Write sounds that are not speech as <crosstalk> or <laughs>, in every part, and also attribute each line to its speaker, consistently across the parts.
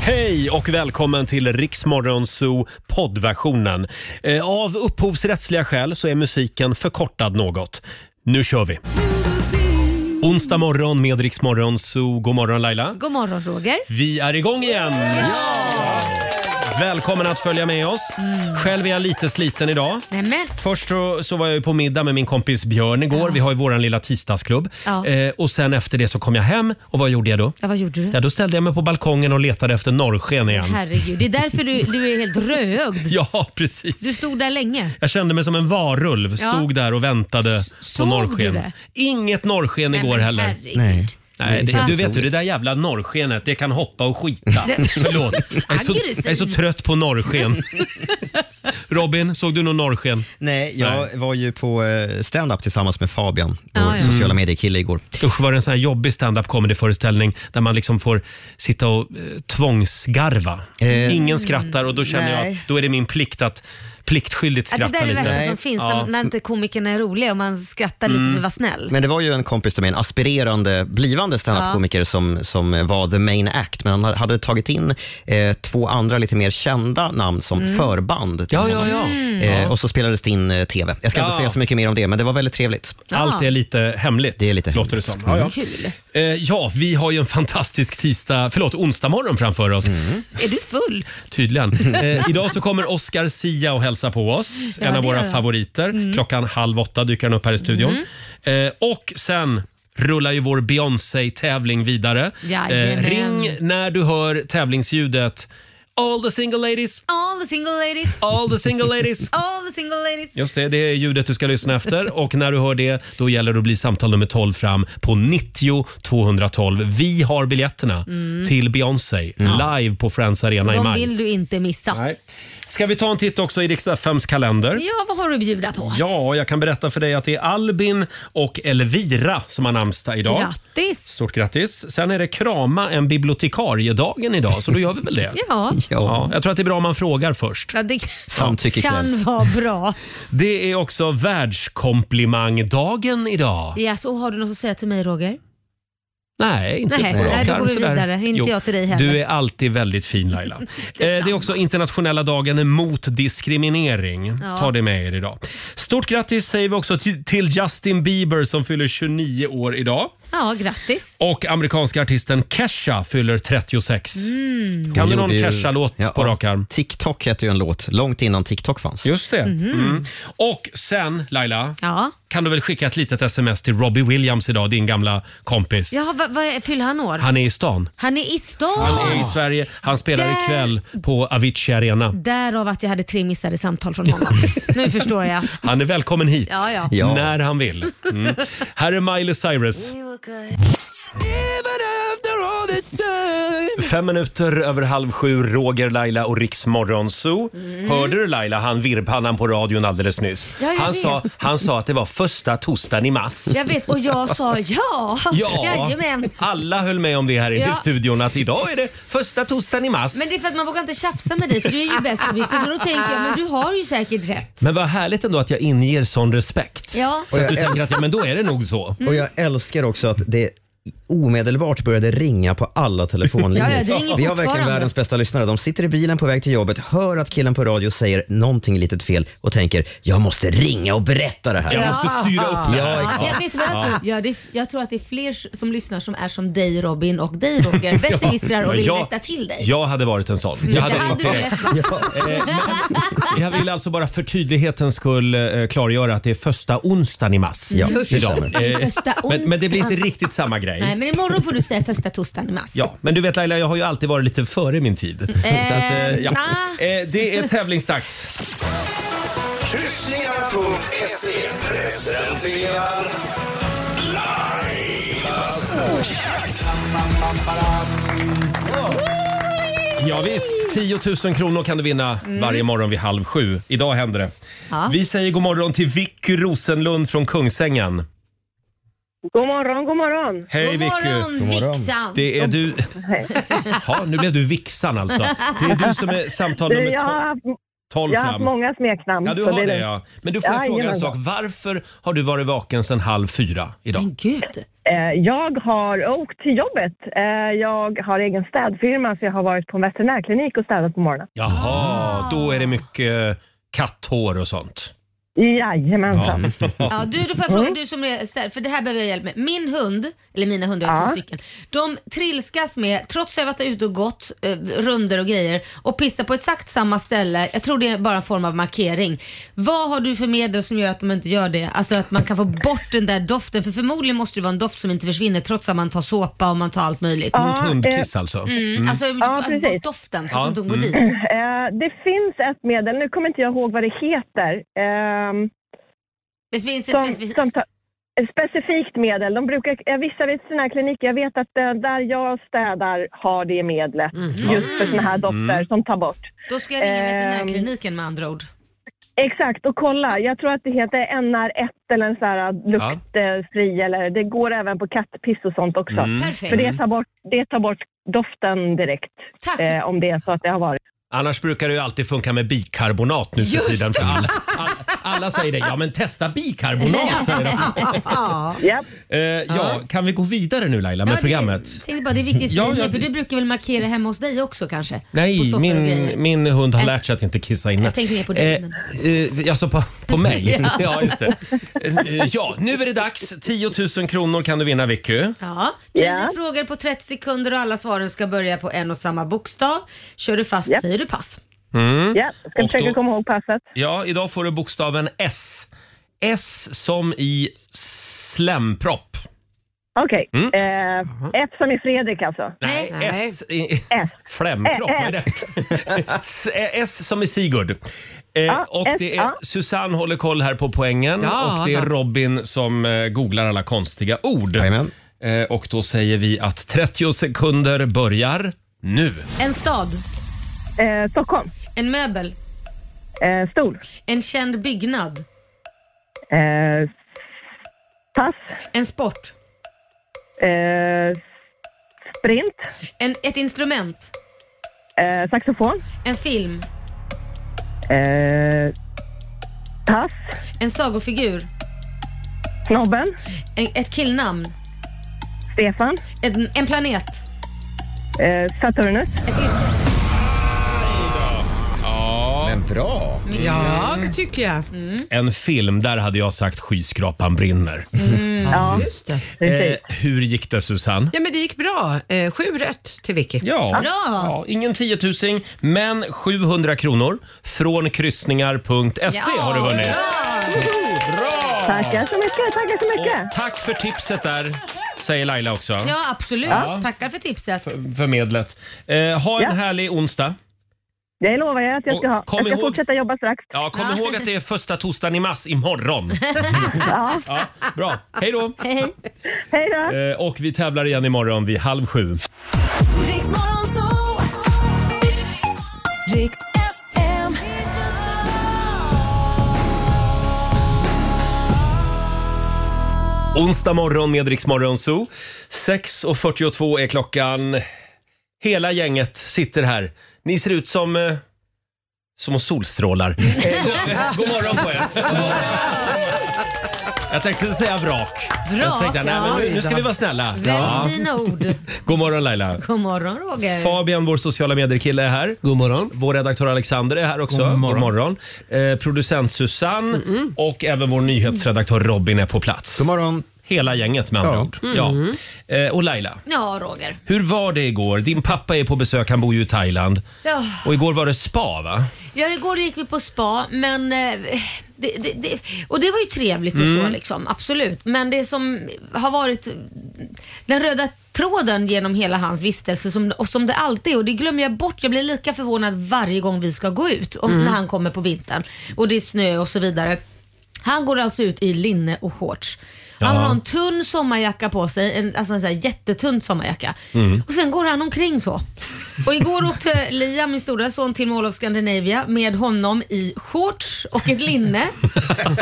Speaker 1: Hej och välkommen till Riksmorgon Zoo poddversionen. Eh, Av upphovsrättsliga skäl så är musiken förkortad något. Nu kör vi! Onsdag morgon med Riksmorgon Zoo. God morgon Laila!
Speaker 2: God morgon Roger.
Speaker 1: Vi är igång igen! Välkommen att följa med oss. Själv är jag lite sliten idag.
Speaker 2: Nämen.
Speaker 1: Först så, så var jag ju på middag med min kompis Björn igår. Vi har ju våran lilla tisdagsklubb.
Speaker 2: Ja. Mm.
Speaker 1: Eh, och sen efter det så kom jag hem och vad gjorde jag då?
Speaker 2: Ja, vad gjorde du?
Speaker 1: Ja, då ställde jag mig på balkongen och letade efter norrsken igen.
Speaker 2: Herregud, det är därför du, du är helt rödögd.
Speaker 1: <laughs> Ja, precis.
Speaker 2: Du stod där länge.
Speaker 1: Jag kände mig som en varulv.
Speaker 2: Ja.
Speaker 1: Stod där och väntade på
Speaker 2: såg du
Speaker 1: norrsken.
Speaker 2: det?
Speaker 1: Inget norrsken igår
Speaker 2: men
Speaker 1: heller.
Speaker 2: herregud.
Speaker 3: Nej.
Speaker 1: Nej, det,
Speaker 2: fan
Speaker 1: du vet ju, det
Speaker 3: otroligt.
Speaker 1: där jävla norrskenet, det kan hoppa och skita. <laughs> Förlåt. Jag är, så,
Speaker 2: Aggressiv.
Speaker 1: jag är så trött
Speaker 2: <laughs>
Speaker 1: på norrsken. Robin, såg du någon norrsken?
Speaker 3: Nej, jag
Speaker 1: Nej.
Speaker 3: var ju på eh, stand-up tillsammans med Fabian, vår
Speaker 2: Ja, ja.
Speaker 3: sociala medier-kille igår.
Speaker 1: Usch, var det en sån här jobbig stand-up comedy-föreställning där man liksom får sitta och eh, tvångsgarva.
Speaker 3: Eh,
Speaker 1: Ingen skrattar och då känner jag
Speaker 3: nej.
Speaker 1: att då är det min plikt att pliktskyldigt
Speaker 2: Ja, det
Speaker 1: skratta
Speaker 2: där är det
Speaker 1: lite.
Speaker 2: värsta
Speaker 3: Nej.
Speaker 2: som finns,
Speaker 1: Ja. Mm.
Speaker 2: när, när inte komikerna är roliga och man skrattar lite för att vara snäll.
Speaker 3: Men det var ju en kompis till mig, en aspirerande blivande standup-komiker som, som var the main act, men han hade tagit in eh, två andra lite mer kända namn som förband. till
Speaker 1: Ja, ja,
Speaker 3: honom.
Speaker 1: ja.
Speaker 3: Eh, och så spelades det in eh, TV. Jag ska
Speaker 1: Ja.
Speaker 3: inte säga så mycket mer om det, men det var väldigt trevligt.
Speaker 1: Allt är lite hemligt,
Speaker 3: Det är lite
Speaker 1: låter det
Speaker 3: hemligt.
Speaker 1: som. Ja, ja.
Speaker 2: Kul.
Speaker 1: Eh, ja, vi har ju en fantastisk tisdag, förlåt, onsdag morgon framför oss.
Speaker 2: Är du full? <laughs>
Speaker 1: Tydligen. Eh, idag så kommer Oscar Sia och hälsa på oss. en av
Speaker 2: det gör
Speaker 1: våra
Speaker 2: han. Mm.
Speaker 1: favoriter. Klockan halv åtta dyker han upp här i studion. Eh, och sen rullar ju vår Beyoncé-tävling vidare. Eh,
Speaker 2: Jajamän.
Speaker 1: ring när du hör tävlingsljudet. All the single ladies,
Speaker 2: All the single ladies,
Speaker 1: all the single ladies.
Speaker 2: <laughs> all the single ladies.
Speaker 1: Just det, det är ljudet du ska
Speaker 2: <laughs>
Speaker 1: lyssna efter och när du hör det då gäller det att bli samtal nummer 12 fram på 90 212. Vi har biljetterna
Speaker 2: Mm.
Speaker 1: till Beyoncé live på Friends Arena i
Speaker 2: De
Speaker 1: maj.
Speaker 2: vill du inte missa.
Speaker 1: Nej. Ska vi ta en titt också i Rix FMs kalender?
Speaker 2: Ja, vad har du att bjuda på?
Speaker 1: Ja, jag kan berätta för dig att det är Albin och Elvira som har namnsdag idag.
Speaker 2: Grattis!
Speaker 1: Stort grattis. Sen är det krama en bibliotekariedagen idag, så då gör vi väl det.
Speaker 2: <laughs> Ja,
Speaker 1: Ja, jag tror att det är bra om man frågar först.
Speaker 2: ja det
Speaker 3: Samtycke
Speaker 2: kan
Speaker 3: krävs.
Speaker 2: vara bra.
Speaker 1: Det är också världskomplimangdagen idag.
Speaker 2: Ja, så har du något att säga till mig Roger?
Speaker 1: Nej, inte
Speaker 2: Nej,
Speaker 1: på rak
Speaker 2: nej, då
Speaker 1: arm
Speaker 2: går vi
Speaker 1: sådär.
Speaker 2: vidare. Inte jag till dig heller.
Speaker 1: Du är alltid väldigt
Speaker 2: <laughs>
Speaker 1: fin Laila. Eh, det är också internationella dagen mot diskriminering.
Speaker 2: Ja.
Speaker 1: Ta det med er idag. Stort grattis säger vi också till- till Justin Bieber som fyller 29 år idag.
Speaker 2: Ja, grattis.
Speaker 1: Och amerikanska artisten Kesha fyller 36.
Speaker 2: Mm.
Speaker 1: Kan
Speaker 3: Hon
Speaker 1: du någon
Speaker 3: gjorde ju-
Speaker 1: Kesha-låt
Speaker 3: Ja,
Speaker 1: på rak arm?
Speaker 3: TikTok hette ju en låt, långt innan TikTok fanns.
Speaker 1: Just det. Mm. Och sen Laila,
Speaker 2: Mhm. Ja.
Speaker 1: kan du väl skicka ett litet sms till Robbie Williams idag, din gamla kompis.
Speaker 2: Ja, vad, vad fyller han år? Han,
Speaker 1: Han är i stan.
Speaker 2: är i stan!
Speaker 1: Han är i Sverige. Han spelar
Speaker 2: Där-
Speaker 1: ikväll på Avicii Arena.
Speaker 2: Därav att jag hade tre missade samtal från
Speaker 1: <laughs>
Speaker 2: honom. nu förstår jag.
Speaker 1: Han är välkommen hit.
Speaker 2: Ja, ja.
Speaker 3: Ja.
Speaker 1: När han vill. Mm. Här är Miley Cyrus. Fem minuter över halv sju, Roger, Laila och Riks Morgonzoo. Hörde du Laila, han virrpannan på radion alldeles nyss?
Speaker 2: Mm. Ja, jag
Speaker 1: han,
Speaker 2: vet.
Speaker 1: sa, han sa att det var första torsdagen i mass.
Speaker 2: Jag vet och jag sa ja. Jajamän.
Speaker 1: alla höll med om det här i
Speaker 2: Ja.
Speaker 1: studion att idag är det första torsdagen i mass.
Speaker 2: Men det är för att man vågar inte tjafsa med dig för du är ju bässerwisser. Och då
Speaker 1: <laughs>
Speaker 2: tänker jag, men du har ju säkert rätt.
Speaker 1: Men vad härligt ändå att jag inger sån respekt.
Speaker 2: Ja.
Speaker 1: Så att du
Speaker 3: Och jag
Speaker 1: tänker att ja, men då är det nog så.
Speaker 3: Mm. Och jag älskar också att det omedelbart började ringa på alla telefonlinjer.
Speaker 2: <laughs> Ja, ja, det ringer
Speaker 3: Vi har verkligen
Speaker 2: fortfarande.
Speaker 3: världens bästa lyssnare. De sitter i bilen på väg till jobbet, hör att killen på radio säger någonting litet fel och tänker jag måste ringa och berätta det här.
Speaker 1: Jag
Speaker 2: Ja.
Speaker 1: måste styra upp det här.
Speaker 3: Ja,
Speaker 2: Alltså, jag, vet du vad jag, tror? Ja, det, jag tror att det är fler som lyssnar som är som dig Robin och dig
Speaker 1: <laughs>
Speaker 2: Roger. Besserwissrar och vill
Speaker 1: Ja,
Speaker 2: rätta till dig.
Speaker 1: Jag hade varit en sån. Jag hade
Speaker 2: Det
Speaker 1: ringt
Speaker 2: hade du
Speaker 1: direkt.
Speaker 2: rätt.
Speaker 1: eh, Jag vill alltså bara för tydlighetens skull eh, klargöra att det är första onsdagen i mass.
Speaker 3: Ja, det stämmer.
Speaker 1: Eh,
Speaker 2: Första
Speaker 1: Men, men det blir inte
Speaker 2: onsdagen.
Speaker 1: riktigt samma grej.
Speaker 2: Nej, men imorgon får du säga första torsdagen i mars.
Speaker 1: Ja, men du vet Laila, jag har ju alltid varit lite före min tid. Så att, eh, ja.
Speaker 2: nah.
Speaker 1: eh, det är tävlingsdags.
Speaker 4: Kryssningar.se presenterar Lailas ordjakt.
Speaker 1: Ja, visst, 10 000 kronor kan du vinna varje morgon vid halv sju. Idag händer det.
Speaker 2: Mm. Ja.
Speaker 1: Vi säger god morgon till Vicky Rosenlund från Kungsängen.
Speaker 5: God morgon, god morgon.
Speaker 1: Hej
Speaker 2: God
Speaker 1: Vicky!
Speaker 2: morgon
Speaker 3: morgon.
Speaker 2: Vixan!
Speaker 1: Det är du... Ja, nu blev du vixan alltså. Det är du som är samtal
Speaker 5: Du, <laughs>
Speaker 1: nummer
Speaker 5: jag har
Speaker 1: 12.
Speaker 5: haft,
Speaker 1: Tolv
Speaker 5: Jag har haft
Speaker 1: fram.
Speaker 5: många smeknamn.
Speaker 1: Ja, du
Speaker 5: så
Speaker 1: har det
Speaker 5: lugnt.
Speaker 1: ja. Men du får jag fråga en sak.
Speaker 5: Jajamensan.
Speaker 1: Varför har du varit vaken sedan halv fyra idag?
Speaker 2: Men gud.
Speaker 5: Eh, Jag har åkt till jobbet. Eh, Jag har egen städfirma så jag har varit på en veterinärklinik och städat på morgonen.
Speaker 1: Jaha, då är det mycket eh, katthår och sånt.
Speaker 5: Jajamensan.
Speaker 2: Ja, du, då får jag
Speaker 1: Mm.
Speaker 2: fråga, du som är städ, för det här behöver jag hjälp med. Min hund, eller mina hundar, jag har
Speaker 5: Ja.
Speaker 2: två stycken, de trilskas med, trots att jag varit ute och gått eh, runder och grejer och pissar på exakt samma ställe. Jag tror det är bara en form av markering. Vad har du för medel som gör att de inte gör det? Alltså att man kan få bort den där doften, för förmodligen måste det vara en doft som inte försvinner trots att man tar såpa och man tar allt möjligt.
Speaker 1: Mot
Speaker 5: eh,
Speaker 1: hundkiss alltså.
Speaker 2: Mm. Alltså att få
Speaker 5: precis.
Speaker 2: bort doften så
Speaker 1: Ja, Mm.
Speaker 2: att de inte går dit.
Speaker 5: Eh, Det finns ett medel, nu kommer inte jag ihåg vad det heter. Ehm,
Speaker 2: Men spins-
Speaker 5: som,
Speaker 2: spins- spins-
Speaker 5: som tar- ett specifikt medel. De brukar, eh, vissa veterinärkliniker, jag vet att eh, där jag städar har det medlet
Speaker 1: Mm.
Speaker 5: just för såna här dofter som tar bort.
Speaker 2: Då ska jag ringa
Speaker 5: Ehm.
Speaker 2: veterinärkliniken med andra ord.
Speaker 5: Exakt, och kolla. Jag tror att det heter NR1 eller en sån här äh, luktfri. Eller, det går även på kattpiss och sånt också.
Speaker 1: Mm.
Speaker 2: Perfekt.
Speaker 5: För det tar, bort, det tar bort doften direkt.
Speaker 2: Tack.
Speaker 5: Eh, om det är så att det har varit.
Speaker 1: Annars brukar det ju alltid funka med bikarbonat nu för
Speaker 2: Just
Speaker 1: tiden. För alla, alla, alla säger det. Ja, men testa bikarbonat säger de.
Speaker 2: <laughs>
Speaker 5: Japp.
Speaker 1: Eh, ja, kan vi gå vidare nu Laila med
Speaker 2: Ja, det-
Speaker 1: programmet?
Speaker 2: Tänkte bara det är viktigt
Speaker 1: Ja,
Speaker 2: för dig,
Speaker 1: ja,
Speaker 2: för
Speaker 1: det-
Speaker 2: du brukar väl markera hemma hos dig också kanske? På
Speaker 1: Nej,
Speaker 2: soffor och grejer.
Speaker 1: min, min hund har lärt sig att inte kissa inne.
Speaker 2: jag tänker mer på dig, men-
Speaker 1: Eh, eh, alltså på,
Speaker 2: <laughs>
Speaker 1: på mig? ja. just det. Eh, ja, nu är det dags. 10 000 kronor kan du vinna Vicky.
Speaker 2: Ja, tio
Speaker 5: Ja.
Speaker 2: frågor på 30 sekunder och alla svaren ska börja på en och samma bokstav. Kör du fast
Speaker 5: Japp.
Speaker 2: säger du pass.
Speaker 1: Mm.
Speaker 5: Ja, ska
Speaker 1: Och
Speaker 5: försöka
Speaker 1: då-
Speaker 5: komma ihåg passet.
Speaker 1: Ja, idag får du bokstaven S. S som i slempropp.
Speaker 5: Okej. Eh, F som i Fredrik alltså.
Speaker 1: Mm. Nej,
Speaker 2: Nej.
Speaker 1: S i
Speaker 5: S.
Speaker 1: flämpropp. Vad är det? S- S som i Sigurd. Eh, och
Speaker 5: S,
Speaker 1: det är,
Speaker 5: ja.
Speaker 1: Susanne håller koll här på poängen
Speaker 6: Ja,
Speaker 1: och det är
Speaker 6: ja.
Speaker 1: Robin som eh, googlar alla konstiga ord.
Speaker 3: Jajamän.
Speaker 1: Eh, och då säger vi att 30 sekunder börjar nu.
Speaker 2: En stad,
Speaker 5: Eh, Stockholm.
Speaker 2: en möbel,
Speaker 5: Eh, stol.
Speaker 2: en känd byggnad,
Speaker 5: Eh, pass.
Speaker 2: en sport,
Speaker 5: Eh, sprint.
Speaker 2: en, ett instrument,
Speaker 5: Eh, saxofon.
Speaker 2: en film,
Speaker 5: Eh, pass.
Speaker 2: en sagofigur,
Speaker 5: Snobben.
Speaker 2: en, ett killnamn,
Speaker 5: Stefan.
Speaker 2: en, en planet,
Speaker 5: Eh, Saturnus.
Speaker 2: ett yrke.
Speaker 3: Men bra.
Speaker 6: Mm. Ja, det tycker jag.
Speaker 1: En film, där hade jag sagt skyskrapan brinner.
Speaker 5: Ja,
Speaker 6: Just Mm. det.
Speaker 5: Mm. precis.
Speaker 1: Eh, hur gick det Susanne?
Speaker 6: Ja, men det gick bra. Eh, Sju rätt till Vicky.
Speaker 1: Ja.
Speaker 2: Bra.
Speaker 1: ja, ingen tiotusing, men 700 kronor från kryssningar.se
Speaker 2: Ja.
Speaker 1: har du vunnit.
Speaker 5: Tackar så mycket. Tackar så mycket.
Speaker 1: Och tack för tipset där, säger Laila också.
Speaker 2: Ja, absolut. Tackar för tipset.
Speaker 1: För medlet. Eh, ha en
Speaker 5: Ja.
Speaker 1: härlig onsdag.
Speaker 5: Det lovar jag att jag ska
Speaker 1: Och
Speaker 5: ha.
Speaker 1: kom
Speaker 5: Jag ska
Speaker 1: ihåg-
Speaker 5: fortsätta jobba strax.
Speaker 1: Ja, kom
Speaker 2: Ja.
Speaker 1: ihåg att det är första torsdagen i mars imorgon.
Speaker 5: Ja.
Speaker 1: <laughs> Ja, bra, hej då!
Speaker 2: Hej, hej.
Speaker 5: Hej då.
Speaker 1: Eh, och vi tävlar igen imorgon vid halv sju.
Speaker 7: Riks FM.
Speaker 1: Onsdag morgon med Rix Morgon Zoo. 6.42 är klockan. Hela gänget sitter här. Ni ser ut som... eh, Som solstrålar. Eh, god- God morgon på er!
Speaker 2: <laughs>
Speaker 1: Jag tänkte säga vrak. Jag
Speaker 2: Vrak,
Speaker 1: tänkte, nej, men nu, nu ska vi vara snälla.
Speaker 2: Välj dina ord.
Speaker 1: God morgon Laila.
Speaker 2: God morgon Roger.
Speaker 1: Fabian, vår sociala medier-kille är här.
Speaker 8: God morgon.
Speaker 1: Vår redaktör Alexander är här också. God morgon. Eh, producent Susanne och även vår nyhetsredaktör Robin är på plats.
Speaker 3: God morgon.
Speaker 1: Hela gänget med andra
Speaker 3: Ja.
Speaker 1: ord. Ja.
Speaker 2: Mm-hmm.
Speaker 1: Eh, och Laila,
Speaker 2: Ja, Roger.
Speaker 1: hur var det igår? Din pappa är på besök, han bor ju i Thailand.
Speaker 2: Ja.
Speaker 1: Och igår var det spa va?
Speaker 2: Ja, igår gick vi på spa, men... eh, Det, det, det, och det var ju trevligt och så, liksom, absolut. Men det som har varit den röda tråden genom hela hans vistelse som, och som det alltid är och det glömmer jag bort. Jag blir lika förvånad varje gång vi ska gå ut om, när han kommer på vintern och det är snö och så vidare. Han går alltså ut i linne och shorts. Han
Speaker 1: Ja.
Speaker 2: har en tunn sommarjacka på sig, en, alltså en sån här jättetunn sommarjacka.
Speaker 1: Mm.
Speaker 2: Och sen går han omkring så. Och igår åkte Liam, min stora son, till Mall of Scandinavia med honom i shorts och ett linne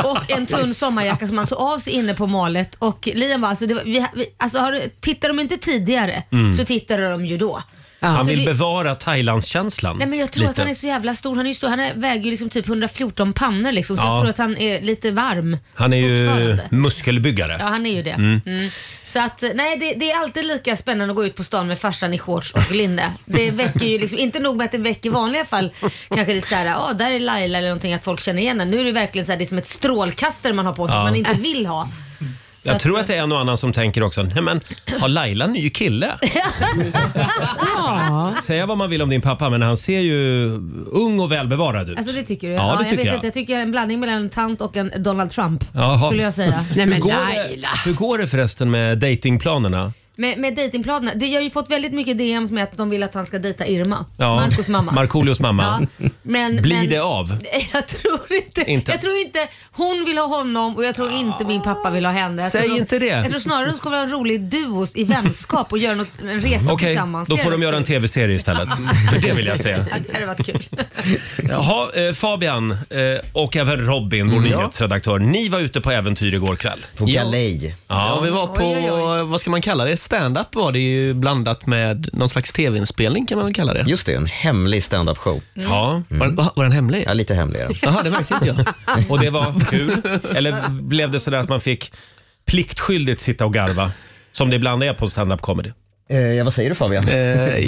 Speaker 2: och en tunn sommarjacka som han tog av sig inne på malet. Och Liam bara, alltså, det var, vi, vi, alltså har, du- tittar de inte tidigare så tittar de ju då.
Speaker 1: Mm. Han
Speaker 2: Så
Speaker 1: vill
Speaker 2: det-
Speaker 1: bevara Thailandskänslan.
Speaker 2: Nej, men jag tror att han är så jävla stor. Han, är ju stor. han är, väger ju liksom typ 114 pannor liksom, så
Speaker 1: Ja.
Speaker 2: jag tror att han är lite varm.
Speaker 1: Han är ju
Speaker 2: fortfarande.
Speaker 1: muskelbyggare.
Speaker 2: Ja, han är ju det.
Speaker 1: Mm.
Speaker 2: Mm. Så att, nej, det, det är alltid lika spännande att gå ut på stan med farsan i shorts och linne. Det väcker ju liksom, inte nog med att det väcker i vanliga fall kanske lite såhär, ja där är Laila eller någonting att folk känner igen en. Nu är det verkligen så här, det är som ett strålkastare man har på sig
Speaker 1: Ja.
Speaker 2: som man inte vill ha. Så
Speaker 1: Jag tror att det är en och annan som tänker också, nej men har Laila en ny kille?
Speaker 6: Ja.
Speaker 1: Säga vad man vill om din pappa men han ser ju ung och välbevarad ut.
Speaker 2: Alltså det tycker du?
Speaker 1: Ja, det
Speaker 2: jag
Speaker 1: tycker
Speaker 2: vet
Speaker 1: jag.
Speaker 2: Inte, jag tycker jag är en blandning mellan en tant och en Donald Trump.
Speaker 1: Jaha.
Speaker 2: Skulle jag säga.
Speaker 6: Nej, men
Speaker 1: hur, går det,
Speaker 6: Laila.
Speaker 1: hur går det förresten med datingplanerna?
Speaker 2: Med, med dejtingplanerna. Det- Jag har ju fått väldigt mycket DMs med att de vill att han ska dejta Irma.
Speaker 1: Ja,
Speaker 2: Marcos mamma.
Speaker 1: Markoolios mamma.
Speaker 2: Ja, men,
Speaker 1: Blir
Speaker 2: men,
Speaker 1: det av?
Speaker 2: <laughs> Jag tror inte,
Speaker 1: Inte.
Speaker 2: Jag tror inte hon vill ha honom och jag tror inte min pappa vill ha henne. Jag
Speaker 1: Säg
Speaker 2: tror,
Speaker 1: inte det.
Speaker 2: Jag tror snarare de ska vara en rolig duo i vänskap och göra något, en resa
Speaker 1: Okej,
Speaker 2: tillsammans.
Speaker 1: då
Speaker 2: Det
Speaker 1: får de
Speaker 2: hade
Speaker 1: göra en
Speaker 2: varit
Speaker 1: tv-serie istället.
Speaker 2: <laughs>
Speaker 1: <laughs> För det vill jag se.
Speaker 2: kul. Ja, det hade varit kul.
Speaker 1: Jaha, eh, Fabian eh, och även Robin, vår nyhetsredaktör. Ni var ute på äventyr igår kväll.
Speaker 3: Mm. På galej.
Speaker 7: Ja,
Speaker 1: Ja,
Speaker 7: vi var på,
Speaker 2: Oj, oj,
Speaker 7: vad ska man kalla det? Stand-up var det ju blandat med någon slags tv-inspelning kan man väl kalla det. Mm.
Speaker 3: Just det, en hemlig standup-show.
Speaker 1: ja.
Speaker 7: Var, den- var den hemlig?
Speaker 3: Ja, lite hemlig är den.
Speaker 7: Jaha, det märkte inte jag.
Speaker 1: och det var kul. Eller blev det sådär att man fick pliktskyldigt sitta och garva? Som det ibland är på stand-up comedy.
Speaker 3: <laughs> Eh, ja, vad säger du Fabian?
Speaker 7: Eh,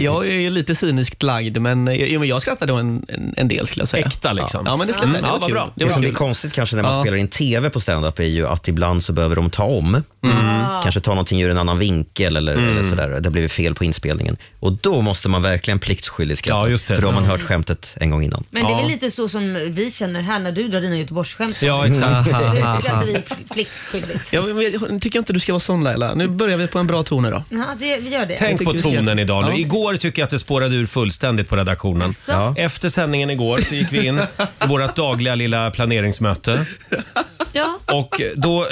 Speaker 7: jag är ju lite cyniskt lagd, men eh, jo, men jag skrattade då en, en, en del skulle jag säga.
Speaker 1: Äkta liksom.
Speaker 7: Ja, men det skulle jag säga. Det
Speaker 1: Ja,
Speaker 7: var
Speaker 1: vad
Speaker 7: kul.
Speaker 1: bra.
Speaker 3: Det
Speaker 7: Det var
Speaker 3: som blir
Speaker 7: kul.
Speaker 3: konstigt kanske när man spelar in TV på stand-up är ju att ibland så behöver de ta om.
Speaker 1: Mm.
Speaker 3: Mm.
Speaker 2: Ah.
Speaker 3: Kanske ta någonting ur en annan vinkel eller, eller sådär. Det har blivit fel på inspelningen. Och då måste man verkligen pliktskyldigt skratta.
Speaker 1: Ja, just det.
Speaker 3: För då har man hört skämtet en gång innan.
Speaker 2: Men det är
Speaker 1: Ja.
Speaker 2: väl lite så som vi känner här när du drar dina Göteborgsskämt. <laughs>
Speaker 1: Ja, exakt.
Speaker 2: Det är Skratteri pliktskyldigt.
Speaker 7: Ja, men jag tycker inte du ska vara sån Laila. Nu börjar vi på en bra ton då.
Speaker 2: Ja, det, vi gör det.
Speaker 1: Tänk på
Speaker 7: tycker vi ska
Speaker 1: tonen
Speaker 7: göra-
Speaker 1: idag nu.
Speaker 7: Ja.
Speaker 1: Igår tycker jag att det spårade ur fullständigt på redaktionen.
Speaker 2: Alltså?
Speaker 1: Efter sändningen igår så gick vi in i vårt dagliga lilla planeringsmöte.
Speaker 2: Ja.
Speaker 1: Och då...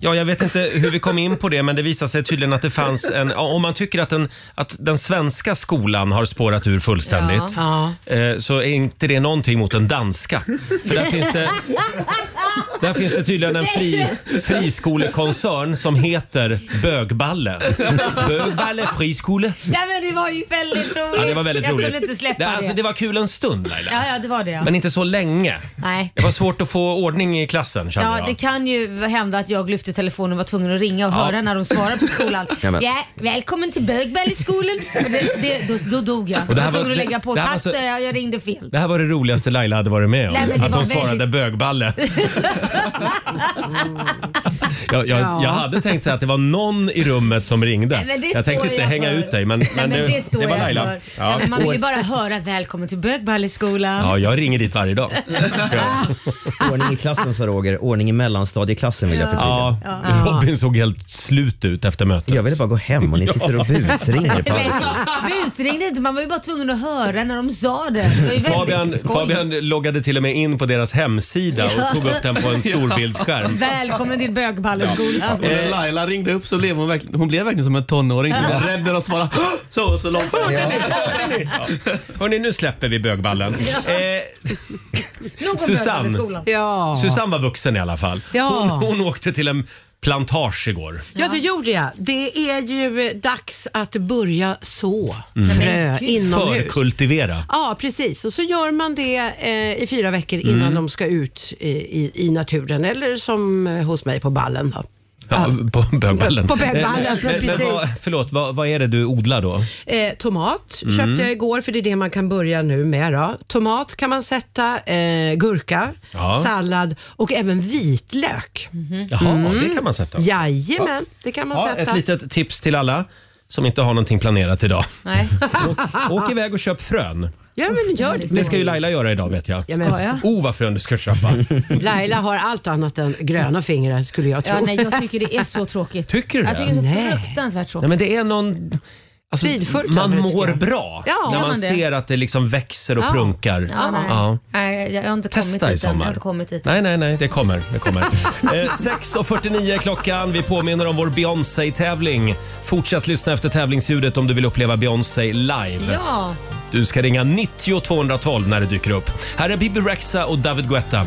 Speaker 1: Ja, jag vet inte hur vi kom in på det, men det visade sig tydligen att det fanns en... Om man tycker att den, att den svenska skolan har spårat ur fullständigt
Speaker 6: Ja.
Speaker 1: eh, så är inte det någonting mot den danska. För där finns det, där finns det tydligen en fri,
Speaker 2: <laughs>
Speaker 1: friskolekoncern som heter Bögballe. Bögballe friskole.
Speaker 2: Nej men det var ju väldigt roligt.
Speaker 1: Ja, det var väldigt
Speaker 2: jag
Speaker 1: roligt.
Speaker 2: kunde inte släppa det.
Speaker 1: Alltså, det var kul en stund Laila,
Speaker 2: Ja, ja, det var det ja.
Speaker 1: men inte så länge.
Speaker 2: Nej.
Speaker 1: Det var svårt att få ordning i klassen kände
Speaker 2: Ja,
Speaker 1: jag.
Speaker 2: det kan ju hända att jag lyfte telefonen och var tvungen att ringa och
Speaker 1: Ja.
Speaker 2: höra när de svarade på skolan.
Speaker 3: Ja,
Speaker 2: ja,
Speaker 3: men-
Speaker 2: välkommen till Bögbälleskolan. Det, det, då, då dog jag.
Speaker 1: Och det här
Speaker 2: jag var
Speaker 1: var-
Speaker 2: tvungen att lägga på.
Speaker 1: det här var
Speaker 2: Tack
Speaker 1: så-
Speaker 2: så... jag, jag ringde fel.
Speaker 1: Det här var det roligaste Laila hade varit med om.
Speaker 2: Nej, men det
Speaker 1: att
Speaker 2: var
Speaker 1: hon svarade
Speaker 2: väldigt- <laughs>
Speaker 1: bögballe. jag, jag,
Speaker 6: Ja.
Speaker 1: jag hade tänkt säga att det var någon i rummet som ringde.
Speaker 2: Nej, men det
Speaker 1: jag tänkte
Speaker 2: står
Speaker 1: inte
Speaker 2: jag
Speaker 1: hänga
Speaker 2: för.
Speaker 1: ut dig men, men,
Speaker 2: Nej, men
Speaker 1: det,
Speaker 2: det,
Speaker 1: det,
Speaker 2: står
Speaker 1: var
Speaker 2: jag
Speaker 1: Laila.
Speaker 2: för. Ja. men man vill ju bara höra välkommen till Bögbälleskolan.
Speaker 1: ja, jag ringer dit varje dag.
Speaker 3: <laughs> Ordning i klassen sa Roger. Ordning i mellanstadieklassen vill jag förtydliga.
Speaker 1: Ja, Robin såg helt slut ut efter mötet.
Speaker 3: Jag ville bara gå hem och ni sitter
Speaker 1: <laughs>
Speaker 3: och busringer på
Speaker 2: <laughs> Nej,
Speaker 3: alla.
Speaker 2: busringde inte. Man var ju bara tvungen att höra när de sa det. det var ju väldigt
Speaker 1: Fabian,
Speaker 2: skoj.
Speaker 1: Fabian loggade till och med in på deras hemsida och tog upp den på
Speaker 2: <laughs>
Speaker 1: en storbildsskärm. Eh,
Speaker 2: Välkommen till Bögballeskolan.
Speaker 7: Och när Laila ringde upp så blev hon verkligen, hon blev verkligen som en tonåring som blev rädd när de svarade "Hå!" så och så långt. <laughs>
Speaker 1: Hörni, nu släpper vi bögballen. Eh,
Speaker 2: Nog om
Speaker 1: Susanne.
Speaker 2: Bögballeskolan.
Speaker 6: Ja.
Speaker 1: Susanne var vuxen i alla fall.
Speaker 6: Ja.
Speaker 1: Hon, hon åkte till en plantage igår.
Speaker 6: Ja, det gjorde jag. Det är ju eh, dags att börja så frö inomhus.
Speaker 1: Mm. Förkultivera.
Speaker 6: Ja, precis. Och så gör man det eh, i fyra veckor innan de ska ut i, i, i naturen eller som eh, hos mig på ballen. Då.
Speaker 1: Ja, på bögballen.
Speaker 6: På bögballen,
Speaker 1: Eh, men, men,
Speaker 6: precis.
Speaker 1: men, vad, förlåt, vad, vad är det du odlar då?
Speaker 6: Eh, tomat
Speaker 1: Mm.
Speaker 6: köpte jag igår för det är det man kan börja nu med. Då. Tomat kan man sätta, eh, gurka,
Speaker 1: Ja.
Speaker 6: sallad och även vitlök.
Speaker 2: Mhm.
Speaker 1: Jaha,
Speaker 6: Mm.
Speaker 1: det kan man sätta. Ja,
Speaker 6: Jajamän, det kan man sätta.
Speaker 1: ett litet tips till alla som inte har någonting
Speaker 6: <laughs>
Speaker 1: planerat idag.
Speaker 2: Nej.
Speaker 1: Åk, åk iväg och köp frön.
Speaker 6: Ja, men gör det.
Speaker 1: Det ska ju Laila göra idag vet jag.
Speaker 6: Ja, men,
Speaker 2: Ska jag?
Speaker 1: Oh vad frön du ska köpa.
Speaker 6: <laughs> Laila har allt annat än gröna fingrar skulle jag tro.
Speaker 2: Ja, nej, jag tycker det är så tråkigt.
Speaker 1: Tycker du
Speaker 2: jag
Speaker 1: det?
Speaker 2: tycker det är
Speaker 6: Nej.
Speaker 2: så fruktansvärt
Speaker 1: Nej,
Speaker 2: tråkigt.
Speaker 1: men det är någon... Alltså,
Speaker 6: Fridfullt över
Speaker 1: man
Speaker 6: det, tycker
Speaker 1: mår
Speaker 6: jag.
Speaker 1: bra
Speaker 6: Ja,
Speaker 1: när
Speaker 2: gör
Speaker 1: man
Speaker 2: man det?
Speaker 1: ser att det liksom växer och prunkar.
Speaker 2: Ja, nej.
Speaker 1: Ja.
Speaker 2: Nej, jag har inte kommit
Speaker 1: Testa i
Speaker 2: dit än. Jag har
Speaker 1: sommar.
Speaker 2: inte kommit dit.
Speaker 1: Nej, nej, nej, det kommer. Det kommer. <laughs> eh, 6.49 är klockan. Vi påminner om vår Beyoncé-tävling. Fortsätt lyssna efter tävlingsljudet om du vill uppleva Beyoncé live.
Speaker 2: Ja,
Speaker 1: Du ska ringa 90 212 när det dyker upp. Här är Bibi Rexa och David Guetta.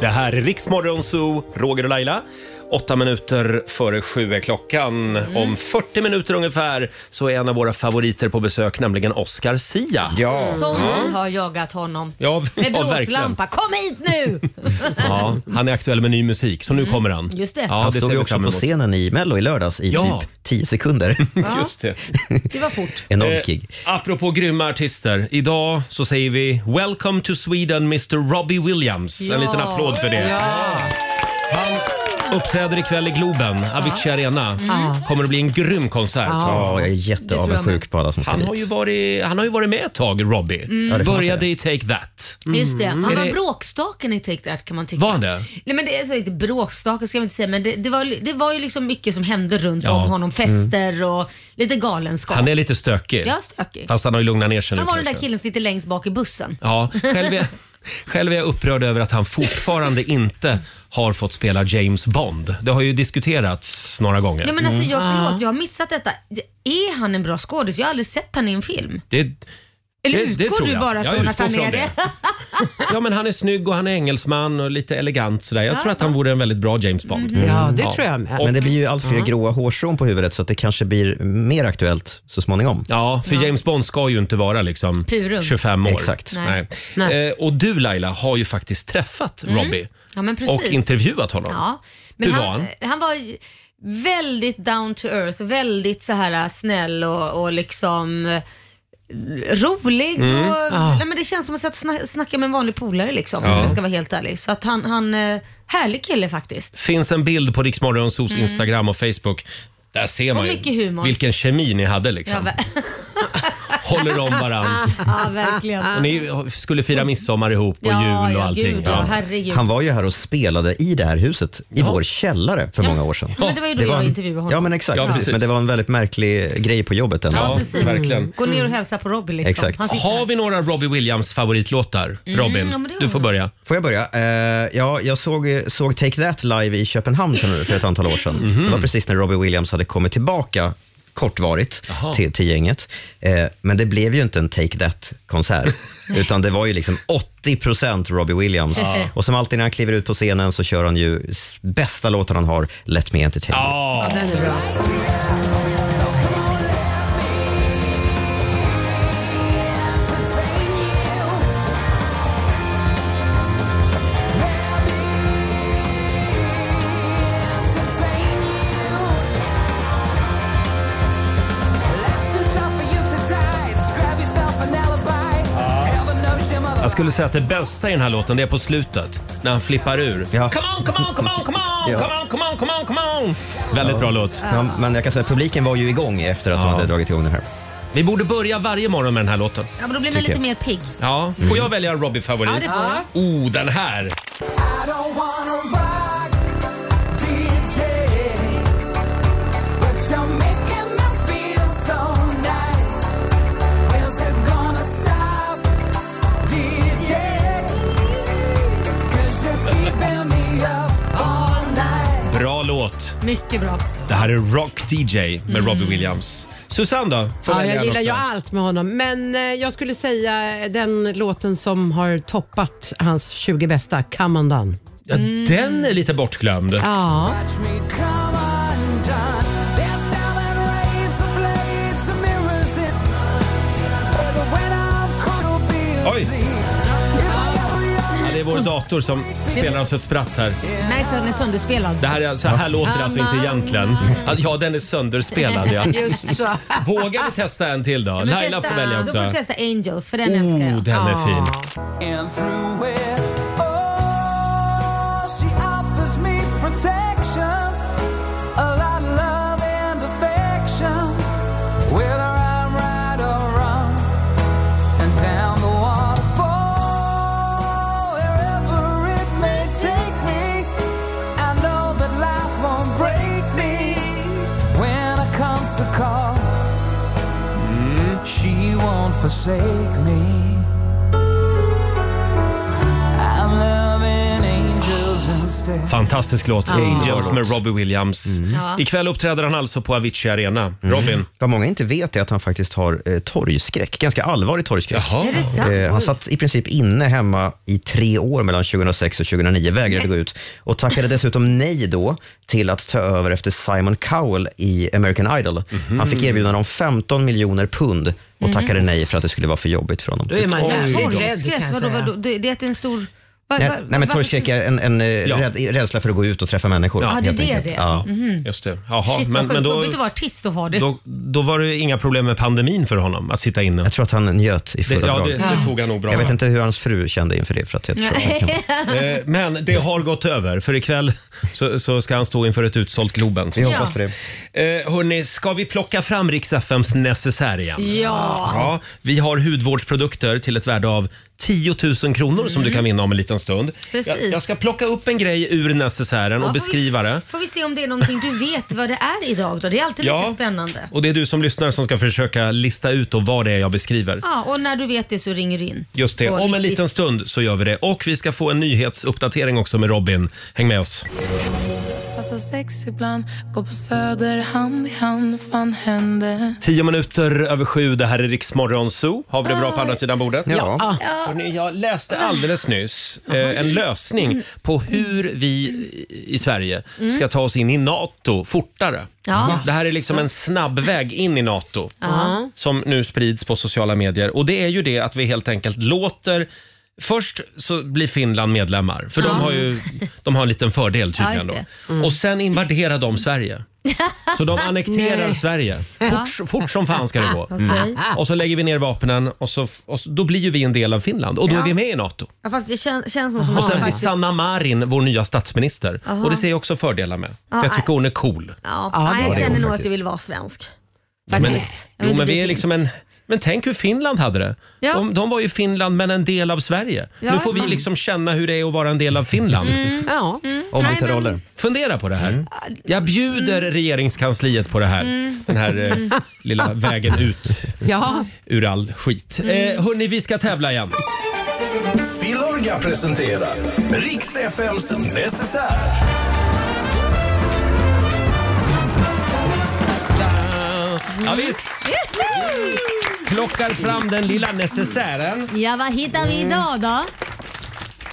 Speaker 1: Det här är Riksmorgon Zoo, Roger och Laila. Åtta minuter före sju är klockan.
Speaker 3: Mm.
Speaker 1: Om 40 minuter ungefär så är en av våra favoriter på besök, nämligen Oscar Sia.
Speaker 3: Ja.
Speaker 2: Som vi har jagat honom.
Speaker 1: Ja,
Speaker 2: Med
Speaker 1: Mm. <laughs> ja, verkligen.
Speaker 2: blåslampa. Kom hit nu!
Speaker 1: <laughs> Ja, han är aktuell med ny musik, så nu kommer han.
Speaker 2: Mm. Just det.
Speaker 1: Ja,
Speaker 3: Han
Speaker 1: det
Speaker 3: stod
Speaker 1: ser
Speaker 3: ju
Speaker 1: vi
Speaker 3: också
Speaker 1: fram
Speaker 3: på
Speaker 1: emot.
Speaker 3: scenen i Mello i lördags i
Speaker 1: Ja.
Speaker 3: typ 10 sekunder.
Speaker 1: <laughs> Just det.
Speaker 2: Det var fort.
Speaker 3: Enormt gig.
Speaker 1: Eh, apropå grymma artister. Idag så säger vi “Welcome to Sweden, Mr Robbie Williams”.
Speaker 2: Ja.
Speaker 1: En liten applåd för det. Han uppträder ikväll i Globen, Avicii Arena.
Speaker 2: Mm.
Speaker 1: Kommer att bli en grym konsert.
Speaker 3: Ja, jag är
Speaker 2: jag
Speaker 3: jätteavundsjuk
Speaker 2: med.
Speaker 3: på alla som ska
Speaker 1: Han
Speaker 3: dit.
Speaker 1: har, ju varit, han har ju varit med ett tag, Robbie.
Speaker 2: Mm.
Speaker 3: Ja, det får man
Speaker 1: Började i Take That.
Speaker 2: Just det. Han
Speaker 1: Är
Speaker 2: var
Speaker 1: Mm. det-
Speaker 2: bråkstaken i Take That kan man tycka.
Speaker 1: Var han det?
Speaker 2: Nej men det är så inte bråkstaken ska jag inte säga men det, det, var, det var ju liksom mycket som hände runt
Speaker 1: Ja. Mm.
Speaker 2: om honom. Fester och lite galenskap.
Speaker 1: Han är lite stökig.
Speaker 2: Ja, stökig.
Speaker 1: Fast han har ju lugnat ner sig nu
Speaker 2: Han var den där
Speaker 1: kanske.
Speaker 2: killen som sitter längst bak i bussen.
Speaker 1: Ja, själv är, själv är jag upprörd över att han fortfarande inte har fått spela James Bond. Det har ju diskuterats några gånger.
Speaker 2: Ja men alltså jag,
Speaker 1: Mm. Ah.
Speaker 2: förlåt, jag har missat detta. Är han en bra skådis? Jag har aldrig sett han i en film.
Speaker 1: Det,
Speaker 2: Eller
Speaker 1: det, det
Speaker 2: utgår
Speaker 1: tror
Speaker 2: du
Speaker 1: jag.
Speaker 2: bara
Speaker 1: Jag
Speaker 2: från att
Speaker 1: utgår
Speaker 2: han
Speaker 1: från
Speaker 2: är det?
Speaker 1: Ja, men han är snygg och han är engelsman och lite elegant sådär. Jag tror att han vore en väldigt bra James Bond.
Speaker 2: Mhm.
Speaker 6: Ja, det tror jag med.
Speaker 1: Och-
Speaker 3: Mm.
Speaker 1: Mm.
Speaker 3: Men det blir ju allt fler gråa hårstrån på huvudet så att det kanske blir mer aktuellt så småningom.
Speaker 1: Ja, för James Bond ska ju inte vara liksom
Speaker 2: Purum.
Speaker 1: 25 år.
Speaker 3: Exakt.
Speaker 1: Nej.
Speaker 2: Nej.
Speaker 1: Eh, och du Laila har ju faktiskt träffat Robbie
Speaker 2: Ja Mm. men
Speaker 1: och
Speaker 2: precis.
Speaker 1: intervjuat honom.
Speaker 2: Ja, men
Speaker 1: Hur
Speaker 2: han,
Speaker 1: var han?
Speaker 2: han var väldigt down to earth, väldigt så här snäll och, och liksom eh, rolig.
Speaker 1: Mm.
Speaker 2: Och,
Speaker 1: Ah.
Speaker 2: nej, men det känns som att jag snack, snackar med en vanlig polare liksom, om jag ska vara helt ärlig. Så att han, han eh, härlig kille faktiskt.
Speaker 1: finns en bild på Riksmorgonsos Instagram och Facebook. Där ser man
Speaker 2: Mm. mycket
Speaker 1: ju
Speaker 2: humor.
Speaker 1: vilken kemi ni hade
Speaker 2: Ja,
Speaker 1: liksom.
Speaker 2: ver-
Speaker 1: <laughs> Håller om varann.
Speaker 2: ja verkligen.
Speaker 1: Och ni skulle fira midsommar ihop och
Speaker 2: ja,
Speaker 1: jul och
Speaker 2: ja,
Speaker 1: allting.
Speaker 2: Gud, ja.
Speaker 1: Ja.
Speaker 2: herregud.
Speaker 3: Han var ju här och spelade i det här huset, i vår källare för många år sedan.
Speaker 2: men det var ju då jag
Speaker 3: en-
Speaker 2: intervjuade honom.
Speaker 3: Ja, men exakt.
Speaker 1: Ja,
Speaker 3: precis.
Speaker 1: precis.
Speaker 3: Men det var en väldigt märklig grej på jobbet den
Speaker 1: Ja,
Speaker 3: dagen.
Speaker 2: Precis. Mm.
Speaker 1: verkligen.
Speaker 2: Gå ner och hälsa på Robbie liksom.
Speaker 3: Exakt.
Speaker 2: Han sitter Mm,
Speaker 1: Har vi några Robbie Williams favoritlåtar? Robin,
Speaker 2: ja, men det har
Speaker 1: du får
Speaker 2: vi.
Speaker 1: börja.
Speaker 3: Får jag börja? Eh, ja, jag såg, såg Take That live i Köpenhamn för, nu, för ett antal år sedan.
Speaker 1: Mhm.
Speaker 3: Det var precis när Robbie Williams hade kommit tillbaka kortvarigt till, till gänget. Eh, men det blev ju inte en Take
Speaker 1: <laughs>
Speaker 3: That-konsert, utan det var ju liksom 80 Robbie Williams. Och som alltid när han kliver ut på scenen så kör han ju s- bästa låten han har, Let Me Entertain. You.
Speaker 1: Ja,
Speaker 6: Den är bra.
Speaker 1: jag skulle säga att det bästa i den här låten det är på slutet när han flippar ur.
Speaker 3: Ja.
Speaker 1: Come on, come on, come on, come on,
Speaker 3: Ja.
Speaker 1: come on, come on, come on, come on. Väldigt bra låt.
Speaker 3: Ja, men jag kan säga att publiken var ju igång efter att de hade dragit igång den här.
Speaker 1: Vi borde börja varje morgon med den här låten.
Speaker 2: Ja, men då blir man
Speaker 3: Tycker
Speaker 2: lite mer pigg.
Speaker 1: Ja. Får
Speaker 3: Mm.
Speaker 1: jag välja en Robbie-favorit?
Speaker 2: Ja, det får du.
Speaker 1: Oh, den här! Bra låt.
Speaker 2: Mycket bra.
Speaker 1: Det här är Rock DJ
Speaker 2: Mm.
Speaker 1: med Robbie Williams. Susanne då? Får
Speaker 6: Ja,
Speaker 1: välja en
Speaker 6: jag gillar
Speaker 1: också.
Speaker 6: ju allt med honom, men eh, jag skulle säga den låten som har toppat hans 20 bästa, Come On Done.
Speaker 1: Ja,
Speaker 2: Mm.
Speaker 1: den är lite bortglömd.
Speaker 6: Ja.
Speaker 1: Oj! Ja, det är vår dator som spelar oss ett spratt här.
Speaker 2: Märks att den är sönderspelad.
Speaker 1: Det här, är, så här låter det alltså inte egentligen. Alltså, Ja, den är sönderspelad
Speaker 2: <laughs>
Speaker 1: ja.
Speaker 6: Just så.
Speaker 1: Vågar vi testa en till då?
Speaker 2: Men
Speaker 1: Laila
Speaker 2: testa-
Speaker 1: får välja
Speaker 2: Då får
Speaker 1: också.
Speaker 2: du testa Angels, för den älskar
Speaker 1: Oh,
Speaker 2: jag.
Speaker 1: den är fin.
Speaker 4: And through it all, she offers me protection, a lot of love and affection. Whether I'm right or wrong, and down the waterfall, wherever it may take me, I know that life won't break me. When it comes to call, mm, she won't forsake me. I'm loving angels instead.
Speaker 1: Fantastisk låt, Angels med Robbie Williams.
Speaker 3: Mm.
Speaker 2: Ja.
Speaker 1: Ikväll uppträder han alltså på Avicii Arena. Robin?
Speaker 3: Vad många inte vet är att han faktiskt har eh, torgskräck, ganska allvarlig torgskräck.
Speaker 2: Är det sant?
Speaker 3: Eh, han satt i princip inne hemma i tre år mellan 2006 och 2009, vägrade gå ut och tackade dessutom nej då till att ta över efter Simon Cowell i American Idol.
Speaker 1: Mhm.
Speaker 3: Han fick erbjudande om 15 miljoner pund
Speaker 2: Mhm.
Speaker 3: och tackade nej för att det skulle vara för jobbigt för honom.
Speaker 8: Då är man jävligt rädd kan
Speaker 2: Torrskräck?
Speaker 8: jag
Speaker 2: Vadå, vadå?
Speaker 8: säga.
Speaker 2: Det, det är att det är en stor... Va,
Speaker 3: Nej,
Speaker 2: va-
Speaker 3: nej men
Speaker 2: varför-
Speaker 3: torgskräck är en, en eh, rädd, rädsla för att gå ut och träffa människor.
Speaker 2: Ja, det är
Speaker 3: helt
Speaker 2: det
Speaker 3: enkelt.
Speaker 2: det är.
Speaker 3: Ja.
Speaker 1: Just det. Jaha,
Speaker 2: Shit, vad
Speaker 1: men, men
Speaker 2: sjukt.
Speaker 1: då,
Speaker 2: Jobbigt att vara artist och ha det.
Speaker 1: då, då var det inga problem med pandemin för honom att sitta inne.
Speaker 3: Jag tror att han njöt i
Speaker 1: Det,
Speaker 3: fulla
Speaker 1: ja,
Speaker 3: drag.
Speaker 1: det, det tog han nog bra.
Speaker 3: Jag vet inte hur hans fru kände inför det. För att jag tror att
Speaker 2: <laughs>
Speaker 3: han kan...
Speaker 1: Eh, Men det har gått över, för ikväll så, så ska han stå inför ett utsålt Globen.
Speaker 3: Vi
Speaker 1: Så.
Speaker 3: hoppas på det.
Speaker 1: Eh, hörni, ska vi plocka fram Rix FMs necessär igen?
Speaker 2: Ja.
Speaker 1: Ja, vi har hudvårdsprodukter till ett värde av 10 000 kronor som du kan vinna om en liten stund.
Speaker 2: Mm. Precis.
Speaker 1: Jag, jag ska plocka upp en grej ur necessären och
Speaker 2: Ja, får vi-
Speaker 1: beskriva det.
Speaker 2: Får vi se om det är någonting du vet vad det är idag då. Det är alltid lite spännande.
Speaker 1: och det är du som lyssnar som ska försöka lista ut då vad det är jag beskriver.
Speaker 2: Ja, och när du vet det så ringer du in.
Speaker 1: Just det,
Speaker 2: Och
Speaker 1: om en
Speaker 2: ditt-
Speaker 1: liten stund så gör vi det. Och vi ska få en nyhetsuppdatering också med Robin. Häng med oss.
Speaker 9: Passa Alltså, sex ibland, gå på söder hand i hand, fan hände?
Speaker 1: Tio minuter över sju, det här är Riksmorgon Zoo. Har vi det bra på andra sidan bordet?
Speaker 3: Ja.
Speaker 1: Hörrni, jag läste alldeles nyss eh, en lösning på hur vi i Sverige
Speaker 2: Mm.
Speaker 1: ska ta oss in i NATO fortare.
Speaker 2: Ja.
Speaker 1: Det här är liksom en snabb väg in i NATO som nu sprids på sociala medier. Och det är ju det att vi helt enkelt låter Först så blir Finland medlemmar, för de har ju de har en liten fördel tydligen.
Speaker 2: Ja, just Mm.
Speaker 1: då. Och sen invaderar de Sverige.
Speaker 2: <laughs>
Speaker 1: Så de annekterar Sverige. Fort, fort som fan ska det gå.
Speaker 2: Okej.
Speaker 1: Och så lägger vi ner vapnen och, så, och så, då blir ju vi en del av Finland och då är vi med i NATO.
Speaker 2: Ja, fast det kän, känns nog som
Speaker 1: Och
Speaker 2: att
Speaker 1: sen blir
Speaker 2: faktiskt...
Speaker 1: Sanna Marin vår nya statsminister. Och det ser jag också fördelar med. För jag tycker hon är cool.
Speaker 2: Ja,
Speaker 6: Ja, det
Speaker 2: nej,
Speaker 6: var
Speaker 2: jag
Speaker 6: det
Speaker 2: känner
Speaker 3: hon
Speaker 2: nog att
Speaker 3: faktiskt.
Speaker 2: jag vill vara svensk.
Speaker 1: Men,
Speaker 2: Faktiskt. Jag vill
Speaker 1: jo,
Speaker 2: inte
Speaker 1: men
Speaker 2: bli
Speaker 1: vi är
Speaker 2: finsk.
Speaker 1: liksom en... Men tänk hur Finland hade det.
Speaker 2: Ja.
Speaker 1: De, de var ju Finland men en del av Sverige.
Speaker 2: Ja,
Speaker 1: nu får vi
Speaker 2: ja.
Speaker 1: liksom känna hur det är att vara en del av Finland.
Speaker 4: Mm.
Speaker 6: Ja.
Speaker 1: Mm.
Speaker 3: Ombytta
Speaker 2: men- Mm.
Speaker 3: roller.
Speaker 1: Fundera på det här. Jag bjuder regeringskansliet på det här. Den här eh, lilla vägen ut
Speaker 6: ja.
Speaker 1: ur all skit.
Speaker 2: Mm.
Speaker 1: Eh, hörni, vi ska tävla igen.
Speaker 10: Filorga presenterar Riks FMs necessär.
Speaker 1: Ja, visst. Plockar fram den lilla necessären.
Speaker 2: Ja, vad hittar vi idag då?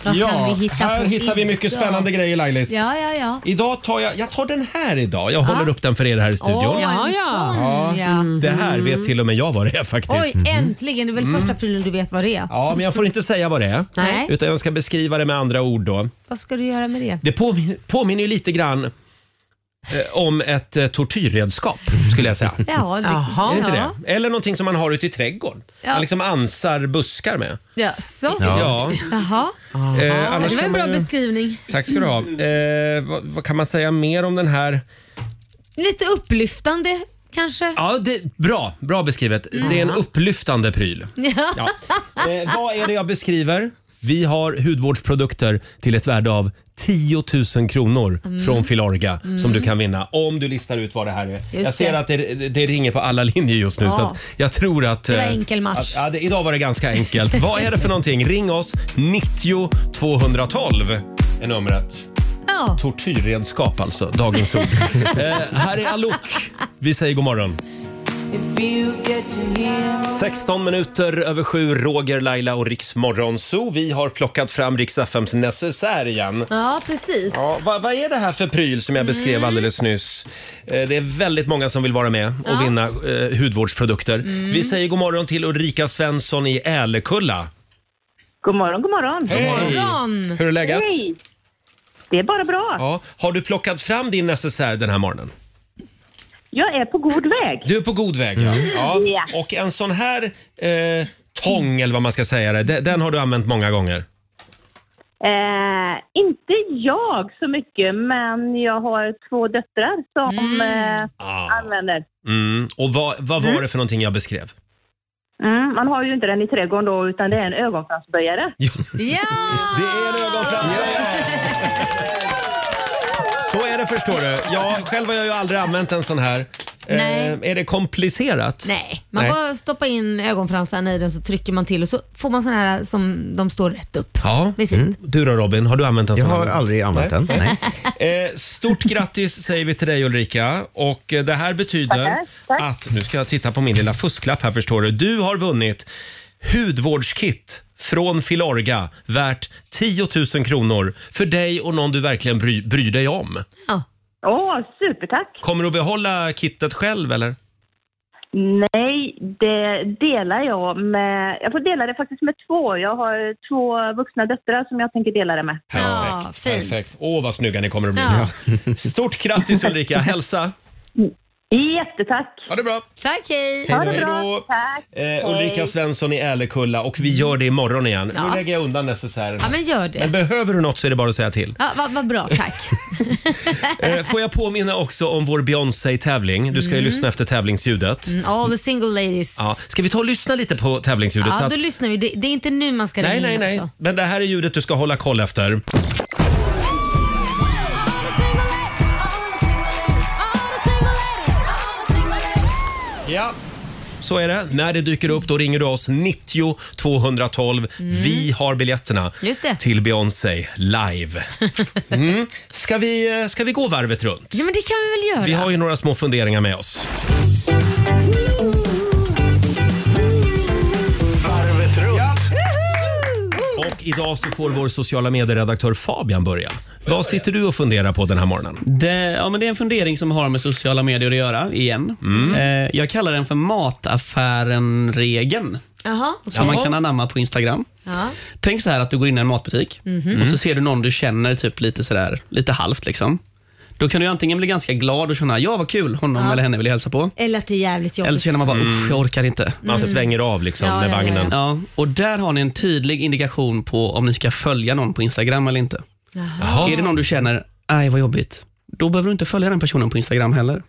Speaker 2: Vad kan vi hitta
Speaker 1: Mm. här
Speaker 2: på
Speaker 1: hittar vi mycket
Speaker 2: idag?
Speaker 1: spännande grejer Lailis.
Speaker 2: Ja, ja, ja.
Speaker 1: Idag tar jag, jag tar den här idag. Jag håller upp den för er här i studion.
Speaker 2: Åh,
Speaker 6: Ja,
Speaker 2: en
Speaker 6: ja.
Speaker 2: sån, ja. Mm.
Speaker 1: Det här vet till och med jag vad det är faktiskt. Mhm. Mm.
Speaker 2: Oj, äntligen. Det är väl första prylen du vet vad det är?
Speaker 1: Ja, men jag får inte säga vad det är.
Speaker 2: Nej.
Speaker 1: Utan jag ska beskriva det med andra ord då.
Speaker 2: Vad ska du göra med det?
Speaker 1: Det påminner, påminner ju lite grann eh, om ett eh, tortyrredskap skulle jag säga.
Speaker 2: Ja, det,
Speaker 6: Jaha.
Speaker 1: Är det inte
Speaker 2: <laughs> ja.
Speaker 1: det? Eller någonting som man har ute i trädgården.
Speaker 2: Ja.
Speaker 1: Man liksom ansar buskar med.
Speaker 2: Ja, så.
Speaker 1: Ja.
Speaker 2: Jaha.
Speaker 1: Eh, annars
Speaker 2: Det var
Speaker 1: kan
Speaker 2: en
Speaker 1: man
Speaker 2: bra Mm.
Speaker 1: ju-
Speaker 2: beskrivning.
Speaker 1: Tack ska du ha. Eh, vad, vad kan man säga mer om den här?
Speaker 2: Mm. Lite upplyftande kanske?
Speaker 1: Ja, det, bra, bra beskrivet.
Speaker 2: Mm.
Speaker 1: Det är en upplyftande pryl.
Speaker 2: Ja.
Speaker 1: Ja. Eh, vad är det jag beskriver? Vi har hudvårdsprodukter till ett värde av 10 000 kronor
Speaker 2: Mm.
Speaker 1: från Filorga som du kan vinna om du listar ut vad det här är. jag ser
Speaker 2: det.
Speaker 1: att det, det ringer på alla linjer just nu
Speaker 2: Ja.
Speaker 1: så att jag tror att...
Speaker 2: var
Speaker 1: eh,
Speaker 2: enkel match.
Speaker 1: Att, ja, det, idag var det ganska enkelt. vad är det för någonting? Ring oss, 90 212 är numret.
Speaker 2: Ja.
Speaker 1: Tortyrredskap alltså,
Speaker 2: <laughs>
Speaker 1: dagens ord. eh, här är Alok. Vi säger god morgon. 16 minuter över sju, Roger, Laila och Riks Morgonzoo. Vi har plockat fram Riks FMs necessär igen.
Speaker 2: ja, precis.
Speaker 1: Ja, vad, vad är det här för pryl som jag beskrev alldeles nyss? Eh, Det är väldigt många som vill vara med och vinna eh, hudvårdsprodukter. Vi säger god morgon till Ulrika Svensson i Älekulla.
Speaker 5: God morgon, god morgon.
Speaker 2: morgon.
Speaker 1: Hur är läget?
Speaker 5: Hej! Det är bara bra.
Speaker 1: Ja. Har du plockat fram din necessär den här morgonen?
Speaker 5: Jag är på god väg.
Speaker 1: Du är på god väg. Ja.
Speaker 7: Mm.
Speaker 1: Ja. Och en sån här eh, tång, eller vad man ska säga, det, den- den har du använt många gånger.
Speaker 5: Eh, inte jag så mycket, men jag har två döttrar som eh,
Speaker 1: Ah.
Speaker 5: använder.
Speaker 1: Mm. Och vad, vad var det för någonting jag beskrev?
Speaker 5: Mm, man har ju inte den i trädgården då, utan det är en ögonfransböjare.
Speaker 2: Ja!
Speaker 1: Det är en ögonfransböjare! Så är det förstår du. Ja, själv har jag ju aldrig använt en sån här.
Speaker 2: Nej.
Speaker 1: Eh, är det komplicerat?
Speaker 2: Nej, man bara stoppar in ögonfransarna i den så trycker man till och så får man sådana här som de står rätt upp.
Speaker 1: Ja. Mm.
Speaker 2: Det är fint.
Speaker 1: Du då Robin, har du använt en
Speaker 3: Jag
Speaker 1: sån? här
Speaker 3: har
Speaker 1: gång?
Speaker 3: aldrig använt den. Nej.
Speaker 1: <laughs> Eh, stort grattis säger vi till dig Ulrika. Och eh, det här betyder
Speaker 5: Tackar, tack.
Speaker 1: att, nu ska jag titta på min lilla fusklapp här förstår du. Du har vunnit hudvårdskit från Filorga värt 10 000 kronor för dig och någon du verkligen bry, bryr dig om.
Speaker 2: Ja.
Speaker 5: Åh, supertack!
Speaker 1: Kommer du att behålla kittet själv eller?
Speaker 5: Nej, det delar jag med... Jag får dela det faktiskt med två. Jag har två vuxna döttrar som jag tänker dela det med.
Speaker 2: Ja, fint.
Speaker 1: perfekt. Åh vad snygga ni kommer att bli.
Speaker 2: Ja.
Speaker 1: Stort grattis
Speaker 2: <laughs>
Speaker 1: Ulrika, hälsa.
Speaker 5: Jättetack!
Speaker 1: Ha det bra.
Speaker 2: Tack, hej.
Speaker 5: Ha det
Speaker 1: Hej
Speaker 5: bra!
Speaker 1: då.
Speaker 5: Tack!
Speaker 1: Eh,
Speaker 5: Hej.
Speaker 1: Ulrika Svensson i Älekulla och vi gör det imorgon igen.
Speaker 2: Ja.
Speaker 1: Nu lägger jag undan necessären.
Speaker 2: Ja, men gör
Speaker 1: Men
Speaker 2: det.
Speaker 1: behöver du något så är det bara att säga till.
Speaker 2: <laughs> Ja, Vad vad bra,
Speaker 1: <laughs>
Speaker 2: tack.
Speaker 1: Eh, Får jag påminna också om vår Beyoncé-tävling. Du ska ju lyssna efter tävlingsljudet.
Speaker 2: Mm, All the single ladies.
Speaker 1: Ja. Ska vi ta och lyssna lite på tävlingsljudet? så
Speaker 2: Ja,
Speaker 1: att-
Speaker 2: då lyssnar vi. Det, det är inte nu man ska
Speaker 1: nej,
Speaker 2: ringa
Speaker 1: nej,
Speaker 2: in
Speaker 1: nej.
Speaker 2: också.
Speaker 1: Men det här är ljudet du ska hålla koll efter. Ja. Så är det. När det dyker upp då ringer du oss 90 212. Vi har biljetterna
Speaker 2: Mm. Just det.
Speaker 1: till Beyoncé
Speaker 2: <laughs>
Speaker 1: live. Mm. Ska, vi, eh, ska vi gå varvet runt?
Speaker 2: Ja, men det kan vi väl göra?
Speaker 1: Vi har ju några små funderingar med oss.
Speaker 10: Varvet runt.
Speaker 1: Och idag så får vår sociala medieredaktör Fabian börja. Vad sitter du och funderar på den här morgonen?
Speaker 7: Det, ja, men det är en fundering som har med sociala medier att göra, igen.
Speaker 1: Mm.
Speaker 7: Eh, jag kallar den för mataffären-regeln,
Speaker 2: Jaha,
Speaker 7: som man
Speaker 2: okej.
Speaker 7: kan anamma på Instagram.
Speaker 2: Ja.
Speaker 7: Tänk så här att du går in i en matbutik
Speaker 5: Mhm.
Speaker 7: och så ser du någon du känner typ lite sådär, lite halvt liksom. Då kan du antingen bli ganska glad och känna, ja vad kul, honom eller henne vill jag hälsa på.
Speaker 2: Eller att det är jävligt jobbigt.
Speaker 7: Eller så känner man bara, usch jag orkar inte.
Speaker 1: Mm.
Speaker 7: Mm.
Speaker 1: Man svänger av liksom
Speaker 2: Ja,
Speaker 1: med
Speaker 2: ja, ja,
Speaker 1: vagnen.
Speaker 7: Ja, och där har ni en tydlig indikation på om ni ska följa någon på Instagram eller inte.
Speaker 1: Jaha.
Speaker 7: Är det någon du känner, nej vad jobbigt. Då behöver du inte följa den personen på Instagram heller.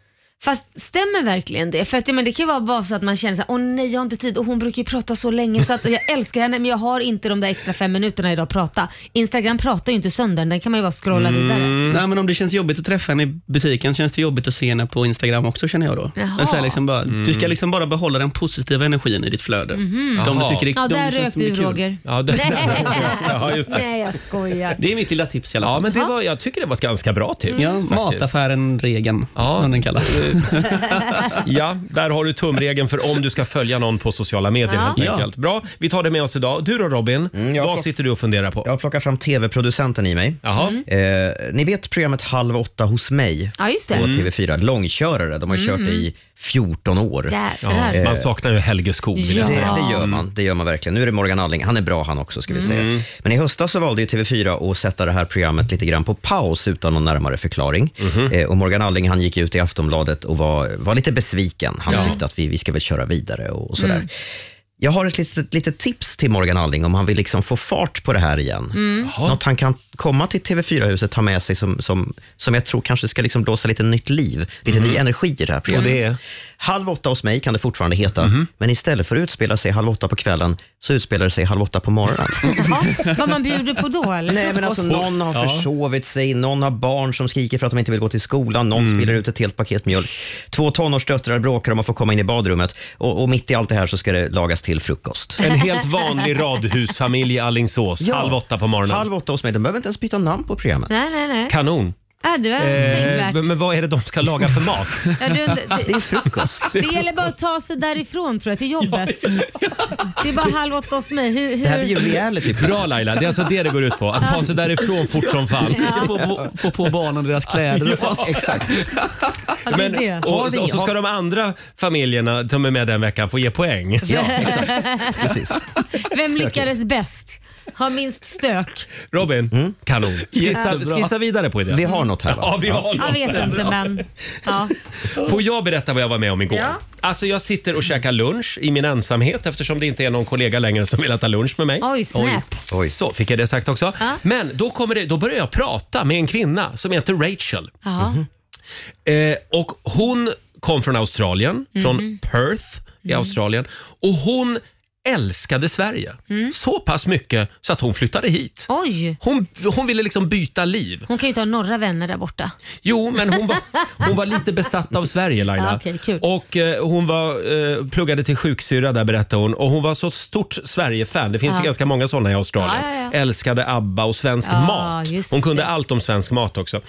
Speaker 2: Fast stämmer verkligen det? För att, ja, men det kan ju vara bara så att man känner så här, åh nej jag har inte tid och hon brukar ju prata så länge så att jag älskar henne men jag har inte de där extra fem minuterna idag att prata. Instagram pratar ju inte sönder den, kan man ju bara scrolla vidare.
Speaker 1: Mm.
Speaker 7: Nej, Mm, men om det känns jobbigt att träffa henne i butiken känns det jobbigt att se henne på Instagram också känner jag då.
Speaker 2: Jaha.
Speaker 7: Men Så här liksom bara, Du ska liksom bara behålla den positiva energin i ditt flöde. De
Speaker 1: Mm. Jaha.
Speaker 7: du tycker
Speaker 2: Mhm. Ja,
Speaker 7: de
Speaker 2: där
Speaker 7: känns
Speaker 2: rök
Speaker 7: som är
Speaker 2: du
Speaker 7: kul.
Speaker 2: Roger. <laughs>
Speaker 7: <laughs>
Speaker 1: Ja, det- <laughs>
Speaker 2: nej. nej, jag skojar.
Speaker 7: Det är mitt lilla tips i alla
Speaker 1: Ja,
Speaker 7: fall.
Speaker 1: men det var, jag tycker det var ett ganska bra tips.
Speaker 7: Ja,
Speaker 1: faktiskt.
Speaker 7: mataffären regeln
Speaker 1: Ja.
Speaker 7: som den kallas.
Speaker 1: <laughs> ja, där har du tumregeln för om du ska följa någon på sociala medier
Speaker 2: Ja.
Speaker 1: helt
Speaker 7: Ja.
Speaker 1: enkelt. Bra, vi tar det med oss idag. Du då Robin,
Speaker 3: Mm, jag
Speaker 1: vad
Speaker 3: plock-
Speaker 1: sitter du och funderar på?
Speaker 3: Jag plockar fram tv-producenten i mig.
Speaker 1: Jaha.
Speaker 3: Eh, ni vet programmet Halv åtta hos mig
Speaker 2: Ja, just det. Mm.
Speaker 3: på
Speaker 1: Mm.
Speaker 3: TV4. Långkörare. De har kört det i 14 år. Eh,
Speaker 2: Jävlar.
Speaker 1: Ja, man saknar ju Helge Skog. vill jag
Speaker 2: Ja.
Speaker 1: säga.
Speaker 3: Det, det gör
Speaker 2: Mm.
Speaker 3: man. Det gör man verkligen. Nu är det Morgan Alling. Han är bra han också ska vi
Speaker 1: Mm.
Speaker 3: säga. Men i höstas så valde ju TV4 att sätta det här programmet lite grann på paus utan någon närmare förklaring.
Speaker 1: Mhm.
Speaker 3: Eh, och Morgan Alling han gick ut i Aftonbladet och var, var lite besviken. Han tyckte att vi, vi ska väl köra vidare och, och sådär.
Speaker 2: Mm.
Speaker 4: Mm.
Speaker 3: Jag har ett litet, litet tips till Morgan Alling om han vill liksom få fart på det här igen.
Speaker 1: Jaha.
Speaker 3: Något han kan komma till TV4-huset ta med sig som, som, som jag tror kanske ska liksom blåsa lite nytt liv, lite ny energi i Mm. det Mhm. här programmet.
Speaker 1: Och det är?
Speaker 3: Halv åtta hos mig kan det fortfarande heta, men istället för att utspela sig halv åtta på kvällen så utspelar det sig halv åtta på morgonen.
Speaker 2: Jaha, vad man bjuder på då
Speaker 3: <laughs>
Speaker 2: eller?
Speaker 3: Nej, men alltså, någon har försovit sig, någon har barn som skriker för att de inte vill gå till skolan, någon spiller ut ett helt paket mjölk. Två tonårsdöttrar bråkar om att få komma in i badrummet och, och mitt i allt det här så ska det lagas till frukost.
Speaker 1: En
Speaker 3: <laughs>
Speaker 1: helt vanlig radhusfamilj i Alingsås,
Speaker 3: Ja.
Speaker 1: halv åtta på morgonen.
Speaker 3: Halv åtta hos mig, de behöver inte ens byta namn på programmet.
Speaker 2: Nej, nej, nej.
Speaker 1: Kanon.
Speaker 2: Ja, det var
Speaker 1: Eh,
Speaker 2: tänkvärt.
Speaker 1: men vad är det de ska laga för mat?
Speaker 2: Ja, du,
Speaker 3: <laughs> Det är
Speaker 2: det,
Speaker 3: frukost.
Speaker 2: det gäller bara att ta sig därifrån tror jag, till jobbet. Det är bara halv åtta hos mig. Hur,
Speaker 3: Det här
Speaker 2: hur?
Speaker 3: blir ju reality.
Speaker 1: Bra Laila, det är alltså det det går ut på. Att ta sig därifrån fort som fan.
Speaker 7: Få, på- få på barnen deras kläder och så.
Speaker 3: Exakt.
Speaker 2: Ja, det är
Speaker 1: Men,
Speaker 2: det.
Speaker 1: och, och så ska de andra familjerna som är med den veckan få ge poäng.
Speaker 2: <laughs>
Speaker 3: Ja, exakt. Precis.
Speaker 2: Vem lyckades bäst? Har minst stök?
Speaker 1: Robin, kanon. Skissa,
Speaker 7: Jättebra.
Speaker 1: skissa vidare på idén.
Speaker 3: Mm. Vi har något här va?
Speaker 1: Ja, vi har
Speaker 2: Jag
Speaker 1: något.
Speaker 2: vet inte men... Ja.
Speaker 1: Får jag berätta vad jag var med om igår?
Speaker 2: Ja.
Speaker 1: Alltså jag sitter och käkar lunch i min ensamhet eftersom det inte är någon kollega längre som vill äta lunch med mig.
Speaker 2: Oj, snap.
Speaker 3: Oj.
Speaker 1: Så fick jag det sagt också.
Speaker 2: Ja.
Speaker 1: Men då, kommer det, då börjar jag prata med en kvinna som heter Rachel.
Speaker 2: Ja.
Speaker 1: Eh, och
Speaker 2: Mhm. Mm.
Speaker 1: hon kom från Australien, från Perth i Australien. Och hon älskade Sverige
Speaker 2: Mm.
Speaker 1: så pass mycket så att hon flyttade hit.
Speaker 2: Oj!
Speaker 1: Hon, hon ville liksom byta liv.
Speaker 2: Hon kan ju inte ha några vänner där borta.
Speaker 1: Jo, men
Speaker 2: <laughs>
Speaker 1: hon var, hon var lite besatt av Sverige Laila.
Speaker 2: Ja, okej, kul.
Speaker 1: Och eh, hon var, eh, pluggade till sjuksyra där berättade hon. Och hon var så stort Sverige-fan. Det finns
Speaker 2: Ja.
Speaker 1: ju ganska många sådana i Australien.
Speaker 2: Ja, ja, ja.
Speaker 1: Älskade ABBA och svensk
Speaker 2: Ja,
Speaker 1: mat.
Speaker 2: just
Speaker 1: Hon kunde
Speaker 2: det.
Speaker 1: allt om svensk mat också.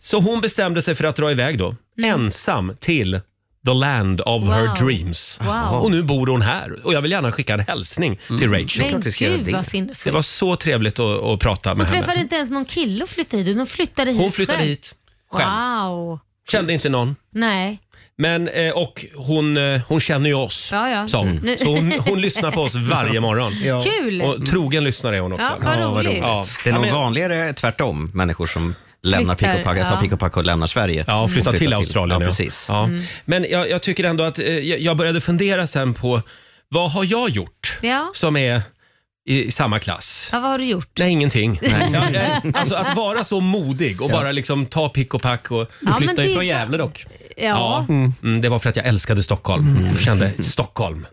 Speaker 1: Så hon bestämde sig för att dra iväg då.
Speaker 2: Mm.
Speaker 1: Ensam till The land of her dreams.
Speaker 2: Wow.
Speaker 1: Och nu bor hon här. Och jag vill gärna skicka en hälsning till Rachel.
Speaker 2: Men
Speaker 3: Mm. klart vi ska göra
Speaker 2: gud
Speaker 3: det.
Speaker 2: vad
Speaker 1: Det
Speaker 2: sinnessjukt.
Speaker 1: var så trevligt att, att prata med
Speaker 2: Hon
Speaker 1: henne.
Speaker 2: träffade inte ens någon kille och flyttade hit. Hon flyttade hit
Speaker 1: Hon flyttade
Speaker 2: själv.
Speaker 1: hit själv.
Speaker 2: Wow.
Speaker 1: Kände inte någon.
Speaker 2: Nej.
Speaker 1: Men, eh, och hon, eh, hon känner ju oss,
Speaker 2: Ja, ja.
Speaker 1: sa hon.
Speaker 2: Mm.
Speaker 1: Så hon, hon
Speaker 2: <laughs>
Speaker 1: lyssnar på oss varje morgon.
Speaker 2: Kul!
Speaker 1: Och trogen lyssnare är hon också.
Speaker 2: ja, vad roligt.
Speaker 1: Ja.
Speaker 3: Det är nog
Speaker 1: Ja, men-
Speaker 3: vanligare tvärtom, människor som lämnar pick
Speaker 2: Flyttar,
Speaker 3: och pack, tar
Speaker 2: ja.
Speaker 3: pick och pack och lämnar Sverige.
Speaker 1: Ja, och flytta
Speaker 3: Och
Speaker 1: till Australien.
Speaker 3: Ja, precis.
Speaker 1: Ja.
Speaker 2: Mm.
Speaker 1: Men jag, jag tycker ändå att eh, jag jag började fundera sen på vad har jag gjort
Speaker 2: Ja.
Speaker 1: som är i, i samma klass?
Speaker 2: Ja, vad har du gjort?
Speaker 1: Nej, ingenting. Ja, eh, alltså att vara så modig och bara liksom ta pick och pack och
Speaker 2: Ja, men
Speaker 7: Flyttade
Speaker 2: det
Speaker 7: ju
Speaker 2: är
Speaker 7: från
Speaker 2: fa-
Speaker 7: Gävle dock.
Speaker 2: Ja,
Speaker 1: Mm, det var för att jag älskade Stockholm. Kände Stockholm,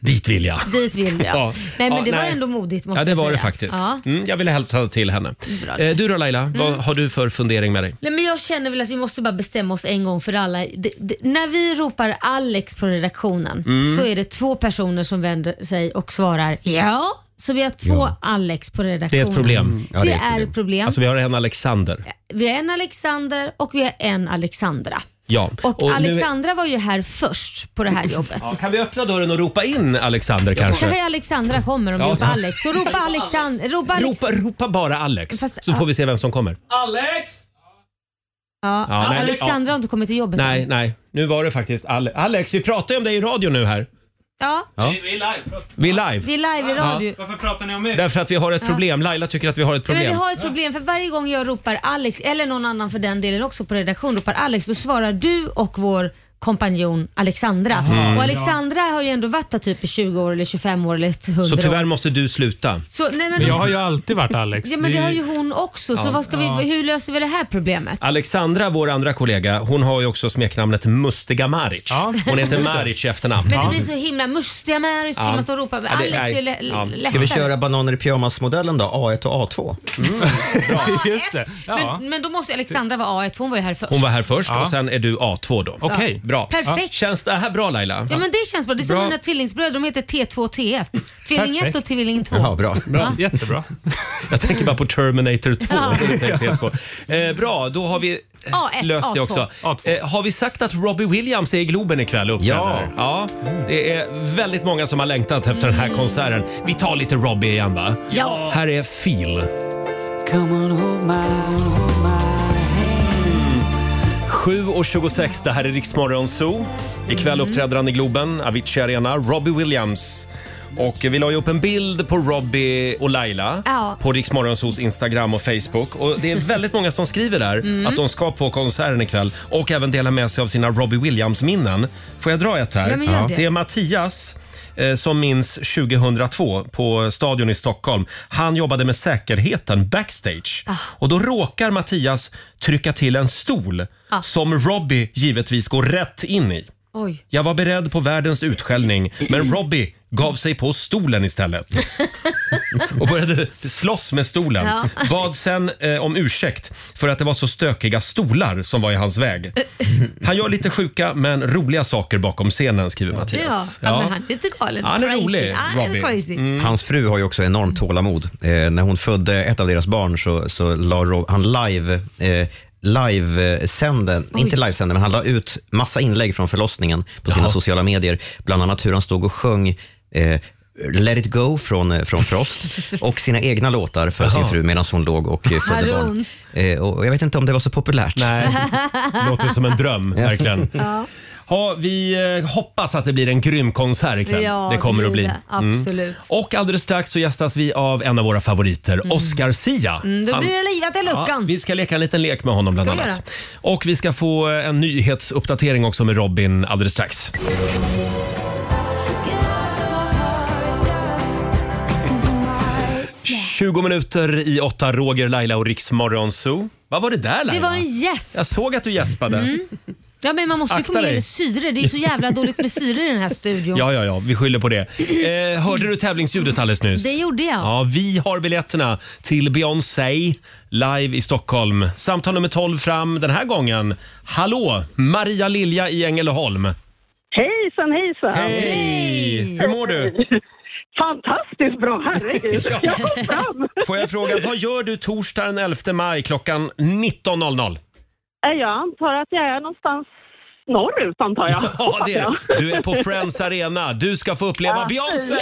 Speaker 1: dit vill jag.
Speaker 2: Mm. dit vill jag.
Speaker 1: <laughs> Ja.
Speaker 2: Nej, men
Speaker 1: Ja,
Speaker 2: det var
Speaker 1: nej.
Speaker 2: ändå modigt måste
Speaker 1: Ja, det
Speaker 2: jag
Speaker 1: var
Speaker 2: säga.
Speaker 1: det faktiskt.
Speaker 2: Ja.
Speaker 1: Mm, jag ville hälsa till henne.
Speaker 2: Bra. Mm.
Speaker 1: Eh, du då Laila, vad har du för fundering med dig?
Speaker 2: Nej, men jag känner väl att vi måste bara bestämma oss en gång för alla. Det, det, när vi ropar Alex på redaktionen
Speaker 1: Mm.
Speaker 2: så är det två personer som vänder sig och svarar ja. Så vi har två Alex på redaktionen.
Speaker 1: problem.
Speaker 3: Ja,
Speaker 2: Mm. det, är ett problem.
Speaker 1: Alltså vi har en Alexander.
Speaker 2: Vi har en Alexander och vi har en Alexandra.
Speaker 1: Ja.
Speaker 2: Och,
Speaker 1: nu är-
Speaker 2: Alexandra var ju här först på det här jobbet.
Speaker 1: Ja, kan vi öppna dörren och ropa in Alexander kanske?
Speaker 2: Kanske Alexandra kommer om vi
Speaker 1: Ja.
Speaker 2: ropar Alex. Så ropa Alexander. Ropa Alex.
Speaker 1: <laughs> Ropa, ropa bara Alex,
Speaker 2: Fast-
Speaker 1: så får vi se vem som kommer.
Speaker 7: Alex!
Speaker 2: Ja,
Speaker 1: Ja, nej,
Speaker 2: Alexandra har inte kommit till jobbet
Speaker 1: Nej,
Speaker 2: än.
Speaker 1: nej. Nu var det faktiskt Ale- Alex. Vi pratar ju om dig i radio nu här.
Speaker 2: Ja,
Speaker 7: Vi är live.
Speaker 1: Vi är live.
Speaker 2: vi är live i radio.
Speaker 7: Varför pratar ni om mig?
Speaker 1: Därför att vi har ett problem. Laila tycker att vi har ett
Speaker 2: Ja, men vi
Speaker 1: problem.
Speaker 2: har ett problem för varje gång jag ropar Alex, eller någon annan för den delen också på redaktion, ropar Alex, då svarar du och vår kompanjon Alexandra. och Alexandra har ju ändå varit där typ i 20 år eller 25 år eller 100
Speaker 1: Så tyvärr
Speaker 2: år.
Speaker 1: måste du sluta.
Speaker 2: Så, nej, men,
Speaker 8: Men jag har ju alltid varit Alex.
Speaker 2: ja, men det
Speaker 8: är
Speaker 2: har ju hon också, så vad ska vi, hur löser vi det här problemet?
Speaker 1: Alexandra, vår andra kollega, hon har ju också smeknamnet Mustiga Maric.
Speaker 8: Ja. <laughs>
Speaker 1: Hon heter Maric i efternamn. Mm.
Speaker 2: Men det blir så himla mustiga med så
Speaker 1: Ja.
Speaker 2: man står och ropar. Men
Speaker 1: Ja, det-
Speaker 2: Alex är ju
Speaker 1: nej.
Speaker 2: lä-
Speaker 1: Ja. Ska
Speaker 2: lättare.
Speaker 3: Ska vi köra bananer i pyjamas-modellen då? A1 och A2?
Speaker 1: Mm,
Speaker 2: <laughs>
Speaker 8: bra. Just det. Ja.
Speaker 2: Men, men då måste ju Alexandra vara A1, för hon var ju här först.
Speaker 1: Hon var här först
Speaker 8: Ja.
Speaker 1: och sen är du A2 då.
Speaker 8: Okej.
Speaker 1: Bra.
Speaker 2: Perfekt.
Speaker 1: Känns det här bra Laila?
Speaker 2: Ja men det känns bra. Det är som
Speaker 1: Bra.
Speaker 2: mina tvillingsbröder, de heter T2 och T1. Tvilling 1 och
Speaker 8: Perfekt.
Speaker 2: tvilling 2.
Speaker 3: Ja, bra.
Speaker 8: Bra. Jättebra.
Speaker 1: <laughs> Jag tänker bara på Terminator 2.
Speaker 2: Ja.
Speaker 1: Jag tänkte helt på. Eh, bra, då har vi
Speaker 2: A1,
Speaker 1: löst det
Speaker 2: A2.
Speaker 1: också.
Speaker 8: A2.
Speaker 1: Eh, har vi sagt att Robbie Williams är i Globen ikväll och uppträder? Ja. ja. Det är väldigt många som har längtat efter den här konserten. Vi tar lite Robbie igen va?
Speaker 2: Mm. Ja.
Speaker 1: Här är Feel.
Speaker 4: Come on, hold my, hold my hand.
Speaker 1: 7.26, det här är Riksmorgon Zoo. Ikväll uppträder han i Globen, Avicii Arena, Robbie Williams. Och vi la ju upp en bild på Robbie och Laila
Speaker 2: Ja.
Speaker 1: på Riksmorgon Zoos Instagram och Facebook. Och det är väldigt många som skriver där att de ska på konserten ikväll och även dela med sig av sina Robbie Williams-minnen. Får jag dra ett här?
Speaker 2: Ja, men gör det.
Speaker 1: är Mattias eh, som minns 2002 på Stadion i Stockholm. Han jobbade med säkerheten backstage.
Speaker 2: Ah.
Speaker 1: Och Då råkar Mattias trycka till en stol
Speaker 2: Ah.
Speaker 1: som Robbie givetvis går rätt in i.
Speaker 2: Oj.
Speaker 1: Jag var beredd på världens utskällning, men Robbie gav sig på stolen istället.
Speaker 2: <laughs>
Speaker 1: Och började slåss med stolen.
Speaker 2: Ja.
Speaker 1: Bad sen eh, om ursäkt för att det var så stökiga stolar som var i hans väg. Han gör lite sjuka men roliga saker bakom scenen, skriver
Speaker 2: Ja.
Speaker 1: Mattias.
Speaker 2: Ja. men han är lite galen.
Speaker 1: Han är
Speaker 2: Crazy.
Speaker 1: rolig, Mm.
Speaker 2: Han
Speaker 1: Robbie.
Speaker 2: är crazy.
Speaker 3: Hans fru har ju också enormt tålamod. Eh, när hon födde ett av deras barn så, så la Rob, han live eh, livesände, inte livesände, men han la ut massa inlägg från förlossningen på sina sociala medier. Bland annat hur han stod och sjöng eh, Let it go från, eh, från Frost och sina egna låtar för sin fru medan hon låg och eh,
Speaker 2: Hade
Speaker 3: födde barn.
Speaker 2: ont.
Speaker 3: Eh, och jag vet inte om det var så populärt.
Speaker 1: Nej, låter som
Speaker 4: <laughs>
Speaker 1: en dröm verkligen. Ja. vi eh, hoppas att det blir en grym konsert ikväll.
Speaker 2: Ja,
Speaker 1: det kommer att
Speaker 2: blir
Speaker 1: bli. Mm.
Speaker 2: det. Absolut.
Speaker 1: Och alldeles strax så gästas vi av en av våra favoriter, Oscar Sia.
Speaker 2: Mm, då
Speaker 1: Han-
Speaker 2: blir det livat i luckan.
Speaker 1: Ja, vi ska leka en liten lek med honom bland
Speaker 2: Ska vi
Speaker 1: annat. Och vi ska få en nyhetsuppdatering också med Robin alldeles strax. ...20 minuter i åtta, Roger, Laila och Riksmorgon Zoo. Vad var det där Laila?
Speaker 2: Det var en gäst. Mm.
Speaker 1: Jag såg att du gäspade.
Speaker 2: Ja, men man måste ju få
Speaker 1: Akta
Speaker 2: mer
Speaker 1: dig.
Speaker 2: syre. Det är så jävla dåligt med syre i den här studion.
Speaker 1: Ja, ja, ja, vi skyller på det. Eh, hörde du tävlingsljudet alldeles nyss?
Speaker 2: Det gjorde jag.
Speaker 1: Ja, vi har biljetterna till Beyoncé live i Stockholm. Samtal nummer 12 fram den här gången. Hallå, Maria Lilja i Ängelholm.
Speaker 11: Hejsan, hejsan!
Speaker 1: Hej! Hur mår du?
Speaker 11: <laughs> Fantastiskt bra,
Speaker 1: <laughs>
Speaker 11: herregud! Jag kom fram!
Speaker 1: Får jag fråga, vad gör du torsdag den 11 maj klockan 19.00?
Speaker 11: Eh, Jag antar att jag är någonstans norrut, antar jag.
Speaker 1: <laughs> Ja, det är det. Du är på Friends Arena. Du ska få uppleva Beyoncé!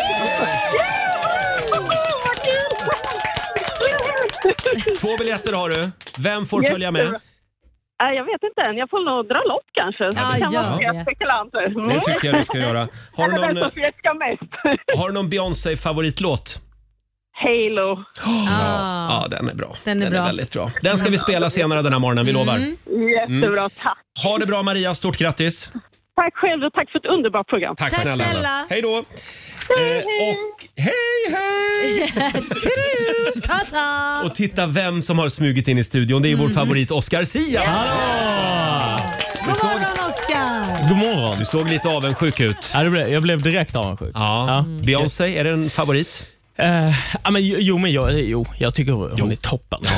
Speaker 1: Två biljetter har du. Vem får följa med?
Speaker 11: Jättebra. Eh, Jag vet inte än. Jag får nog dra lott kanske. Så
Speaker 1: Ja,
Speaker 11: det kan
Speaker 1: ja.
Speaker 11: vara flera spekulanter. Mm.
Speaker 1: Det tycker jag du
Speaker 12: <laughs>
Speaker 1: ska göra. Har du
Speaker 11: Eller vem
Speaker 1: någon,
Speaker 11: som fjäskar mest.
Speaker 1: har du någon Beyoncé-favoritlåt?
Speaker 11: Halo.
Speaker 1: <gasps> Ja, den är bra.
Speaker 11: Den är bra.
Speaker 1: väldigt bra. Den ska vi spela senare den här morgonen, vi
Speaker 5: Mm.
Speaker 1: lovar. Mm.
Speaker 11: Jättebra, tack.
Speaker 1: Ha det bra Maria, stort grattis!
Speaker 11: Tack själv och tack för ett underbart program.
Speaker 1: Tack, snälla. Anna. Hej då! Eh, och hej,
Speaker 2: <laughs>
Speaker 1: hej!
Speaker 2: Tju, ta-ta.
Speaker 1: Och titta vem som har smugit in i studion. Det är vår
Speaker 2: Mhm.
Speaker 1: favorit Oscar Sia.
Speaker 2: God morgon Oskar!
Speaker 1: God morgon. Du såg lite avundsjuk ut.
Speaker 13: Ja, det blev, jag blev direkt avundsjuk. Eh,
Speaker 1: Ja.
Speaker 2: Mm.
Speaker 1: Beyoncé, är det en favorit?
Speaker 13: ja, men, jo, men jag, jo, jag tycker hon är toppen. <laughs>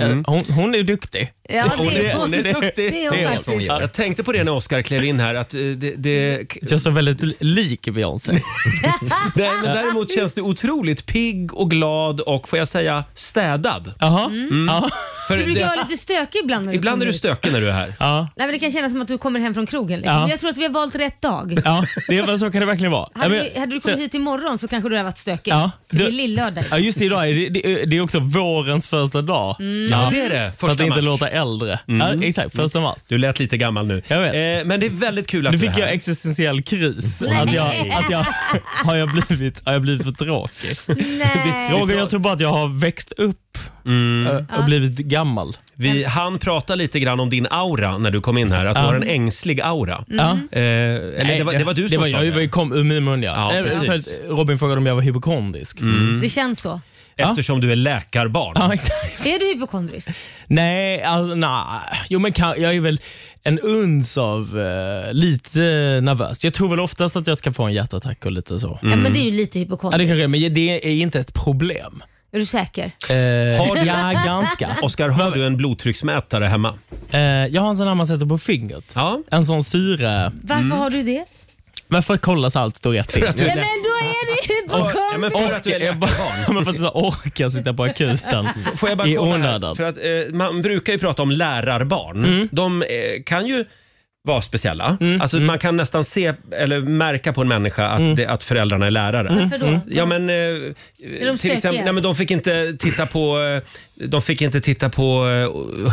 Speaker 4: Mm.
Speaker 1: Mm.
Speaker 13: Eh, Hon, hon är duktig.
Speaker 2: Ja, det är hon. Det är hon faktiskt.
Speaker 1: Jag tänkte på det när Oscar klev in här. Att eh, det, det...
Speaker 13: Jag såg väldigt lik
Speaker 1: <laughs> <laughs>
Speaker 13: Beyoncé.
Speaker 1: Nej, men däremot känns du otroligt pigg och glad och får jag säga städad. Mm.
Speaker 13: Jaha.
Speaker 1: För
Speaker 2: Du brukar vara
Speaker 1: det,
Speaker 2: lite stökig ibland när du
Speaker 1: ibland
Speaker 2: kommer
Speaker 1: är du
Speaker 2: hit.
Speaker 1: stökig när du är här.
Speaker 13: Ja.
Speaker 2: Nej, men det kan kännas som att du kommer hem från krogen. Liksom.
Speaker 13: Ja.
Speaker 2: Men Jag tror att vi har valt rätt dag.
Speaker 13: Ja, det, men så kan det verkligen vara.
Speaker 2: Hade,
Speaker 13: Ja,
Speaker 2: du,
Speaker 13: men-
Speaker 2: hade du
Speaker 13: så-
Speaker 2: kommit hit imorgon så kanske du hade varit stökig.
Speaker 13: Ja,
Speaker 2: För det är
Speaker 13: du-
Speaker 2: lillördag.
Speaker 13: Ja, just det, idag är det, det, det är också vårens första dag.
Speaker 2: Mm. Ja, det är det.
Speaker 13: För att
Speaker 1: Första
Speaker 13: inte
Speaker 1: mars. Mm.
Speaker 13: låta äldre. Ja, exakt, första mars.
Speaker 1: Du lät lite gammal nu. Eh,
Speaker 13: Jag vet.
Speaker 1: men det är väldigt kul att
Speaker 13: Nu
Speaker 1: du är
Speaker 13: fick jag
Speaker 1: här.
Speaker 13: existentiell kris.
Speaker 1: Nej.
Speaker 13: Att jag, att
Speaker 1: <laughs>
Speaker 13: jag, har, jag blivit, har jag blivit för tråkig?
Speaker 1: Nej.
Speaker 13: Roger, jag tror bara att jag har växt upp
Speaker 1: Mm.
Speaker 13: eh, och blivit gammal.
Speaker 1: Vi, han pratade lite grann om din aura när du kom in här, att du
Speaker 13: Ja.
Speaker 1: har en ängslig aura.
Speaker 13: Ja.
Speaker 1: Eh, eller det, var, det var du som
Speaker 13: det var,
Speaker 1: sa
Speaker 13: jag,
Speaker 1: det.
Speaker 13: var ju kom ur min mun ja.
Speaker 1: Ja,
Speaker 13: Eh,
Speaker 1: precis. Mm.
Speaker 13: för att Robin frågade om jag var hypokondrisk.
Speaker 2: Det känns så.
Speaker 1: Eftersom du är läkarbarn.
Speaker 13: Ja, exakt.
Speaker 2: Är du hypokondrisk?
Speaker 13: Mm. Nej, alltså nej. Jo men kan, jag är väl en uns av eh, lite nervös. Jag tror väl oftast att jag ska få en hjärtattack och lite så. Mm.
Speaker 2: Ja, men det är ju lite
Speaker 13: Ja, det
Speaker 2: hypokondrisk.
Speaker 13: kanske, är, men det är inte ett problem.
Speaker 2: Är du säker?
Speaker 13: Eh,
Speaker 1: Har du-
Speaker 13: Ja, <laughs> ganska.
Speaker 1: Oskar, har du en blodtrycksmätare hemma?
Speaker 13: Eh, jag har en sån här man sätter på fingret. En sån syre...
Speaker 2: Varför
Speaker 1: Mm.
Speaker 2: har du det?
Speaker 13: Men Mm. för att kolla så allt står rätt till.
Speaker 2: Ja, men då är det
Speaker 1: Ja, men för att du är
Speaker 13: Jag bara- men för att jag orkar sitta på akuten
Speaker 1: F- Får jag bara
Speaker 13: i
Speaker 1: kolla här?
Speaker 13: onödan. Mm.
Speaker 1: För att, eh, man brukar ju prata om lärarbarn. De eh, kan ju vara speciella. Alltså, Man kan nästan se eller märka på en människa att,
Speaker 13: Mm.
Speaker 1: det, att föräldrarna är lärare.
Speaker 2: Mm. Varför då?
Speaker 1: Ja, men, eh,
Speaker 2: de
Speaker 1: till exempel,
Speaker 2: stökiga?
Speaker 1: nej, men de fick inte titta på, eh, de fick inte titta på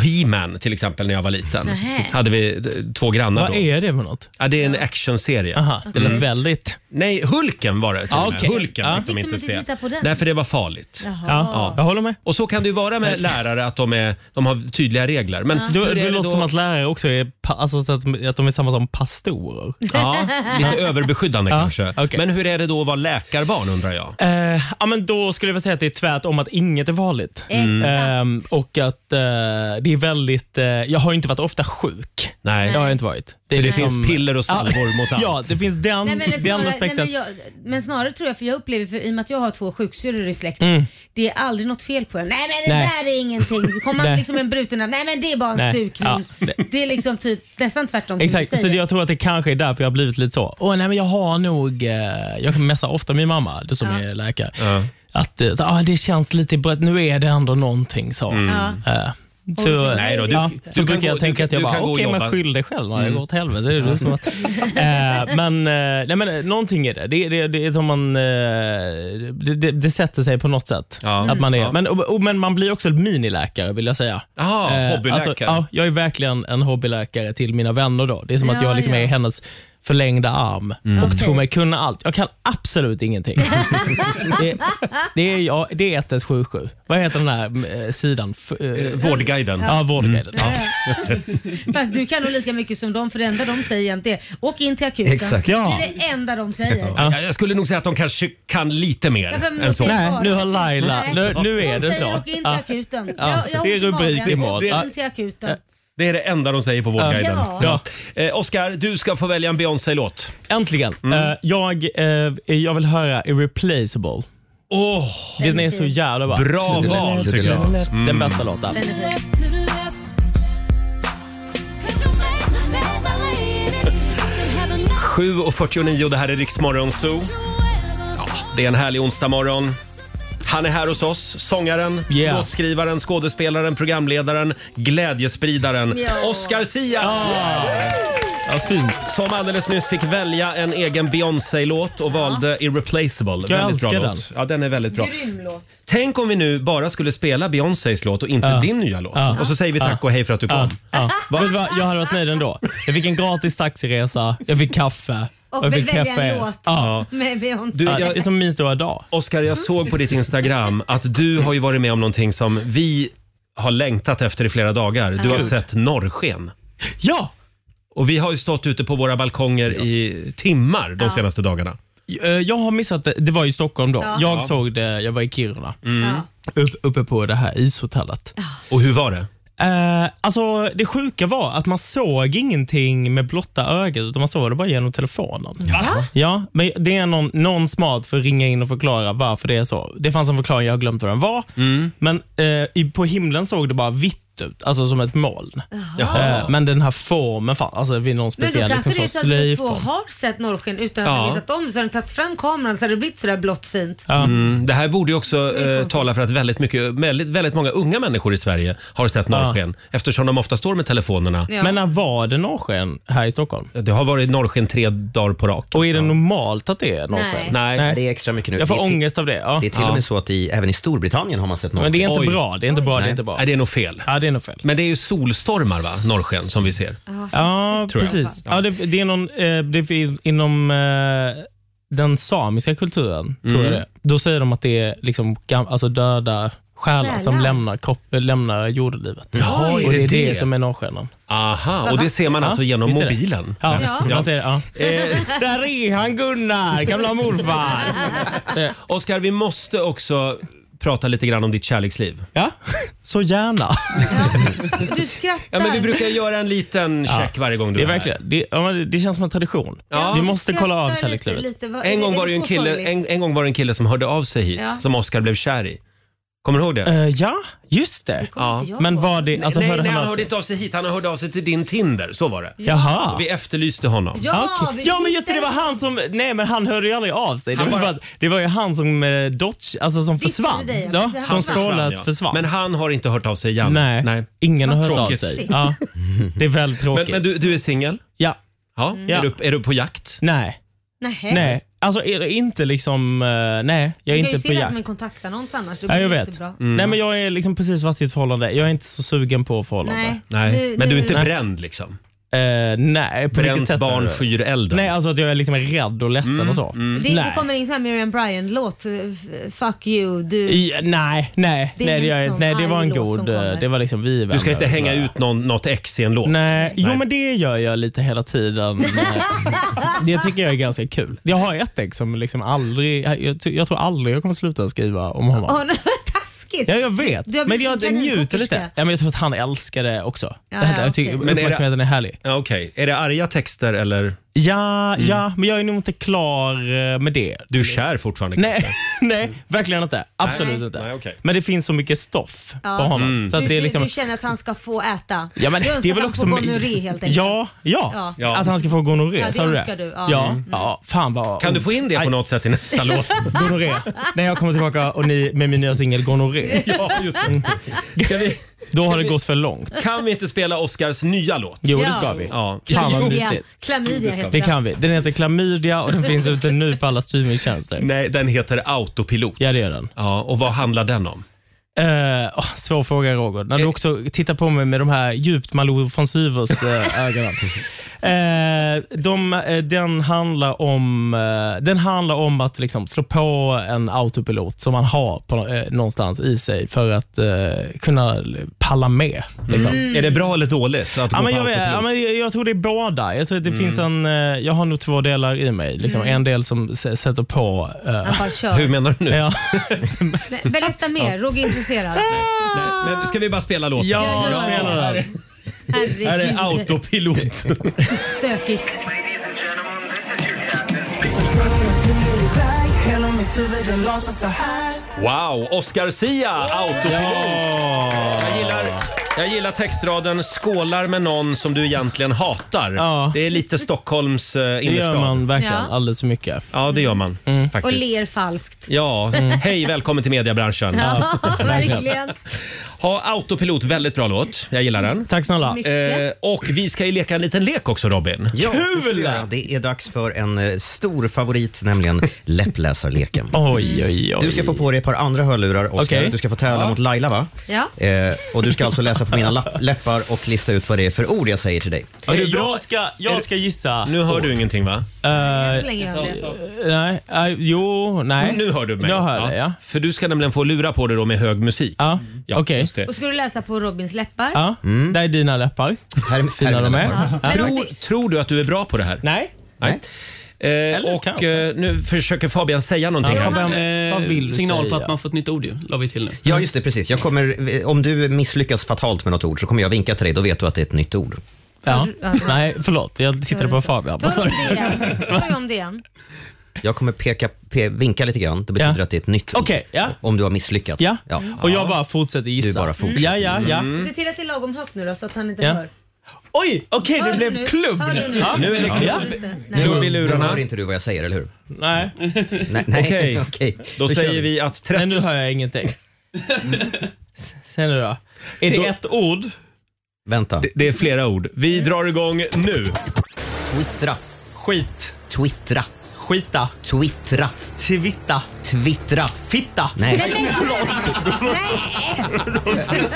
Speaker 1: eh, He-Man till exempel när jag var liten.
Speaker 13: Nähä.
Speaker 1: Hade vi eh, två grannar
Speaker 13: Vad
Speaker 1: då.
Speaker 13: är det för något?
Speaker 1: Ja, det är en actionserie. Mm.
Speaker 13: Aha, det lät väldigt...
Speaker 1: Nej, Hulken var det till
Speaker 13: Ja,
Speaker 1: och med.
Speaker 13: okej.
Speaker 1: Hulken
Speaker 13: Ja.
Speaker 1: fick de
Speaker 13: Fick de
Speaker 1: inte
Speaker 13: inte
Speaker 1: se.
Speaker 13: titta på den?
Speaker 1: Nej, för det var farligt.
Speaker 13: Jaha. Ja, jag håller med.
Speaker 1: Och så kan det ju vara med lärare, att de, är, de har tydliga regler. Men
Speaker 13: Du,
Speaker 1: hur är
Speaker 13: det,
Speaker 1: det
Speaker 13: låter
Speaker 1: då?
Speaker 13: som att lärare också är, pa- alltså, så att, att de är samma som pastorer.
Speaker 1: Ja, lite överbeskyddande
Speaker 13: Ja,
Speaker 1: kanske. Men hur är det då att vara läkarbarn undrar jag?
Speaker 13: Eh, ja, men då skulle jag väl säga att det är tvärtom, att inget är vanligt.
Speaker 1: Mm.
Speaker 13: Ehm, och att eh, det är väldigt... Eh, jag har ju inte varit ofta sjuk.
Speaker 1: Nej.
Speaker 13: Det har jag inte varit.
Speaker 1: För det finns piller och salvor
Speaker 13: Ja,
Speaker 1: mot allt.
Speaker 13: <laughs> Ja, det finns den,
Speaker 2: Nej, men, det är
Speaker 13: den
Speaker 2: snarare, nej,
Speaker 13: aspekten.
Speaker 2: men, jag, men snarare tror jag, för jag upplever, för i och med att jag har två sjuksyrror i släkten,
Speaker 13: Mm.
Speaker 2: det är aldrig något fel på en. Nej men det
Speaker 13: Nej.
Speaker 2: där är ingenting. Så kommer man
Speaker 13: Nej.
Speaker 2: liksom en bruten arm, nej men det är bara en
Speaker 13: Nej.
Speaker 2: stukning.
Speaker 13: Ja,
Speaker 2: det. är liksom typ nästan tvärtom. som du
Speaker 13: Exakt, så
Speaker 2: säger.
Speaker 13: det- jag tror att det kanske är därför jag har blivit lite så. Åh, nej, men jag har nog, eh, jag kan messa ofta min mamma, du som
Speaker 2: Ja.
Speaker 13: är läkare. Att eh, så, ah, det känns lite brett, nu är det ändå någonting så.
Speaker 1: Mm.
Speaker 2: Ja.
Speaker 13: Eh,
Speaker 1: Och
Speaker 13: Så,
Speaker 1: så- Nej då, du-
Speaker 13: ja,
Speaker 1: du
Speaker 13: så
Speaker 1: kan
Speaker 13: brukar jag
Speaker 1: gå-
Speaker 13: tänka
Speaker 1: du-
Speaker 13: att jag
Speaker 1: du kan
Speaker 13: bara,
Speaker 1: gå och
Speaker 13: okej
Speaker 1: jobba."
Speaker 13: men skyll dig själv när det
Speaker 1: Mm.
Speaker 13: går åt helvete. Det är du som att,
Speaker 2: <laughs>
Speaker 13: eh, men, eh, nej, men eh, någonting är det. Det, det, det är som man, eh, det, det, det sätter sig på något sätt. Att man är,
Speaker 1: Ja.
Speaker 13: men, och, och, men man blir också miniläkare vill jag säga. Eh, alltså,
Speaker 1: Jaha, hobbyläkare.
Speaker 13: ja, jag är verkligen en hobbyläkare till mina vänner då. Det är som att
Speaker 1: Ja,
Speaker 13: jag liksom
Speaker 1: ja.
Speaker 13: är hennes förlängda arm
Speaker 1: Mm.
Speaker 13: och
Speaker 1: Okej.
Speaker 13: tror mig kunna allt. Jag kan absolut ingenting. det,
Speaker 2: <laughs>
Speaker 13: det är, jag, det är 1177. Vad heter den här eh, sidan? F- eh,
Speaker 1: Vårdguiden.
Speaker 13: Ja, Vårdguiden.
Speaker 2: Mm.
Speaker 13: Ja.
Speaker 2: <laughs> Fast du kan nog lika mycket som dem för det enda de säger egentligen är åk in till akuten.
Speaker 1: Exakt. Ja.
Speaker 2: Det är det enda de säger.
Speaker 1: Ja, Jag skulle nog säga att de kanske kan lite mer
Speaker 2: Ja, men
Speaker 1: än så.
Speaker 2: det är bara- Nej.
Speaker 13: nu- nu är
Speaker 2: de
Speaker 13: det
Speaker 2: säger, Åk
Speaker 13: så.
Speaker 2: in till
Speaker 13: Ja.
Speaker 2: akuten.
Speaker 13: Ja,
Speaker 2: Jag, jag
Speaker 13: det är
Speaker 2: har ont i
Speaker 13: rubrik
Speaker 2: magen.
Speaker 13: imorgon.
Speaker 2: Åk in till akuten.
Speaker 1: Det är det enda de säger på Vårdguiden.
Speaker 13: Ja.
Speaker 1: Eh, Oscar, du ska få välja en Beyoncé-låt. Mm.
Speaker 13: Äntligen. Eh, jag, eh, jag vill höra Irreplaceable.
Speaker 1: Oh,
Speaker 13: den är så jävla bra.
Speaker 1: Bra val, tycker jag. Mm.
Speaker 13: Den bästa låten.
Speaker 4: Mm.
Speaker 1: 7.49, det här är Riksmorgon Zoo. Ja, det är en härlig onsdagmorgon. Han är här hos oss, sångaren, låtskrivaren, skådespelaren, programledaren, glädjespridaren.
Speaker 4: Ja.
Speaker 1: Oscar Sia!
Speaker 8: Ah.
Speaker 1: Ja, fint. Som alldeles nyss fick välja en egen Beyoncé-låt och valde Irreplaceable. Jag
Speaker 13: älskar den.
Speaker 1: Låt. Ja, den är väldigt bra.
Speaker 4: Grym låt.
Speaker 1: Tänk om vi nu bara skulle spela Beyoncés låt och inte din nya låt. Och så säger vi tack och hej för att du kom.
Speaker 13: Ja. Vet du vad? Jag hade varit nöjd ändå. Jag fick en gratis taxiresa, jag fick kaffe.
Speaker 2: Och
Speaker 13: jag
Speaker 2: vi
Speaker 13: fick
Speaker 2: väljer en
Speaker 13: kaffe.
Speaker 2: låt
Speaker 13: Ja.
Speaker 2: med Beyoncé.
Speaker 13: Du, jag- Det är som min stora dag.
Speaker 1: Oskar, jag såg på ditt Instagram att du har ju varit med om någonting som vi har längtat efter i flera dagar. Du har
Speaker 13: Gud.
Speaker 1: sett norrsken.
Speaker 13: Ja!
Speaker 1: Och vi har ju stått ute på våra balkonger i timmar de senaste dagarna.
Speaker 13: Eh, Jag har missat det. Det var i Stockholm då.
Speaker 1: Ja.
Speaker 13: Jag
Speaker 1: Ja.
Speaker 13: såg det, jag var i Kiruna.
Speaker 1: Mm.
Speaker 13: Upp, uppe på det här ishotellet.
Speaker 1: Och hur var det?
Speaker 13: Eh, alltså Det sjuka var att man såg ingenting med blotta ögat, utan man såg det bara genom telefonen.
Speaker 4: Va?
Speaker 13: Ja, men det är någon, någon smart för att ringa in och förklara varför det är så. Det fanns en förklaring, jag har glömt vad den var.
Speaker 1: Mm.
Speaker 13: Men eh, i- på himlen såg det bara vitt ut, alltså som ett moln.
Speaker 2: Jaha.
Speaker 13: Eh, men den här formen, fan, alltså vid någon
Speaker 2: Men då
Speaker 13: speciell
Speaker 2: kanske
Speaker 13: liksom,
Speaker 2: det är
Speaker 13: så
Speaker 2: så att ni två
Speaker 13: slöjform.
Speaker 2: har sett norrsken utan att
Speaker 1: Ja.
Speaker 2: ni vetat om det. Så har ni tagit fram kameran så har det blivit sådär blått fint.
Speaker 1: Mm. Det här borde ju också eh, tala för att väldigt, mycket, väldigt, väldigt många unga människor i Sverige har sett norrsken eftersom de ofta står med telefonerna.
Speaker 2: Ja. Men
Speaker 13: när var det norrsken här i Stockholm?
Speaker 1: Det har varit norrsken tre dagar på raken.
Speaker 13: Och är det normalt att det är norrsken?
Speaker 1: Nej.
Speaker 3: Nej.
Speaker 13: Nej.
Speaker 3: Det är extra mycket nu.
Speaker 13: Jag får
Speaker 3: Det är till-
Speaker 13: ångest av det. Ja.
Speaker 3: Det är till och med så att i, även i Storbritannien har man sett
Speaker 13: Men det är inte
Speaker 3: norrsken.
Speaker 13: bra. Det är inte bra. Det är inte bra.
Speaker 1: Nej, det är nog fel.
Speaker 13: Ja, det är nog fel.
Speaker 1: Men det är ju solstormar, va? Norrsken som vi ser.
Speaker 13: Ja,
Speaker 1: Tror jag.
Speaker 13: precis. Ja, det, det är någon, eh, det är inom eh, den samiska kulturen, tror jag
Speaker 1: Mm.
Speaker 13: det är. Då säger de att det är liksom, gam, alltså döda själar som
Speaker 1: Själar.
Speaker 13: lämnar, kropp, eh, lämnar jordelivet.
Speaker 1: Jaha, är
Speaker 13: Och det
Speaker 1: det
Speaker 13: är det,
Speaker 1: det?
Speaker 13: som är norrskenan.
Speaker 1: Aha, och det ser man alltså genom
Speaker 13: visst är det.
Speaker 1: mobilen.
Speaker 13: Ja,
Speaker 1: Helst.
Speaker 13: man
Speaker 1: Ja.
Speaker 13: ser det. Ja.
Speaker 1: Eh,
Speaker 13: Där är han Gunnar, gamla morfar.
Speaker 1: Oskar, vi måste också prata lite grann om ditt kärleksliv. <laughs>
Speaker 13: Ja, så gärna.
Speaker 2: Du skrattar.
Speaker 1: Ja, men vi
Speaker 2: <laughs>
Speaker 1: brukar göra en liten check varje gång du
Speaker 13: det
Speaker 1: är,
Speaker 13: är
Speaker 1: här.
Speaker 13: verkligen, det, ja, men det känns som en tradition. Vi måste kolla av kärlekslivet.
Speaker 1: En gång var det ju en kille, en, en gång var det en kille som hörde av sig hit,
Speaker 13: Ja.
Speaker 1: som Oskar blev kär i. Kommer du ihåg det?
Speaker 13: Eh, ja, just det.
Speaker 1: Ja.
Speaker 13: Men var det... Alltså,
Speaker 1: nej,
Speaker 13: hörde
Speaker 1: nej,
Speaker 13: han
Speaker 1: han
Speaker 13: av
Speaker 1: hörde
Speaker 13: sig?
Speaker 1: inte av sig hit. Han hörde av sig till din Tinder. Så var det.
Speaker 13: Jaha.
Speaker 1: Och Vi efterlyste honom.
Speaker 13: Ja,
Speaker 4: vi
Speaker 13: ja men just det, det var han som... Nej men han hörde ju aldrig av sig. Det var, för att, det var ju han som eh, dodge, alltså som
Speaker 4: Viftade
Speaker 13: försvann.
Speaker 4: dig, ja.
Speaker 2: Alltså,
Speaker 13: ja,
Speaker 4: Precis, han
Speaker 13: som
Speaker 4: försvann.
Speaker 13: spårlöst
Speaker 1: Ja.
Speaker 13: försvann.
Speaker 1: Men han har inte hört av sig igen.
Speaker 13: Nej, ingen har
Speaker 1: Vad
Speaker 13: hört av
Speaker 1: tråkigt.
Speaker 13: sig.
Speaker 1: <laughs>
Speaker 13: Ja, det är väldigt tråkigt.
Speaker 1: Men, men du, du är singel?
Speaker 13: Ja.
Speaker 1: ja. Är, du, är du på jakt?
Speaker 13: Nej.
Speaker 2: Nej.
Speaker 13: Nej, alltså är det inte liksom... eh, nej, jag är
Speaker 2: du kan ju
Speaker 13: inte
Speaker 2: se det
Speaker 13: på
Speaker 2: som
Speaker 13: jakt.
Speaker 2: en kontaktannons annars. Det
Speaker 13: Ja,
Speaker 2: går
Speaker 13: jag vet. Mm.
Speaker 2: jättebra.
Speaker 1: Mm.
Speaker 13: Nej men jag är liksom precis varit i ett förhållande. Jag är inte så sugen på förhållande.
Speaker 2: Nej. Nej, Du- men du är inte du-
Speaker 1: bränd liksom?
Speaker 13: Eh, nej, på
Speaker 1: Bränt
Speaker 13: vilket sätt
Speaker 1: barn
Speaker 13: menar du?
Speaker 1: skyr elden. Mm,
Speaker 13: Nej, alltså att jag är liksom rädd och ledsen och så.
Speaker 2: Det, det kommer in sån här Miriam Bryant-låt. eh, f- Fuck you, du.
Speaker 13: I, nej, nej,
Speaker 2: Det är
Speaker 13: nej, det,
Speaker 2: en
Speaker 13: jag,
Speaker 2: sån
Speaker 13: nej, det var
Speaker 2: arg
Speaker 13: en
Speaker 2: låt
Speaker 13: god...
Speaker 2: som kommer.
Speaker 13: eh, Det var liksom vi är
Speaker 1: Du ska
Speaker 13: vänner.
Speaker 1: inte hänga ut någon, något ex i en låt.
Speaker 13: Nej. Jo men det gör jag lite
Speaker 1: <laughs>
Speaker 13: hela tiden. det tycker jag är ganska kul. Jag har ett ex som liksom aldrig, jag, jag tror aldrig jag kommer sluta skriva om honom.
Speaker 2: Åh, nej, <laughs> vad taskigt.
Speaker 13: Ja, jag vet.
Speaker 2: Du har
Speaker 13: Men
Speaker 2: blivit en
Speaker 13: jag
Speaker 2: kaninkokerska.
Speaker 13: njuter lite. Ja, men jag tror att han älskar det också.
Speaker 2: Ja,
Speaker 13: Det-
Speaker 2: ja,
Speaker 13: jag tycker
Speaker 2: okej.
Speaker 1: Men är det-
Speaker 13: uppmärksamheten är, härlig.
Speaker 1: Ja, Okej, är det arga texter eller? Mm.
Speaker 13: Ja, ja, men jag är nog inte klar eh, med det.
Speaker 1: Du är kär fortfarande
Speaker 13: Nej, <laughs> nej verkligen inte. Absolut
Speaker 1: Nej.
Speaker 13: inte.
Speaker 1: Nej, okej. Mm.
Speaker 13: Men det finns så mycket stoff
Speaker 2: Ja.
Speaker 13: på honom. Så att
Speaker 2: du,
Speaker 13: det är
Speaker 2: du-
Speaker 13: liksom...
Speaker 2: du känner att han ska få äta.
Speaker 13: Ja, men
Speaker 2: du önskar
Speaker 13: det är väl
Speaker 2: att han
Speaker 13: också...
Speaker 2: får gonorré helt enkelt.
Speaker 13: ja, ja, att han ska få gonorré.
Speaker 2: Ja, det
Speaker 13: sa du
Speaker 2: önskar du, ja.
Speaker 13: Ja.
Speaker 2: Mm.
Speaker 13: ja, fan vad...
Speaker 1: Kan du få in det på något sätt i nästa låt?
Speaker 13: <laughs> Gonorré. När jag kommer tillbaka och ni med min nya singel Gonorré.
Speaker 1: <laughs> Ja, just det. Ska vi,
Speaker 13: Då har det gått för långt.
Speaker 1: kan vi inte spela Oscars nya låt?
Speaker 13: Jo, det ska vi.
Speaker 1: Ja.
Speaker 13: Fan vad
Speaker 1: Jo.
Speaker 13: mysigt.
Speaker 2: Klamydia heter
Speaker 13: Det kan vi. Den heter Klamydia och den finns ute nu på alla streamingtjänster.
Speaker 1: Nej, den heter Autopilot.
Speaker 13: Ja, det gör den.
Speaker 1: Ja, och vad handlar den om?
Speaker 13: Eh, åh, svår fråga Roger. När du
Speaker 1: Eh.
Speaker 13: också tittar på mig med de här djupt Malou von Sivers
Speaker 1: <laughs>
Speaker 13: eh, ögonen. Eh, de, eh, den, handlar om, eh, den handlar om att liksom slå på en autopilot som man har på, eh, någonstans i sig för att eh, kunna palla med. Liksom.
Speaker 1: Mm. Är det bra eller dåligt att
Speaker 13: Ja,
Speaker 1: gå
Speaker 13: men
Speaker 1: på
Speaker 13: jag, vet,
Speaker 1: autopilot? Mm.
Speaker 13: ja, men jag, jag tror det är båda. Jag, tror att det finns en, eh, jag har nog två delar i mig. Liksom. En del som s- sätter på... eh,
Speaker 2: Han bara kör. Hur
Speaker 1: menar du nu? <laughs>
Speaker 13: Ja.
Speaker 2: Men
Speaker 13: <laughs>
Speaker 2: Berätta mer, Roger är intresserad.
Speaker 1: Men ska vi bara spela låten?
Speaker 13: Ja,
Speaker 1: Bra.
Speaker 13: spela den.
Speaker 2: Herregud.
Speaker 1: Här är autopilot.
Speaker 2: Stökigt.
Speaker 4: iväg, hela mitt huvud det låter så här
Speaker 1: <laughs> Wow, Oscar Sia, autopilot. Jag, gillar, jag gillar textraden “skålar med någon som du egentligen hatar”. Det är lite Stockholms eh,
Speaker 13: Det
Speaker 1: innerstad.
Speaker 13: gör man verkligen
Speaker 2: Ja.
Speaker 13: alldeles för mycket. Mm.
Speaker 1: Ja, det gör man
Speaker 2: Och
Speaker 1: faktiskt.
Speaker 2: ler falskt.
Speaker 1: Ja,
Speaker 2: Mm.
Speaker 1: hej välkommen till
Speaker 2: <laughs>
Speaker 1: mediebranschen.
Speaker 13: <laughs>
Speaker 2: Ja, verkligen.
Speaker 1: Ha autopilot, väldigt bra låt. Jag gillar den.
Speaker 13: Tack snälla.
Speaker 1: Eh, och vi ska ju leka en liten lek också Robin.
Speaker 3: Ja, det ska vi göra. Det är dags för en eh, stor favorit,
Speaker 13: <laughs>
Speaker 3: nämligen läppläsarleken.
Speaker 13: Oj, oj,
Speaker 3: Du ska få på dig ett par andra hörlurar, Oskar.
Speaker 13: Okej.
Speaker 3: Du ska få tävla
Speaker 13: Ja.
Speaker 3: mot Laila, va?
Speaker 2: Ja.
Speaker 3: Eh, och du ska alltså läsa på mina lapp- läppar och lista ut vad det är för ord jag säger till dig.
Speaker 13: Är du jag ska, jag ska gissa.
Speaker 1: Nu hör du ingenting va?
Speaker 3: Eh,
Speaker 2: Än så länge gör jag det.
Speaker 13: nej, eh, jo, nej.
Speaker 1: Nu hör du mig.
Speaker 13: Jag hör
Speaker 1: ja.
Speaker 13: det, ja.
Speaker 1: För du ska nämligen få lura på det då med hög musik.
Speaker 13: Ja, okej.
Speaker 2: Och ska du läsa på Robins läppar?
Speaker 13: Ja, där är dina läppar.
Speaker 3: Här,
Speaker 13: Fina de är.
Speaker 2: Ja. Men
Speaker 1: Tror,
Speaker 2: Robin-
Speaker 1: tror du att du är bra på det här?
Speaker 13: Nej.
Speaker 1: Nej. Eh, och eh, nu försöker Fabian säga någonting.
Speaker 7: Ja,
Speaker 1: här.
Speaker 7: Fabian,
Speaker 1: Eh,
Speaker 7: vad vill du signal på säga? att man
Speaker 1: fått nytt ord ju, la vi till nu.
Speaker 3: Ja, just det. Precis. Jag kommer, eh, om du misslyckas fatalt med något ord så kommer jag vinka till dig. Då vet du att det är ett nytt ord.
Speaker 13: Ja. Nej, förlåt. Jag tittade på Fabian. Vad sa du?
Speaker 2: Det igen. Ta om det igen.
Speaker 3: Jag kommer peka, pe, vinka lite grann. Det betyder att det är ett nytt ord.
Speaker 13: Okej, ja.
Speaker 3: Om du har misslyckats.
Speaker 13: Ja. Och jag bara fortsätter gissa. Mm.
Speaker 3: Du bara fortsätter.
Speaker 13: Ja, ja, ja.
Speaker 3: Mm.
Speaker 2: Se till att det är lagom högt nu då så att han inte
Speaker 13: Ja.
Speaker 2: hör.
Speaker 13: Oj, okej,
Speaker 2: Hör
Speaker 13: det
Speaker 2: du
Speaker 13: blev
Speaker 2: nu?
Speaker 13: klubb
Speaker 2: Hör du nu?
Speaker 13: Ja.
Speaker 3: Nu är det klubb.
Speaker 13: Ja.
Speaker 3: Nu,
Speaker 1: Klubb
Speaker 3: nu
Speaker 1: i lurarna.
Speaker 3: hör inte du vad jag säger, eller hur?
Speaker 13: Nej.
Speaker 3: Nej, nej.
Speaker 1: Okej.
Speaker 3: <laughs> Okej.
Speaker 1: Då
Speaker 3: kör
Speaker 1: säger vi att 30...
Speaker 13: Men nu hör jag ingenting. S- Sen då? Är det ett ord?
Speaker 3: Vänta.
Speaker 1: Det är flera ord. Vi
Speaker 2: Mm.
Speaker 1: drar igång nu.
Speaker 3: Twittra.
Speaker 13: Skit.
Speaker 3: Twittra.
Speaker 13: Skita.
Speaker 3: Twittra.
Speaker 13: Twitta.
Speaker 3: Twittra.
Speaker 13: Fitta.
Speaker 3: Nej.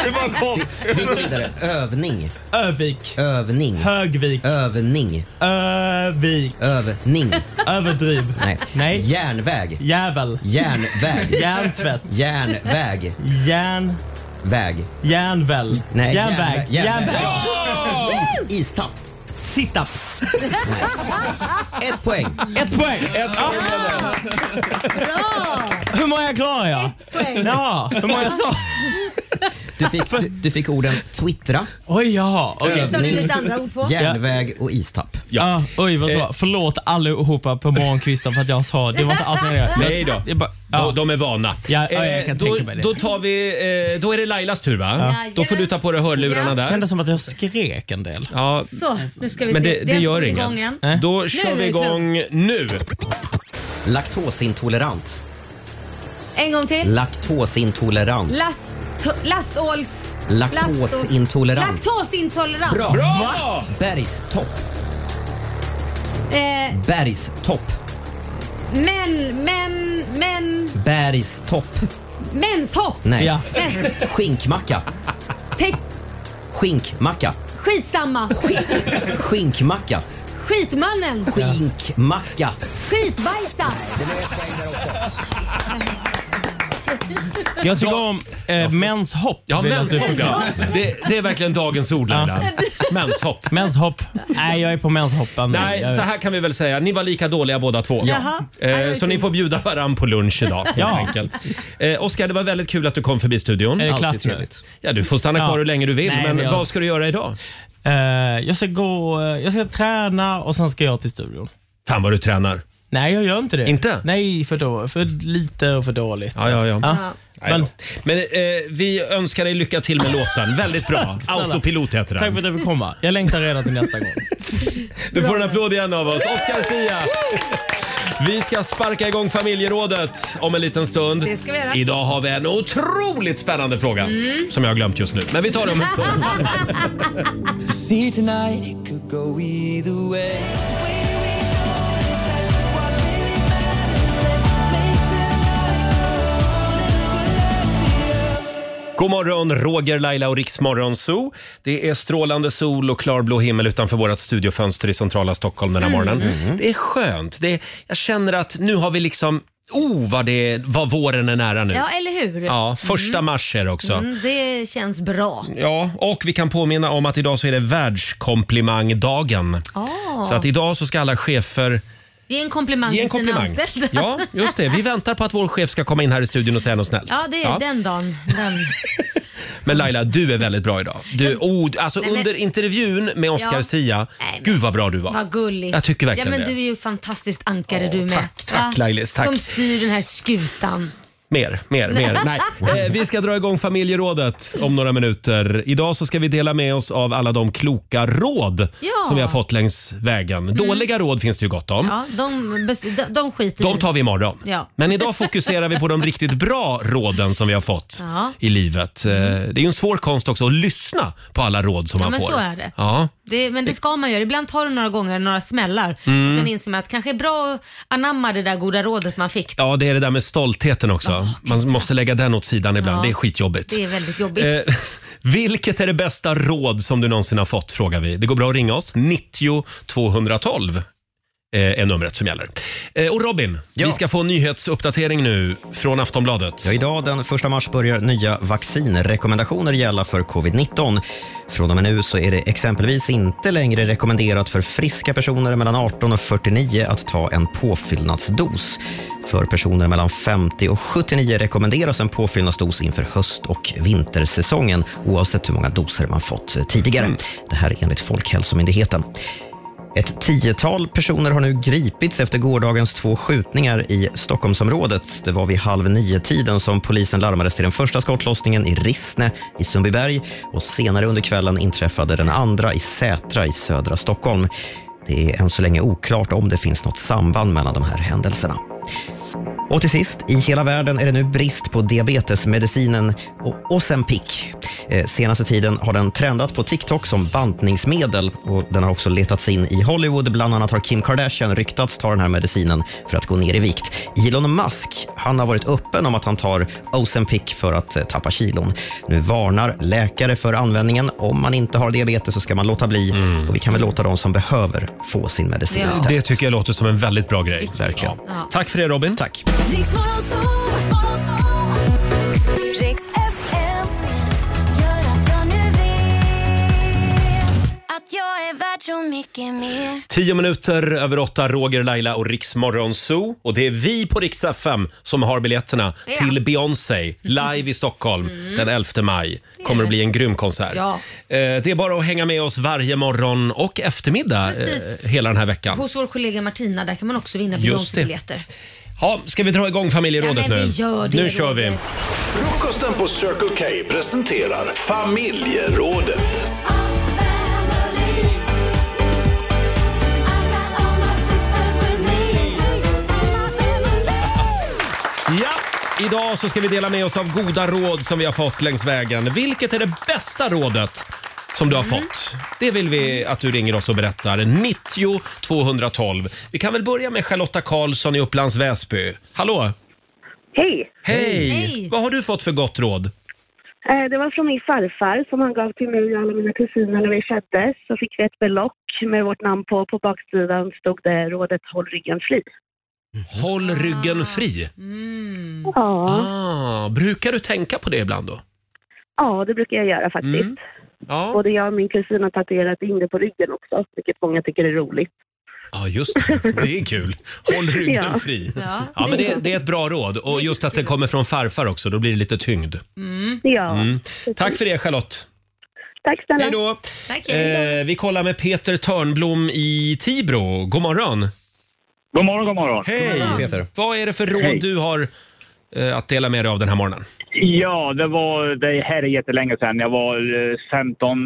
Speaker 13: Det var kort.
Speaker 3: Vi går vidare. Övning.
Speaker 13: Övik.
Speaker 3: Övning.
Speaker 13: Högvik.
Speaker 3: Övning.
Speaker 13: Övik.
Speaker 3: Övning.
Speaker 13: Överdriv.
Speaker 3: Nej.
Speaker 13: Nej.
Speaker 3: Järnväg.
Speaker 13: Jävel.
Speaker 3: Järnväg.
Speaker 13: Järntvätt.
Speaker 3: Järnväg.
Speaker 13: Järn...
Speaker 3: Väg.
Speaker 13: Järnväl.
Speaker 3: Nej,
Speaker 13: Järnväg.
Speaker 3: järnväg. Järnväg.
Speaker 13: Järnväg.
Speaker 3: Is, istapp.
Speaker 13: Situps.
Speaker 3: Ett poäng.
Speaker 13: Ett poäng. Ett, ja.
Speaker 2: Bra!
Speaker 13: Hur många klarar jag?
Speaker 2: Poäng.
Speaker 13: Ja, hur många sa
Speaker 3: Du fick, du, du fick orden twittra,
Speaker 13: Oj, jaha. Okej.
Speaker 2: Så har du lite andra ord på.
Speaker 3: järnväg och istapp.
Speaker 13: Ja. Ah, oj, vad
Speaker 1: Eh.
Speaker 13: så. Förlåt allihopa på morgonkvisten för att jag sa det. var inte alls meningen.
Speaker 1: Nej då.
Speaker 13: Jag bara, ja.
Speaker 1: De, de är vana.
Speaker 13: Ja, ja, jag kan
Speaker 1: Eh, då,
Speaker 13: tänka mig det.
Speaker 1: Då, tar vi, eh, då är det Lailas tur va?
Speaker 2: Ja.
Speaker 1: Då får du ta på dig hörlurarna
Speaker 2: Ja.
Speaker 13: Det
Speaker 1: där.
Speaker 13: kändes som att jag skrek en del.
Speaker 1: Ja,
Speaker 2: Så, nu ska vi
Speaker 1: Mm. men
Speaker 2: se.
Speaker 1: det, det gör
Speaker 2: igång
Speaker 1: inget.
Speaker 2: igen.
Speaker 1: Då kör
Speaker 2: är
Speaker 1: vi
Speaker 2: det klart.
Speaker 1: igång nu.
Speaker 3: Laktosintolerant.
Speaker 2: En gång till.
Speaker 3: Laktosintolerant.
Speaker 2: Last, laståls...
Speaker 3: Laktosintolerant.
Speaker 2: Laktosintolerant.
Speaker 3: Bra!
Speaker 1: Bra!
Speaker 3: Bergstopp.
Speaker 2: Eh,
Speaker 3: Bergstopp.
Speaker 2: men, men, men,
Speaker 3: Bergstopp.
Speaker 2: menshopp.
Speaker 3: Nej.
Speaker 1: <laughs>
Speaker 13: Ja.
Speaker 2: Mens,
Speaker 3: Skinkmacka.
Speaker 2: te,
Speaker 3: Skinkmacka.
Speaker 2: skitsamma.
Speaker 3: Skinkmacka.
Speaker 2: Skitmannen.
Speaker 3: Skinkmacka.
Speaker 2: Skitbajsa.
Speaker 13: Jag tycker om eh, mens hopp.
Speaker 1: Ja,
Speaker 13: vill jag att du
Speaker 1: menshopp ja.
Speaker 13: förklarar.
Speaker 1: Det, det är verkligen dagens ord Laila. Menshopp.
Speaker 13: Mens hopp. Nej, jag är på mens hoppen.
Speaker 1: Nej,
Speaker 13: Jag-
Speaker 1: så här kan vi väl säga. Ni var lika dåliga båda två.
Speaker 2: Jaha. Ja, det
Speaker 1: Eh,
Speaker 2: var
Speaker 1: så ni
Speaker 2: synd.
Speaker 1: får bjuda varann på lunch idag helt
Speaker 13: Ja.
Speaker 1: enkelt. Eh, Oskar, det var väldigt kul att du kom förbi studion.
Speaker 13: Är det
Speaker 1: Alltid
Speaker 13: klart nu?
Speaker 1: trevligt. Ja, du får stanna kvar
Speaker 13: Ja.
Speaker 1: hur länge du vill.
Speaker 13: Nej,
Speaker 1: men
Speaker 13: men jag-
Speaker 1: vad ska du göra idag?
Speaker 13: Eh, jag ska gå, eh, jag ska träna och sen ska jag till studion.
Speaker 1: Fan vad du tränar.
Speaker 13: Nej, jag gör inte det.
Speaker 1: Inte?
Speaker 13: Nej, för, då, för lite och för dåligt.
Speaker 1: Ja, ja, ja.
Speaker 13: Ja.
Speaker 1: Nej då.
Speaker 13: Men-
Speaker 1: Men eh, vi önskar dig lycka till med låten. Väldigt bra. Autopilot heter
Speaker 13: Tack för
Speaker 1: den.
Speaker 13: att jag fick komma. Jag längtar redan till nästa gång.
Speaker 1: <laughs> Du får en applåd igen av oss. Oscar Sia! Vi ska sparka igång familjerådet om en liten stund.
Speaker 2: Det ska vi göra. Mm.
Speaker 1: Idag har vi en otroligt spännande fråga som jag har glömt just nu. Men vi
Speaker 2: <laughs>
Speaker 1: tar
Speaker 13: <laughs>
Speaker 1: det om en stund.
Speaker 4: See tonight it could go either way
Speaker 1: God morgon, Roger, Laila och Riksmorgon Zoo. Det är strålande sol och klarblå himmel utanför vårt studiofönster i centrala Stockholm
Speaker 2: Mm.
Speaker 1: den här morgonen. Det är skönt. Det är, jag känner att nu har vi liksom... Oh, vad, det, vad våren är nära nu.
Speaker 2: Ja, eller hur?
Speaker 1: Ja, första mars är det också.
Speaker 2: Mm, det känns bra.
Speaker 1: Ja, och vi kan påminna om att idag så är det världskomplimangdagen.
Speaker 2: Ah.
Speaker 1: Så att idag så ska alla chefer
Speaker 2: Ge en komplimang
Speaker 1: ge en
Speaker 2: till sina
Speaker 1: komplimang.
Speaker 2: anställda.
Speaker 1: Ja, just det. Vi väntar på att vår chef ska komma in här i studion och säga något snällt.
Speaker 2: Ja, det är den dagen. Den.
Speaker 1: Men Laila, du är väldigt bra idag. Du, oh, du- alltså
Speaker 2: Nej, men-
Speaker 1: under intervjun med Oscar
Speaker 2: Ja.
Speaker 1: Sia,
Speaker 2: Nej, men-
Speaker 1: gud vad bra du var.
Speaker 2: Vad gulligt.
Speaker 1: Jag tycker verkligen
Speaker 2: ja, men
Speaker 1: det.
Speaker 2: Du är ju fantastiskt ankare du med. Tack,
Speaker 1: tack, Lailis, tack.
Speaker 2: Som styr den här skutan.
Speaker 1: Mer, mer,
Speaker 2: <laughs>
Speaker 1: mer. Nej. Eh, vi ska dra igång familjerådet om några minuter. Idag så ska vi dela med oss av alla de kloka råd
Speaker 2: Ja. Mm.
Speaker 1: som vi har fått längs vägen. Dåliga råd finns det ju gott om.
Speaker 2: Ja, de, bes- de, de skiter
Speaker 1: De
Speaker 2: i.
Speaker 1: tar vi imorgon.
Speaker 2: Ja.
Speaker 1: Men idag fokuserar vi på de riktigt bra råden som vi har fått
Speaker 2: Ja.
Speaker 1: i livet. Eh, Det är ju en svår konst också att lyssna på alla råd som
Speaker 2: Mm. Ja, men
Speaker 1: man får.
Speaker 2: så är det.
Speaker 1: Ja.
Speaker 2: Det, men det ska man göra. Ibland tar det några gånger, några smällar.
Speaker 1: Mm.
Speaker 2: Och sen inser man att kanske är bra att anamma det där goda rådet man fick.
Speaker 1: ja, det är det där med stoltheten också. man måste lägga den åt sidan ibland.
Speaker 2: Ja.
Speaker 1: Det är skitjobbigt.
Speaker 2: Det är väldigt jobbigt.
Speaker 1: Eh, <laughs> vilket är det bästa råd som du någonsin har fått, frågar vi. Det går bra att ringa oss. 90 212 eh, är numret som gäller. Eh, och Robin, vi ska få en nyhetsuppdatering nu från Aftonbladet.
Speaker 3: Ja, idag den 1 mars börjar nya vaccinrekommendationer gälla för covid-19. Från och med nu så är det exempelvis inte längre rekommenderat för friska personer mellan 18 och 49 att ta en påfyllnadsdos. För personer mellan 50 och 79 rekommenderas en påfyllnadsdos inför höst och vintersäsongen oavsett hur många doser man fått tidigare. Det här är enligt Folkhälsomyndigheten. Ett tiotal personer har nu gripits efter gårdagens två skjutningar i Stockholmsområdet. Det var vid halv nio-tiden som polisen larmades till den första skottlossningen i Rissne i Sundbyberg och senare under kvällen inträffade den andra i Sätra i södra Stockholm. Det är än så länge oklart om det finns något samband mellan de här händelserna. Och till sist, i hela världen är det nu brist på diabetesmedicinen O- Ozempic. Eh, Senaste tiden har den trendat på TikTok som bantningsmedel och den har också letats in i Hollywood. Bland annat har Kim Kardashian ryktats ta den här medicinen för att gå ner i vikt. Elon Musk, han har varit öppen om att han tar Ozempic för att eh, tappa kilon. Nu varnar läkare för användningen. Om man inte har diabetes så ska man låta bli och vi kan väl låta de som behöver få sin medicin
Speaker 1: Ja.
Speaker 3: istället.
Speaker 1: Det tycker jag låter som en väldigt bra grej.
Speaker 3: Verkligen.
Speaker 1: Ja. Tack för det Robin.
Speaker 3: Tack.
Speaker 4: Riks FM gör att jag nu vet att jag är värd så mycket mer.
Speaker 1: Tio minuter över åtta, Roger, Laila och Riks Zoo. Och det är vi på Rix FM som har biljetterna
Speaker 2: Ja. Mm.
Speaker 1: till Beyoncé live i Stockholm den 11 maj. Kommer att bli en grym konsert.
Speaker 2: Ja.
Speaker 1: Eh, Det är bara att hänga med oss varje morgon och eftermiddag
Speaker 2: Precis.
Speaker 1: eh, hela den här veckan.
Speaker 2: Hos vår kollega Martina, där kan man också vinna
Speaker 1: Just det.
Speaker 2: Beyoncé-biljetter.
Speaker 1: Ja, ska vi dra igång familjerådet
Speaker 2: Ja, men vi
Speaker 1: nu?
Speaker 2: gör det,
Speaker 1: nu kör vi.
Speaker 2: Roger.
Speaker 10: Frukosten på Circle K presenterar Familjerådet.
Speaker 1: Ja, idag så ska vi dela med oss av goda råd som vi har fått längs vägen. Vilket är det bästa rådet som du har
Speaker 12: Mm.
Speaker 1: fått? Det vill vi att du ringer oss och berättar. 90 212. Vi kan väl börja med Charlotta Karlsson i Upplands Väsby. Hallå!
Speaker 12: Hej!
Speaker 1: Hej!
Speaker 12: Hej.
Speaker 1: Vad har du fått för gott råd?
Speaker 12: Eh, Det var från min farfar som han gav till mig och alla mina kusiner när vi föddes. Så fick vi ett belock med vårt namn på. På baksidan stod det rådet Håll ryggen fri.
Speaker 1: Håll ryggen fri.
Speaker 12: Ah. Ja,
Speaker 1: Ah, brukar du tänka på det ibland då?
Speaker 12: ja, det brukar jag göra faktiskt.
Speaker 1: Mm. Ja,
Speaker 12: Både jag och min kusin har tatuerat in det på ryggen också, vilket många tycker är roligt.
Speaker 1: ah,
Speaker 12: <laughs>
Speaker 1: just det. Det är kul. Håll ryggen
Speaker 12: Ja.
Speaker 1: fri.
Speaker 12: Ja.
Speaker 1: Ja, men det, det är ett bra råd. Och just att det kommer från farfar också, då blir det lite tyngd.
Speaker 12: Ja,
Speaker 1: Mm. Tack för det Charlotte.
Speaker 12: tack snälla.
Speaker 1: Hej då.
Speaker 2: <laughs>
Speaker 1: Eh, vi kollar med Peter Törnblom i Tibro. God morgon.
Speaker 14: God morgon, god morgon.
Speaker 1: Hej Peter. Vad är det för råd
Speaker 14: Hej.
Speaker 1: du har eh, att dela med dig av den här morgonen?
Speaker 14: Ja, det var, det här är jättelänge sedan. Jag var eh, 15,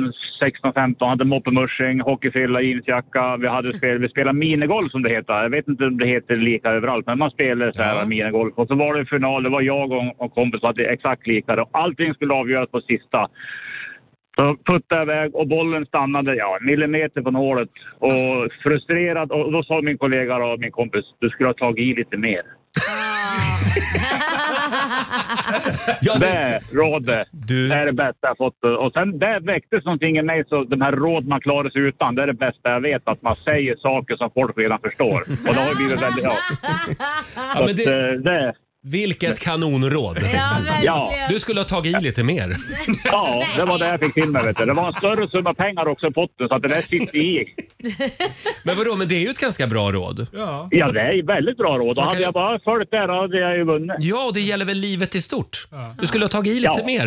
Speaker 14: 16, 15, hade moppemusching, hockeyfrilla, jeansjacka. Vi, hade spel, vi spelade minigolf som det heter. Jag vet inte om det heter lika överallt, men man spelade så här minigolf. Och så var det final, det var jag och en kompis som hade exakt lika. Och allting skulle avgöras på sista. Så puttade jag iväg och bollen stannade ja, en millimeter från hålet. Och frustrerad, och då sa min kollega och min kompis, du skulle ha tagit i lite mer. det rådet är det bästa jag fått. Och sen det väcktes någonting i mig, så de här råd man klarar sig utan, det är det bästa jag vet. Att man säger saker som folk redan förstår. Och det har ju blivit väldigt... Ja.
Speaker 1: Ja, men
Speaker 14: Så att, eh, det,
Speaker 1: Vilket kanonråd!
Speaker 2: Ja, verkligen.
Speaker 1: Du skulle ha tagit i lite mer.
Speaker 14: Ja, det var det jag fick till mig. Vet du. Det var en större summa pengar också i potten, så att det där sitter i.
Speaker 1: <laughs> Men vadå, men det är ju ett ganska bra råd.
Speaker 14: Ja, det är väldigt bra råd. Och hade jag bara följt det, då hade jag ju vunnit.
Speaker 1: Ja, det gäller väl livet i stort. Du skulle ha tagit i lite
Speaker 14: Ja.
Speaker 1: mer.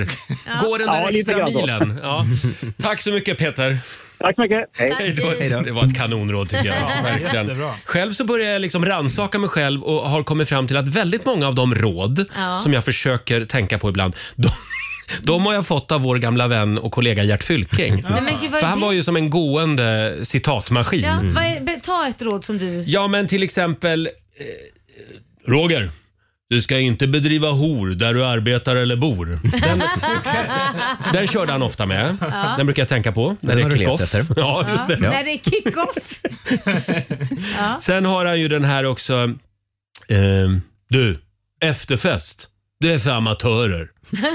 Speaker 1: Gå den där
Speaker 14: Ja, lite
Speaker 1: extra
Speaker 14: grann då.
Speaker 1: milen.
Speaker 14: <laughs>
Speaker 1: Ja. Tack så mycket Peter.
Speaker 14: Tack så mycket.
Speaker 1: Hej. då. Det var ett kanonråd tycker jag.
Speaker 4: Ja,
Speaker 1: verkligen.
Speaker 4: jättebra.
Speaker 1: Själv så börjar jag liksom rannsaka mig själv och har kommit fram till att väldigt många av de råd
Speaker 4: Ja.
Speaker 1: som jag försöker tänka på ibland, de, <laughs> de har jag fått av vår gamla vän och kollega Gert Fylking.
Speaker 2: Nej, men gud, vad är
Speaker 1: För han
Speaker 2: det?
Speaker 1: var ju som en gående citatmaskin. Mm.
Speaker 2: Ja, vad är, be- ta ett råd som du...
Speaker 1: Ja, men till exempel... Eh, Roger, du ska inte bedriva hor där du arbetar eller bor. Den, den körde han ofta med.
Speaker 2: Ja.
Speaker 1: Den brukar jag tänka på när
Speaker 3: Den
Speaker 1: det
Speaker 3: har
Speaker 1: är
Speaker 3: du
Speaker 1: kick-off.
Speaker 3: letat efter.
Speaker 1: Ja, just det.
Speaker 2: När det är kick-off. ja.
Speaker 1: Sen har han ju den här också. ehm, du, efterfest. Det är för amatörer.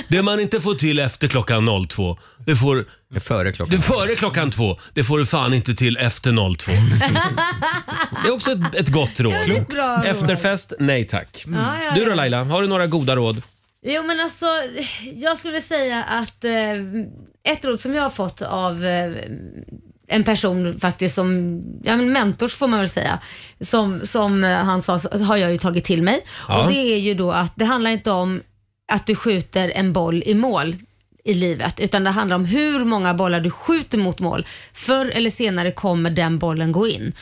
Speaker 1: Det man inte får till efter klockan 02, det får...
Speaker 3: Före klockan.
Speaker 1: Det före klockan två, det får du fan inte till efter
Speaker 2: <laughs>
Speaker 1: 02. Det är också ett, ett gott
Speaker 2: Ja,
Speaker 1: råd.
Speaker 2: det är ett bra råd.
Speaker 1: Efterfest, nej tack.
Speaker 2: Mm. Ja, ja,
Speaker 1: Du då
Speaker 2: ja.
Speaker 1: Laila, har du några goda råd?
Speaker 2: Jo men alltså, jag skulle säga att eh, ett råd som jag har fått av eh, en person faktiskt som, ja men mentors får man väl säga, som, som eh, han sa så har jag ju tagit till mig.
Speaker 15: Ja.
Speaker 2: Och det är ju då att det handlar inte om att du skjuter en boll i mål i livet, utan det handlar om hur många bollar du skjuter mot mål. Förr eller senare kommer den bollen gå in.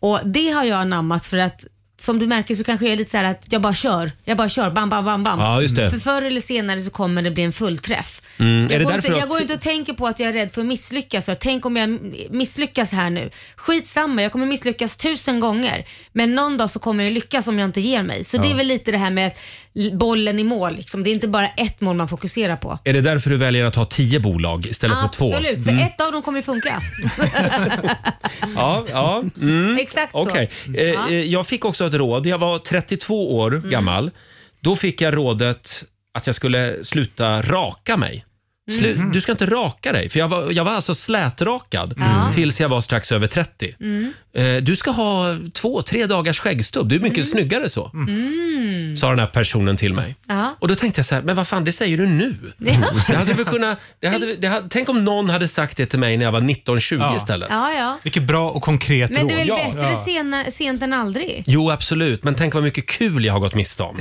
Speaker 2: Och det har jag anammat för att som du märker så kanske jag är lite så här att jag bara kör, jag bara kör, bam, bam, bam, bam.
Speaker 1: Ja, just det.
Speaker 2: För förr eller senare så kommer det bli en fullträff.
Speaker 1: Mm, är
Speaker 2: Jag,
Speaker 1: det
Speaker 2: går
Speaker 1: därför
Speaker 2: inte, jag
Speaker 1: att-
Speaker 2: går inte och tänker på att jag är rädd för att misslyckas. Jag tänk om jag misslyckas här nu. Skitsamma, jag kommer misslyckas tusen gånger. Men någon dag så kommer jag lyckas om jag inte ger mig. Så
Speaker 1: Ja.
Speaker 2: det är väl lite det här med att l- bollen i mål. Liksom. Det är inte bara ett mål man fokuserar på.
Speaker 1: Är det därför du väljer att ha tio bolag istället för två?
Speaker 2: Absolut, för
Speaker 1: Mm.
Speaker 2: ett av dem kommer ju funka.
Speaker 1: Ja, ja. Mm.
Speaker 2: Exakt så.
Speaker 1: Okej. Eh,
Speaker 2: Ja. Mm.
Speaker 1: eh, Jag fick också ett råd. Jag var 32 år gammal. Då fick jag rådet att jag skulle sluta raka mig. Slu-
Speaker 2: Mm.
Speaker 1: Du ska inte raka dig. För jag var, jag var alltså slätrakad
Speaker 2: Mm.
Speaker 1: tills jag var strax över 30.
Speaker 4: Mm.
Speaker 1: Eh, Du ska ha två, tre dagars skäggstubb. Du är mycket snyggare så.
Speaker 4: Mm.
Speaker 1: Sa den här personen till mig.
Speaker 2: Ja.
Speaker 1: Och då tänkte jag så här, men vad fan, det säger du nu? Det hade väl kunnat, det hade, det hade, tänk om någon hade sagt det till mig när jag var 19-20 istället.
Speaker 2: Ja, ja.
Speaker 1: Vilket bra och konkret
Speaker 2: Men det är väl bättre sena, sent än
Speaker 1: <laughs>
Speaker 2: aldrig?
Speaker 1: Jo, absolut. Men tänk vad mycket kul jag har gått miste om.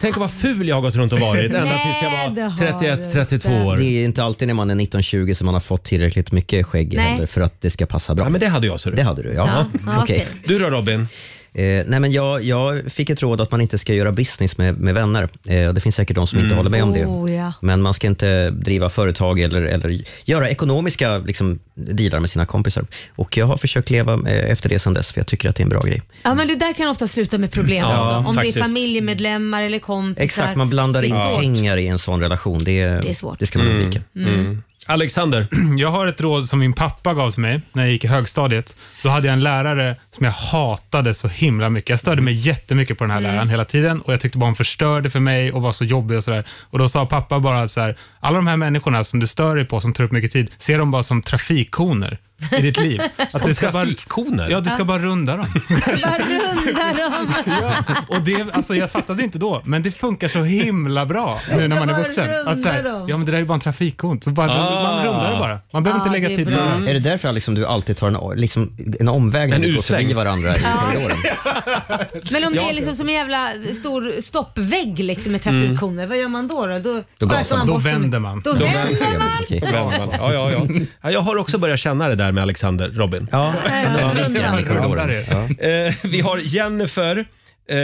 Speaker 1: tänk vad ful jag har gått runt och varit ända tills jag var...
Speaker 2: Nej, det har
Speaker 1: 31,
Speaker 2: du
Speaker 1: 32 år.
Speaker 3: Det är ju inte alltid när man är 19-20 som man har fått tillräckligt mycket skägg
Speaker 2: Nej.
Speaker 3: heller för att det ska passa bra. Ja,
Speaker 1: men det hade jag. Så
Speaker 3: det hade du, ja. Mm,
Speaker 2: Ja, ja, okej.
Speaker 1: Du då Robin?
Speaker 3: Eh, nej men jag, jag fick ett råd att man inte ska göra business med, med vänner. Eh, och det finns säkert de som
Speaker 1: Mm.
Speaker 3: inte håller med om det.
Speaker 2: Oh, ja.
Speaker 3: Men man ska inte driva företag eller, eller göra ekonomiska liksom, dealar med sina kompisar. Och Jag har försökt leva eh, efter det sedan dess, för jag tycker att det är en bra grej.
Speaker 2: Ja men det där kan ofta sluta med problem
Speaker 3: Ja,
Speaker 2: alltså. Om det
Speaker 3: faktiskt.
Speaker 2: är familjemedlemmar eller kompisar.
Speaker 3: Exakt, man blandar
Speaker 2: Det är
Speaker 3: in
Speaker 2: svårt.
Speaker 3: pengar i en sån relation. Det,
Speaker 2: Det är svårt.
Speaker 3: det ska man
Speaker 2: Mm.
Speaker 3: undvika.
Speaker 2: Mm.
Speaker 1: Alexander?
Speaker 8: <clears throat> Jag har ett råd som min pappa gav till mig när jag gick i högstadiet. Då hade jag en lärare som jag hatade så himla mycket. Jag störde mig jättemycket på den här
Speaker 13: Mm.
Speaker 8: läraren hela tiden och jag tyckte bara hon förstörde för mig och var så jobbig och sådär. Och då sa pappa bara så här, alla de här människorna som du stör dig på, som tar upp mycket tid, se dem bara som trafikkoner i ditt liv.
Speaker 1: <laughs> Som
Speaker 8: du ska bara-
Speaker 1: trafikkoner?
Speaker 8: Ja, du ska bara runda dem.
Speaker 2: Vad runda de
Speaker 1: <laughs>
Speaker 8: Och det, alltså jag fattade inte då, men det funkar så himla bra nu när man är vuxen. Att så här, ja men det där är ju bara en trafikkon, så bara,
Speaker 3: Ah.
Speaker 8: man rundar det bara. Man
Speaker 2: Ah,
Speaker 8: behöver inte lägga tid på det.
Speaker 3: Är det därför Alex, som du alltid tar en, liksom, en omväg när
Speaker 1: En
Speaker 3: vi går
Speaker 1: U-sväng.
Speaker 3: förbi varandra i
Speaker 2: Ja. <laughs>
Speaker 3: korridoren?
Speaker 2: Men om det
Speaker 3: Ja.
Speaker 2: är liksom som en jävla stor stoppvägg liksom med trafikkoner,
Speaker 1: Mm.
Speaker 2: vad gör man då? Då, då, sparkar man bort dem. Då, vänder man.
Speaker 1: Då vänder man. Ja, ja, ja. ja, jag har också börjat känna det där med Alexander, Robin.
Speaker 3: Ja,
Speaker 1: ja,
Speaker 3: korridoren.
Speaker 1: Eh, Vi har Jennifer eh,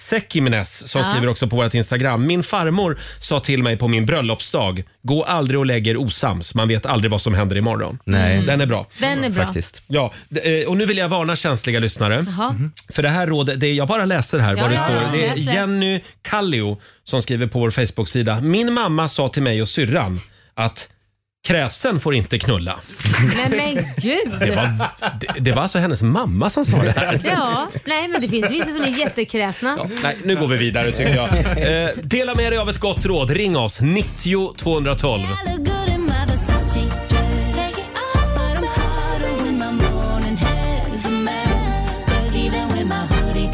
Speaker 1: Sekimnes som
Speaker 4: Ja.
Speaker 1: skriver också på vårt Instagram. Min farmor sa till mig på min bröllopsdag, gå aldrig och lägg er osams. Man vet aldrig vad som händer imorgon.
Speaker 3: Nej.
Speaker 1: Den är bra.
Speaker 2: Den är bra.
Speaker 3: Faktiskt.
Speaker 1: Ja, d- eh, och nu vill jag varna känsliga lyssnare.
Speaker 2: Jaha.
Speaker 13: Mhm.
Speaker 1: För det här rådet, det är, jag bara läser här
Speaker 2: Ja,
Speaker 1: vad det
Speaker 2: ja,
Speaker 1: står.
Speaker 2: ja,
Speaker 1: det är
Speaker 2: läs, läs.
Speaker 1: Jenny Kallio som skriver på vår Facebook-sida. Min mamma sa till mig och syrran att kräsen får inte knulla.
Speaker 2: Nej men gud.
Speaker 1: Det var, det, det var alltså hennes mamma som sa det här.
Speaker 2: Ja, nej men det finns vissa som är jättekräsna.
Speaker 1: Nej, nu går vi vidare tycker jag. Eh, dela med dig av ett gott råd. Ring oss, 90 212.
Speaker 4: Even with my hoodie on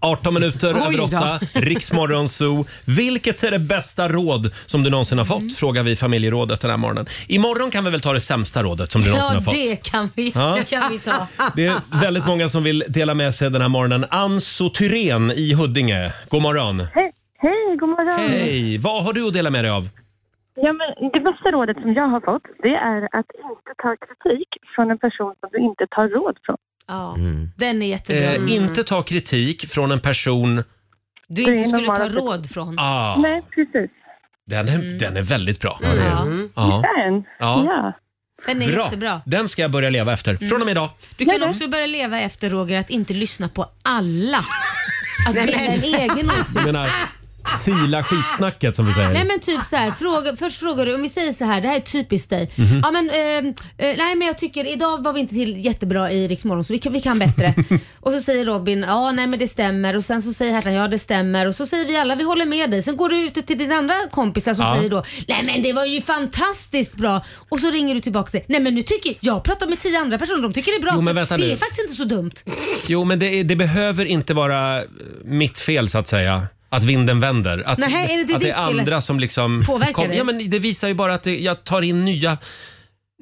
Speaker 4: "Oh,
Speaker 1: 18 minuter
Speaker 4: Oj
Speaker 1: över
Speaker 4: då.
Speaker 1: 8, Riksmorgon Zoo. Vilket är det bästa råd som du någonsin har fått?
Speaker 2: Mm.
Speaker 1: Frågar vi familjerådet den här morgonen. Imorgon kan vi väl ta det sämsta rådet som du någonsin
Speaker 2: Ja,
Speaker 1: har fått.
Speaker 2: det kan vi,
Speaker 1: Ja.
Speaker 2: kan vi ta.
Speaker 1: Det är väldigt många som vill dela med sig den här morgonen. Anso Tyrén i Huddinge. God morgon.
Speaker 15: Hej, hej, god morgon.
Speaker 1: Hej! Vad har du att dela med dig av?
Speaker 15: Ja, men det bästa rådet som jag har fått det är att inte ta kritik från en person som du inte tar råd från.
Speaker 2: Ja,
Speaker 1: Mm.
Speaker 2: den är jättebra.
Speaker 1: Eh, inte ta kritik från en person...
Speaker 2: Du
Speaker 15: Det
Speaker 2: inte
Speaker 15: är
Speaker 2: skulle ta
Speaker 15: normala-
Speaker 2: råd från.
Speaker 1: Ah,
Speaker 15: Nej, precis.
Speaker 1: den, är, den är väldigt bra.
Speaker 2: Mm. Ja.
Speaker 1: Mm.
Speaker 2: Mm.
Speaker 1: Ja.
Speaker 15: Den.
Speaker 1: Ja.
Speaker 2: Den är
Speaker 1: Bra.
Speaker 2: jättebra. Mm.
Speaker 1: Den ska jag börja leva efter. Från och med idag.
Speaker 2: Du kan också börja leva efter Roger att inte lyssna på alla. Att
Speaker 4: Nej,
Speaker 2: bilda
Speaker 4: men-
Speaker 2: en egen åsikt.
Speaker 1: Jag menar, sila skitsnacket som vi säger.
Speaker 2: Nej men typ så här, fråga, först frågar du, om vi säger så här, det här är typiskt dig.
Speaker 1: Mhm.
Speaker 2: Ja men, ehm, eh, nej men jag tycker idag var vi inte till jättebra i Rix Morgon, så vi kan, vi kan
Speaker 1: <laughs>
Speaker 2: bättre. och så säger Robin, ja nej men det stämmer och sen så säger Hertan, ja det stämmer och så säger vi alla, vi håller med dig. Sen går du ut till dina andra kompisar som
Speaker 4: Ja.
Speaker 2: säger då, nej men det var ju fantastiskt bra. Och så ringer du tillbaka och säger, nej men nu tycker jag, jag pratar med tio andra personer, de tycker det är bra.
Speaker 1: Jo,
Speaker 2: så
Speaker 1: men vänta
Speaker 2: det
Speaker 1: nu.
Speaker 2: är faktiskt inte så dumt.
Speaker 1: Jo, men det, är- det behöver inte vara eh, mitt fel så att säga. Att vinden vänder. Att,
Speaker 2: Nähä, är det
Speaker 1: att det är
Speaker 2: ditt fel?
Speaker 1: andra som liksom...
Speaker 2: Påverkar dig?
Speaker 1: ja, men det visar ju bara att det, jag tar in nya,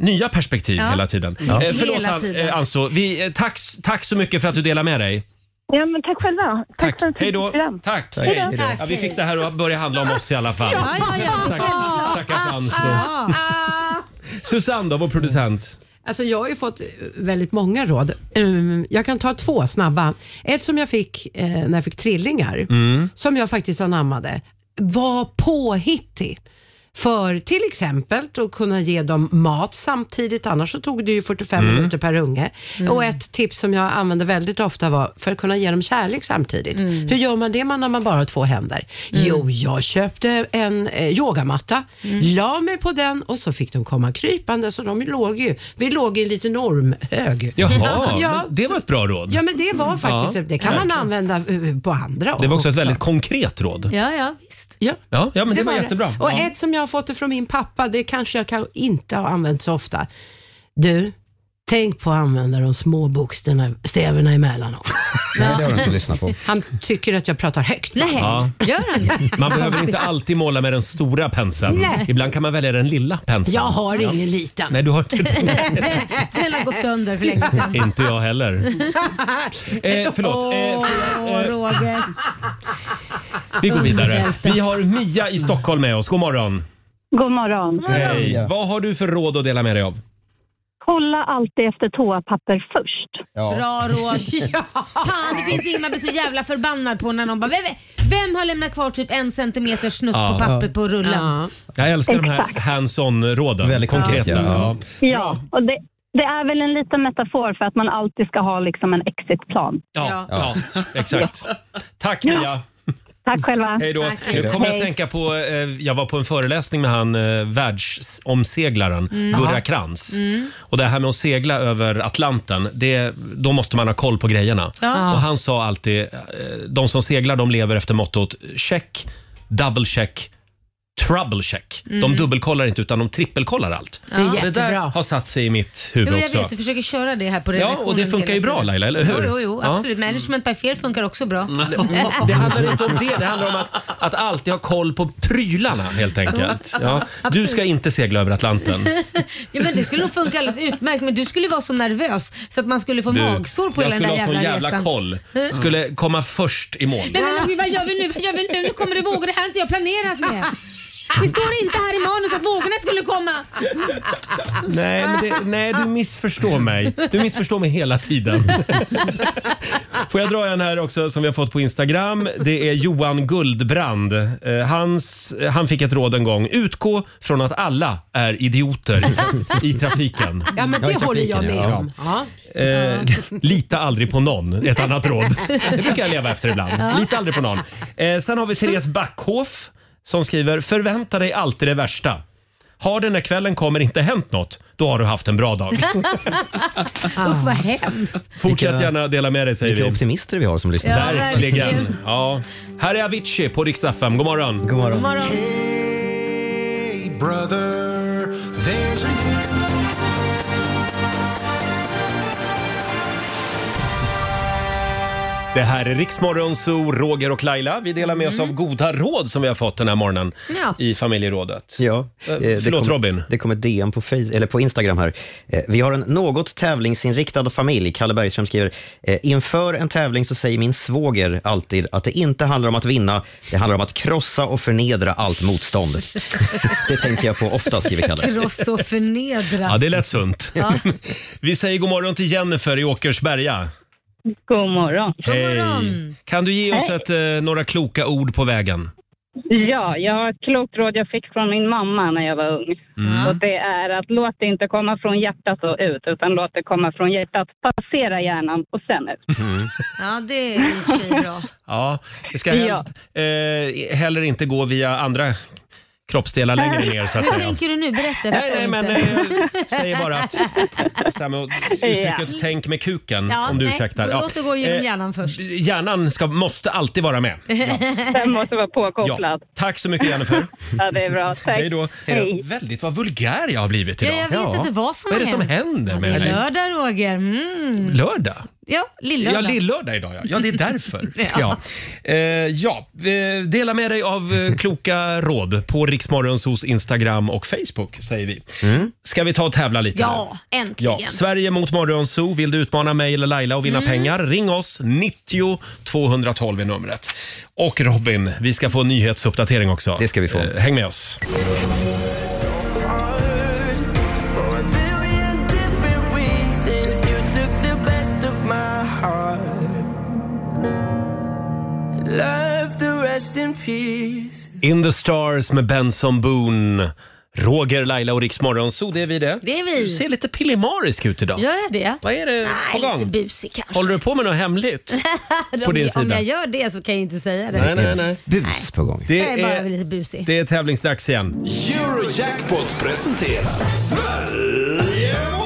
Speaker 1: nya perspektiv
Speaker 15: Ja.
Speaker 1: hela tiden.
Speaker 15: Ja.
Speaker 1: Eh, förlåt
Speaker 15: Hela
Speaker 1: An-
Speaker 15: tiden.
Speaker 1: Eh, Anso, vi, eh, tack, tack så mycket för att du delar med dig.
Speaker 15: Ja, men tack själva. Tack, för ett
Speaker 1: Hej då.
Speaker 15: fint program.
Speaker 1: Tack.
Speaker 15: Hej då.
Speaker 1: Ja, vi fick det här att börja handla om oss i alla fall.
Speaker 4: Ja, ja, ja.
Speaker 1: Tack, stackars Anso. Susanne då, vår producent.
Speaker 6: Alltså jag har ju fått eh, väldigt många råd. Ehm, Jag kan ta två snabba. Ett som jag fick eh, när jag fick trillingar,
Speaker 4: Mm.
Speaker 6: som jag faktiskt anammade. Var påhittig. För till exempel att kunna ge dem mat samtidigt, annars så tog det ju 45
Speaker 4: Mm.
Speaker 6: minuter per unge.
Speaker 4: Mm.
Speaker 6: Och ett tips som jag använde väldigt ofta var för att kunna ge dem kärlek samtidigt.
Speaker 4: Mm.
Speaker 6: Hur gör man det man- när man bara har två händer?
Speaker 1: Mm.
Speaker 6: Jo, jag köpte en eh, yogamatta,
Speaker 1: Mm.
Speaker 6: la mig på den och så fick de komma krypande så de låg ju, vi låg i en liten ormhög.
Speaker 1: Jaha,
Speaker 6: <laughs> ja,
Speaker 1: men det var ett bra råd.
Speaker 6: ja, men det var faktiskt,
Speaker 1: Ja,
Speaker 6: det kan man
Speaker 1: verkligen.
Speaker 6: använda eh, på andra
Speaker 1: Det var också ett väldigt konkret råd.
Speaker 2: Ja, ja, visst.
Speaker 6: Ja.
Speaker 1: Ja, ja men det, var, jättebra.
Speaker 6: Och
Speaker 1: ja.
Speaker 6: ett som jag har fått det från min pappa, det kanske jag kan, inte har använt så ofta. Du, tänk på att använda de små bokstäverna emellanåt.
Speaker 3: Nej, det har du inte lyssnat på.
Speaker 6: Han tycker att jag pratar högt. Nej,
Speaker 1: Ja.
Speaker 2: gör han
Speaker 6: <laughs>
Speaker 2: det?
Speaker 1: Man behöver inte alltid måla med den stora penseln.
Speaker 6: Nej.
Speaker 1: Ibland kan man välja den lilla penseln.
Speaker 6: Jag har
Speaker 1: Ja.
Speaker 6: ingen liten.
Speaker 2: <laughs>
Speaker 1: Nej, du har inte
Speaker 2: Den har gått sönder för länge sedan.
Speaker 1: <laughs> Inte jag heller. Eh, förlåt. Eh,
Speaker 2: Åh, Roger.
Speaker 1: vi går vidare. Vi har Mia i Stockholm med oss. God morgon.
Speaker 16: God morgon.
Speaker 1: Hej. Vad har du för råd att dela med dig av?
Speaker 16: Kolla alltid efter toapapper först.
Speaker 2: Bra råd.
Speaker 1: <laughs>
Speaker 2: Fan, det finns inget man blir så jävla förbannad på när någon bara "Vem- Vem har lämnat kvar typ en centimeter snutt
Speaker 1: Ja.
Speaker 2: på pappret på rullen?
Speaker 1: Jag älskar de här
Speaker 16: Exakt.
Speaker 1: hands-on-råden. Väldigt konkreta.
Speaker 16: Ja.
Speaker 1: Ja.
Speaker 16: Ja, och det, det är väl en liten metafor för att man alltid ska ha liksom en exitplan.
Speaker 1: Ja. Ja. exakt. Tack Mia.
Speaker 16: Tack själva.
Speaker 1: Hej då. Nu kommer jag att tänka på, eh, jag var på en föreläsning med han eh, världsomseglaren
Speaker 4: Mm.
Speaker 1: Gurra
Speaker 4: Aha.
Speaker 1: Krantz.
Speaker 4: Mm.
Speaker 1: Och det här med att segla över Atlanten, det, då måste man ha koll på grejerna.
Speaker 4: Ja.
Speaker 1: Och han sa alltid, eh, de som seglar de lever efter mottot check, double check, trouble check.
Speaker 2: Mm.
Speaker 1: De dubbelkollar inte utan de trippelkollar allt.
Speaker 2: Det är
Speaker 1: Och det där
Speaker 2: jättebra.
Speaker 1: har satt sig i mitt
Speaker 2: Jo,
Speaker 1: huvud
Speaker 2: jag
Speaker 1: också.
Speaker 2: vet, du försöker köra det här på
Speaker 1: Ja,
Speaker 2: redaktionen.
Speaker 1: och det funkar ju
Speaker 2: hela
Speaker 1: bra,
Speaker 2: tiden.
Speaker 1: Laila, eller hur?
Speaker 2: Jo, jo, jo
Speaker 1: Ja.
Speaker 2: absolut. Management by fel funkar också bra.
Speaker 1: <laughs> <laughs> Det handlar inte om det, det handlar om att, att alltid ha koll på prylarna helt enkelt. Ja. Du
Speaker 2: Absolut.
Speaker 1: ska inte segla över Atlanten.
Speaker 2: <laughs> ja, men det skulle nog funka alldeles utmärkt, men du skulle vara så nervös så att man skulle få
Speaker 1: Du,
Speaker 2: magsår på
Speaker 1: jag
Speaker 2: hela den där
Speaker 1: skulle ha sån
Speaker 2: jävla,
Speaker 1: jävla
Speaker 2: resan.
Speaker 1: koll.
Speaker 2: <laughs>
Speaker 1: Skulle komma först i mål.
Speaker 2: Nej, men Roger, vad gör vi nu? Vad gör vi nu? Nu kommer det vågor. Det här har inte jag planerat med. Det står inte här i manus att vågorna skulle komma.
Speaker 1: Nej, men det, nej, du missförstår mig. Du missförstår mig
Speaker 6: <laughs>
Speaker 1: hela tiden. Får jag dra en här också som vi har fått på Instagram. Det är Johan Guldbrand. Eh, Hans, eh, han fick ett råd en gång. Utgå från att alla är idioter i tra- i trafiken.
Speaker 6: Ja, men det håller jag med om.
Speaker 4: <laughs>
Speaker 6: Ja.
Speaker 1: Eh, <laughs> lita aldrig på någon, ett annat råd. Det brukar jag leva efter ibland.
Speaker 6: Ja.
Speaker 1: Lita aldrig på någon. Eh, sen har vi Therese Backhoff som skriver “Förvänta dig alltid det värsta. Har den här kvällen kommer inte hänt något, då har du haft en bra dag.”
Speaker 2: Usch vad hemskt.
Speaker 1: <laughs> Fortsätt gärna dela med dig säger
Speaker 3: Vilka
Speaker 1: vi.
Speaker 3: optimister vi har som lyssnar.
Speaker 2: Ja,
Speaker 1: Verkligen.
Speaker 2: verkligen.
Speaker 1: Ja. Här är Avicii på Rix FM. God morgon. God
Speaker 2: God morgon.
Speaker 1: Det här är Riksmorgon Zoo, Roger och Laila. Vi delar med oss av goda råd som vi har fått den här morgonen
Speaker 2: Ja.
Speaker 1: i familjerådet.
Speaker 3: Ja.
Speaker 1: Eh,
Speaker 3: eh, det
Speaker 1: Förlåt
Speaker 3: kom,
Speaker 1: Robin.
Speaker 3: Det kommer DM på, face, eller på Instagram här. Eh, Vi har en något tävlingsinriktad familj. Kalle Bergström skriver, eh, inför en tävling så säger min svåger alltid att det inte handlar om att vinna, det handlar om att krossa och förnedra allt motstånd. <laughs> det tänker jag på ofta, skriver Kalle.
Speaker 2: Kross och förnedra.
Speaker 1: Ja, det lät sunt.
Speaker 2: Ja.
Speaker 1: <laughs> Vi säger god morgon till Jennifer i Åkersberga.
Speaker 17: God morgon.
Speaker 1: Hej! Kan du ge oss
Speaker 17: Hej.
Speaker 1: ett, eh, några kloka ord på vägen?
Speaker 17: Ja, jag har ett klokt råd jag fick från min mamma när jag var ung.
Speaker 1: Mm.
Speaker 17: Och det är att låt det inte komma från hjärtat och ut, utan låt det komma från hjärtat, passera hjärnan och sen ut.
Speaker 2: Ja, det är i och för sig bra.
Speaker 1: <laughs> Ja, det ska helst eh, heller inte gå via andra kroppsdelar längre ner så att
Speaker 2: Hur <laughs>
Speaker 1: säga.
Speaker 2: tänker du nu? Berätta. Nej, nej,
Speaker 1: men säg bara att... Stämmer och uttrycket
Speaker 2: Ja.
Speaker 1: tänk med kuken
Speaker 2: Ja,
Speaker 1: om du
Speaker 2: nej,
Speaker 1: ursäktar.
Speaker 2: Låt det gå genom
Speaker 1: Eh,
Speaker 2: hjärnan först.
Speaker 1: Hjärnan ska, måste alltid vara med.
Speaker 2: <laughs>
Speaker 17: Den måste vara påkopplad.
Speaker 1: Tack så mycket Jennifer.
Speaker 17: Ja, det är bra. Tack.
Speaker 1: Hej då.
Speaker 17: Hej.
Speaker 1: Väldigt vad vulgär jag har blivit
Speaker 2: Ja,
Speaker 1: idag.
Speaker 2: jag vet inte vad som
Speaker 1: Vad är
Speaker 2: har
Speaker 1: det som
Speaker 2: hänt.
Speaker 1: händer
Speaker 2: Det
Speaker 1: med
Speaker 2: är
Speaker 1: dig?
Speaker 2: lördag Roger. Mm.
Speaker 1: Lördag?
Speaker 2: Ja,
Speaker 1: Ja,
Speaker 2: lillördag.
Speaker 1: lillördag idag ja. Ja, det är därför.
Speaker 2: <laughs> Ja.
Speaker 1: ja. Eh, ja. eh, Dela med dig av eh, kloka råd på Riksmorgonsos Instagram och Facebook säger vi. Ska vi ta och tävla lite
Speaker 2: ja,
Speaker 1: nu?
Speaker 2: äntligen.
Speaker 1: Ja, Sverige mot Morgonzoo. Vill du utmana mig eller Laila och vinna
Speaker 2: Mm.
Speaker 1: pengar? Ring oss, 90 212 är numret. Och Robin, vi ska få en nyhetsuppdatering också. Det ska vi få. Häng med oss. In the stars med Benson Boone. Roger, Laila och Riks Morgonzoo, det är vi det.
Speaker 2: Det är vi.
Speaker 1: Du ser lite pillemarisk ut idag.
Speaker 2: Gör jag det?
Speaker 1: Vad är det
Speaker 2: Nej,
Speaker 1: på gång?
Speaker 2: lite busig kanske.
Speaker 1: Håller du på med något hemligt?
Speaker 2: <laughs>
Speaker 1: på din
Speaker 2: om, om
Speaker 1: sida?
Speaker 2: jag gör det så kan jag inte säga det.
Speaker 1: Nej, nej, nej.
Speaker 3: Bus på gång.
Speaker 1: Det
Speaker 2: jag är bara
Speaker 1: är-
Speaker 2: lite busig.
Speaker 1: Det är tävlingsdags igen.
Speaker 10: Eurojackpot presenterar Sverige mot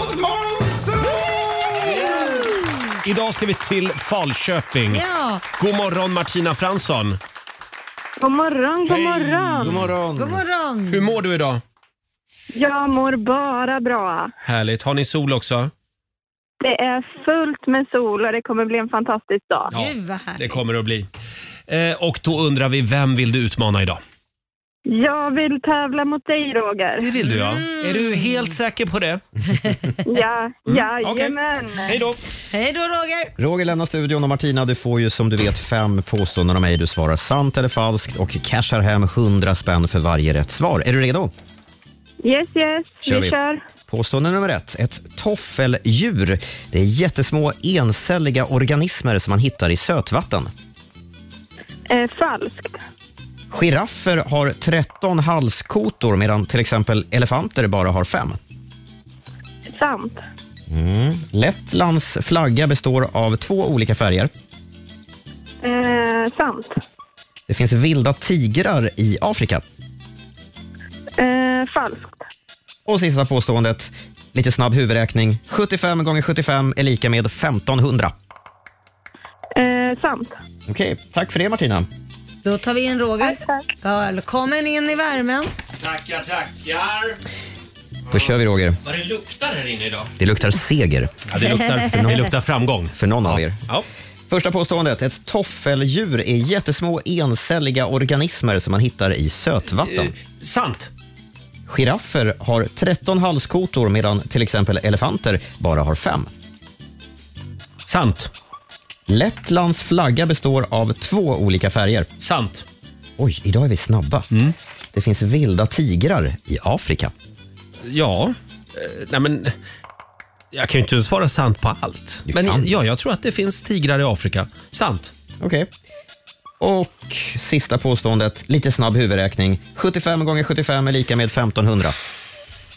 Speaker 1: Idag ska vi till Falköping.
Speaker 2: Ja.
Speaker 1: God morgon Martina Fransson.
Speaker 17: God morgon, god morgon.
Speaker 1: God morgon. God
Speaker 2: morgon.
Speaker 1: Hur mår du idag?
Speaker 17: Jag mår bara bra.
Speaker 1: Härligt. Har ni sol också?
Speaker 17: Det är fullt med sol och det kommer bli en fantastisk dag.
Speaker 1: Ja. Gud, Det kommer att bli. Eh, och då undrar vi, vem vill du utmana idag?
Speaker 17: Jag vill tävla mot dig, Roger.
Speaker 1: Det vill du ja.
Speaker 2: Mm.
Speaker 1: Är
Speaker 5: <laughs>
Speaker 1: du helt säker på det?
Speaker 17: Ja,
Speaker 1: jajamän. Hej då.
Speaker 2: Hej då Roger.
Speaker 3: Roger lämnar studion och Martina, du får ju som du vet fem påståenden av mig. Du svarar sant eller falskt och cashar hem 100 spänn för varje rätt svar. Är du redo?
Speaker 17: Yes, yes.
Speaker 3: Kör
Speaker 17: vi
Speaker 3: vi.
Speaker 17: kör.
Speaker 3: Påstående nummer ett. Ett toffeldjur. Det är jättesmå encelliga organismer som man hittar i sötvatten.
Speaker 17: Eh, falskt.
Speaker 3: Giraffer har 13 halskotor medan till exempel elefanter bara har fem.
Speaker 17: Sant.
Speaker 3: Mm. Lettlands flagga består av två olika färger.
Speaker 17: Eh, sant.
Speaker 3: Det finns vilda tigrar i Afrika.
Speaker 17: Eh, falskt.
Speaker 3: Och sista påståendet. Lite snabb huvudräkning. 75 gånger 75 är lika med 1500.
Speaker 17: Eh, sant.
Speaker 3: Okej, tack för det Martina.
Speaker 2: Då tar vi in Roger. Välkommen in i värmen.
Speaker 1: Tackar, tackar.
Speaker 3: Då kör vi Roger.
Speaker 1: Vad det luktar här inne idag.
Speaker 3: Det luktar seger.
Speaker 1: Ja, det luktar- det luktar framgång.
Speaker 3: För någon av er.
Speaker 1: Ja.
Speaker 3: Första påståendet. Ett toffeldjur är jättesmå encelliga organismer som man hittar i sötvatten.
Speaker 1: Eh, sant.
Speaker 3: Giraffer har 13 halskotor medan till exempel elefanter bara har fem.
Speaker 1: Sant.
Speaker 3: Lettlands flagga består av två olika färger.
Speaker 1: Sant. Mm.
Speaker 3: Oj, idag är vi snabba. Det finns vilda tigrar i Afrika.
Speaker 1: Ja. Eh, nej men... Jag kan ju inte svara sant på allt. Men ja, jag tror att det finns tigrar i Afrika. Sant.
Speaker 3: Okej. Och sista påståendet, lite snabb huvudräkning. 75 gånger 75 är lika med 1500.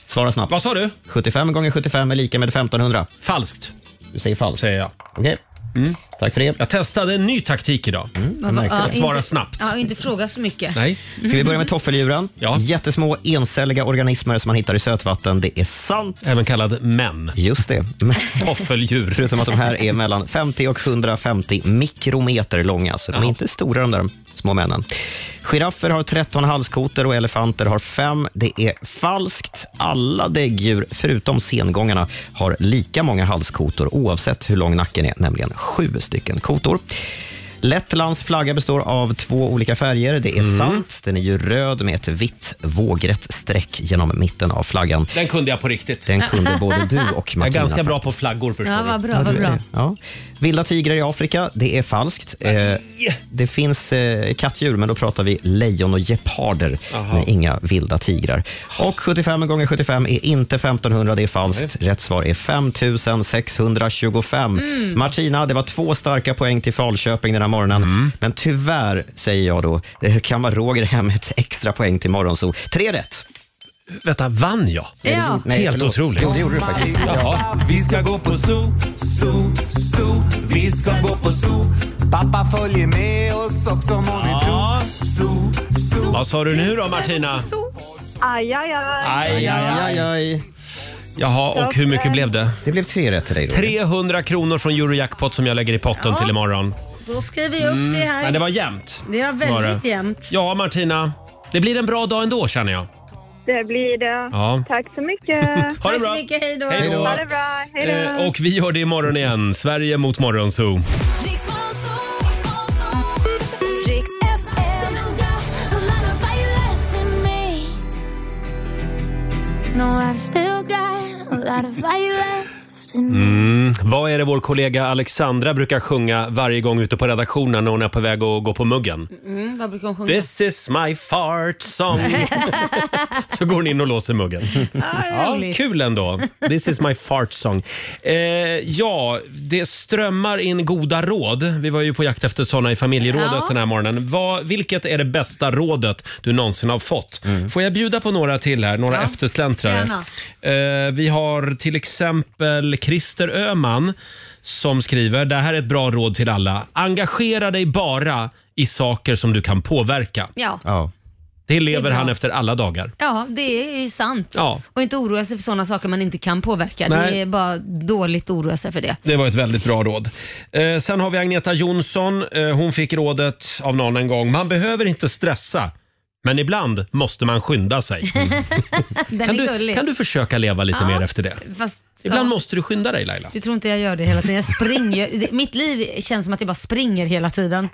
Speaker 3: Svara snabbt.
Speaker 1: Vad sa du?
Speaker 3: 75 gånger 75 är lika med 1500.
Speaker 1: Falskt.
Speaker 3: Du säger falskt.
Speaker 1: Säger jag. Mm.
Speaker 3: Okej. Tack för det. Mm,
Speaker 1: Jag testade en ny taktik idag.
Speaker 2: Ja, va- ja,
Speaker 1: Att svara
Speaker 2: inte-
Speaker 1: snabbt.
Speaker 2: Ja, inte fråga så mycket.
Speaker 1: Nej.
Speaker 3: Ska vi börja med toffeldjuren? Ja. Jättesmå encelliga organismer som man hittar i sötvatten. Det är sant.
Speaker 1: Även kallad män.
Speaker 3: Just det. Mm.
Speaker 1: Toffeldjur.
Speaker 3: Förutom att de här är mellan 50 och 150 mikrometer långa, så de är inte stora de där små männen. Giraffer har 13 halskotor och elefanter har 5. Det är falskt. Alla däggdjur, förutom sengångarna, har lika många halskotor oavsett hur lång nacken är, nämligen 7 stycken kotor. Lettlands flagga består av två olika färger. Det är
Speaker 1: Mm.
Speaker 3: sant. Den är ju röd med ett vitt vågrätt streck genom mitten av flaggan.
Speaker 1: Den kunde jag på riktigt.
Speaker 3: Den kunde både du och Martina.
Speaker 1: <laughs> Jag är ganska bra
Speaker 3: faktiskt.
Speaker 1: på flaggor förstår
Speaker 2: Ja,
Speaker 1: du.
Speaker 2: vad bra, vad
Speaker 3: du är
Speaker 2: bra.
Speaker 3: det. Ja. Vilda tigrar i Afrika, det är falskt. Eh, det finns eh, kattdjur, men då pratar vi lejon och geparder,
Speaker 1: Aha.
Speaker 3: men inga vilda tigrar. Och 75 gånger 75 är inte 1500, det är falskt. Rätt svar är 5625.
Speaker 4: Mm.
Speaker 3: Martina, det var två starka poäng till Falköping den här morgonen,
Speaker 1: Mm.
Speaker 3: men tyvärr, säger jag då, eh, kammar Roger hem ett extra poäng till Morgonzoo. Tre rätt.
Speaker 1: Vänta, vann jag?
Speaker 4: Ja. Helt
Speaker 1: otroligt.
Speaker 3: Jo, det gjorde du faktiskt. Ja.
Speaker 10: Vi ska gå på zoo, zoo, zoo. Vi ska gå på zoo. Pappa följer med oss också må ni tro. Zoo, zoo.
Speaker 1: Vad sa du nu då Martina?
Speaker 11: Aj, aj, aj.
Speaker 1: Aj, aj, aj, aj. Jaha, och hur mycket blev det?
Speaker 3: Det blev tre rätt till dig.
Speaker 1: 300 kronor från Eurojackpot som jag lägger i potten
Speaker 2: Ja.
Speaker 1: till imorgon.
Speaker 2: Då skriver jag upp
Speaker 1: Mm,
Speaker 2: det här.
Speaker 1: Men det var jämnt.
Speaker 2: Det var
Speaker 1: Var
Speaker 2: väldigt
Speaker 1: det?
Speaker 2: jämnt.
Speaker 1: Ja, Martina. Det blir en bra dag ändå känner jag.
Speaker 11: Det blir det.
Speaker 1: Ja.
Speaker 11: Tack så mycket.
Speaker 1: <laughs> Ha det
Speaker 2: Tack
Speaker 1: bra.
Speaker 2: så mycket, hej då.
Speaker 1: Hej då.
Speaker 11: Ha det bra. Hej då.
Speaker 1: Eh, och vi gör det imorgon igen. Sverige mot Morgonzoo. Mm. Vad är det vår kollega Alexandra brukar sjunga varje gång ute på redaktionen när hon är på väg att gå på muggen?
Speaker 2: Mm, vad brukar hon sjunga?
Speaker 1: This is my fart song.
Speaker 2: <laughs>
Speaker 1: <laughs> Så går hon in och låser muggen. Ja,
Speaker 2: roligt.
Speaker 1: kul ändå. This is my fart song. Eh, ja, det strömmar in goda råd. Vi var ju på jakt efter såna i familjerådet
Speaker 2: Ja.
Speaker 1: den här morgonen. Vad, vilket är det bästa rådet du någonsin har fått? Får jag bjuda på några till här? Några eftersläntrare. Eh, vi har till exempel Christer Öman som skriver, det här är ett bra råd till alla. Engagera dig bara i saker som du kan påverka.
Speaker 2: Ja.
Speaker 1: Det
Speaker 2: Det
Speaker 1: lever
Speaker 2: är bra.
Speaker 1: han efter alla dagar.
Speaker 2: Ja, det är ju sant.
Speaker 1: Ja.
Speaker 2: Och inte oroa sig för sådana saker man inte kan påverka.
Speaker 1: Nej.
Speaker 2: Det är bara dåligt att oroa sig för
Speaker 1: <laughs>
Speaker 2: det.
Speaker 1: Det var ett väldigt bra råd. Eh, sen har vi Agneta Jonsson. Eh, hon fick rådet av någon en gång. Man behöver inte stressa, men ibland måste man
Speaker 2: <laughs>
Speaker 1: skynda sig.
Speaker 2: Den
Speaker 1: Kan
Speaker 2: är
Speaker 1: du,
Speaker 2: gullig.
Speaker 1: kan du försöka leva lite
Speaker 2: Ja.
Speaker 1: mer efter det?
Speaker 2: Fast,
Speaker 1: Ibland
Speaker 2: ja.
Speaker 1: måste du skynda dig Laila.
Speaker 2: Du tror inte jag gör det hela tiden. Jag springer. Det- Mitt liv känns som att jag bara springer hela tiden.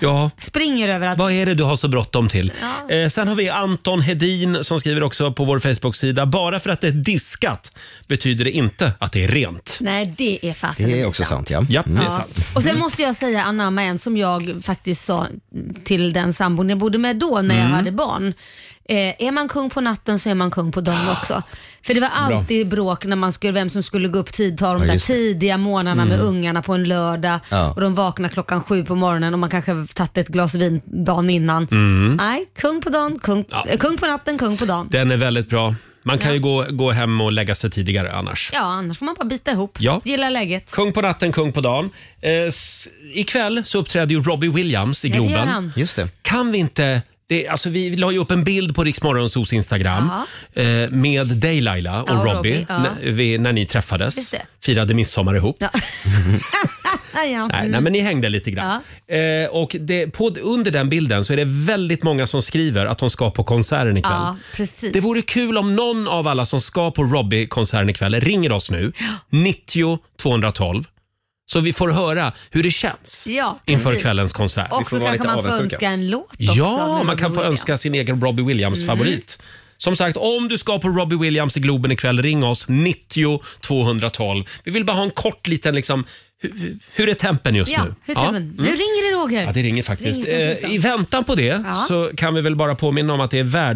Speaker 1: Ja.
Speaker 2: Springer överallt.
Speaker 1: Vad är det du har så bråttom till?
Speaker 2: Ja.
Speaker 1: Eh, sen har vi Anton Hedin som skriver också på vår Facebook-sida. Bara för att det är diskat betyder det inte att det är rent.
Speaker 2: Nej, det är fasen inte
Speaker 1: ja. Ja, det är
Speaker 2: Mm. Ja.
Speaker 1: sant.
Speaker 2: Och sen måste jag säga anamma en som jag faktiskt sa till den sambon jag bodde med då när
Speaker 1: Mm.
Speaker 2: jag hade barn. Eh, är man kung på natten så är man kung på dagen också. För det var alltid bråk när man skulle, vem som skulle gå upp tid, ta de
Speaker 1: Ja,
Speaker 2: där
Speaker 1: just det.
Speaker 2: tidiga morgnarna med
Speaker 1: Mm.
Speaker 2: ungarna på en lördag
Speaker 1: Ja.
Speaker 2: och de vaknar klockan sju på morgonen och man kanske har tagit ett glas vin dagen innan.
Speaker 1: Mm.
Speaker 2: Nej, kung på dagen, kung, eh, kung på natten, kung på dagen.
Speaker 1: Den är väldigt bra. Man kan
Speaker 2: Ja.
Speaker 1: ju gå, gå hem och lägga sig tidigare annars.
Speaker 2: Ja, annars får man bara bita ihop.
Speaker 1: Ja.
Speaker 2: Gilla läget. <laughs>
Speaker 1: Kung på natten, kung på dagen. Eh, s- ikväll så uppträder ju Robbie Williams i
Speaker 2: Ja, det gör
Speaker 1: Globen.
Speaker 2: han.
Speaker 3: Just det.
Speaker 1: Kan vi inte... Det, alltså vi la ju upp en bild på Riksmorgonsos Instagram eh, med dig Laila och
Speaker 2: Ja, och
Speaker 1: Robbie,
Speaker 2: Robbie, ja.
Speaker 1: när, vi, när ni
Speaker 2: Just
Speaker 1: träffades.
Speaker 2: det.
Speaker 1: Firade midsommar ihop.
Speaker 2: Ah, ja.
Speaker 1: <laughs> Nej, nej, men ni hängde lite grann. Eh, och det, på, under den bilden så är det väldigt många som skriver att de ska på konserten ikväll.
Speaker 2: Ja, precis.
Speaker 1: Det vore kul om någon av alla som ska på Robbie-konserten ikväll ringer oss nu. 90 212. Så vi får höra hur det känns
Speaker 2: Ja,
Speaker 1: inför
Speaker 2: precis.
Speaker 1: källens konsert.
Speaker 2: Och så kanske man får önska en låt också.
Speaker 1: Ja,
Speaker 2: med
Speaker 1: man kan
Speaker 2: Robbie
Speaker 1: få
Speaker 2: Williams.
Speaker 1: önska sin egen Robbie
Speaker 2: Mm.
Speaker 1: Williams-favorit. Som sagt, om du ska på Robbie Williams i Globen ikväll, ring oss 90 212. Vi vill bara ha en kort liten liksom, hur, hur är tempen just
Speaker 2: ja,
Speaker 1: nu?
Speaker 2: Hur ja. Mm. Nu
Speaker 1: mm.
Speaker 2: ringer det Roger.
Speaker 1: Ja, det ringer faktiskt.
Speaker 2: Ringer som
Speaker 1: eh,
Speaker 2: tusan.
Speaker 1: I väntan på det
Speaker 2: Ja.
Speaker 1: så kan vi väl bara påminna om att det är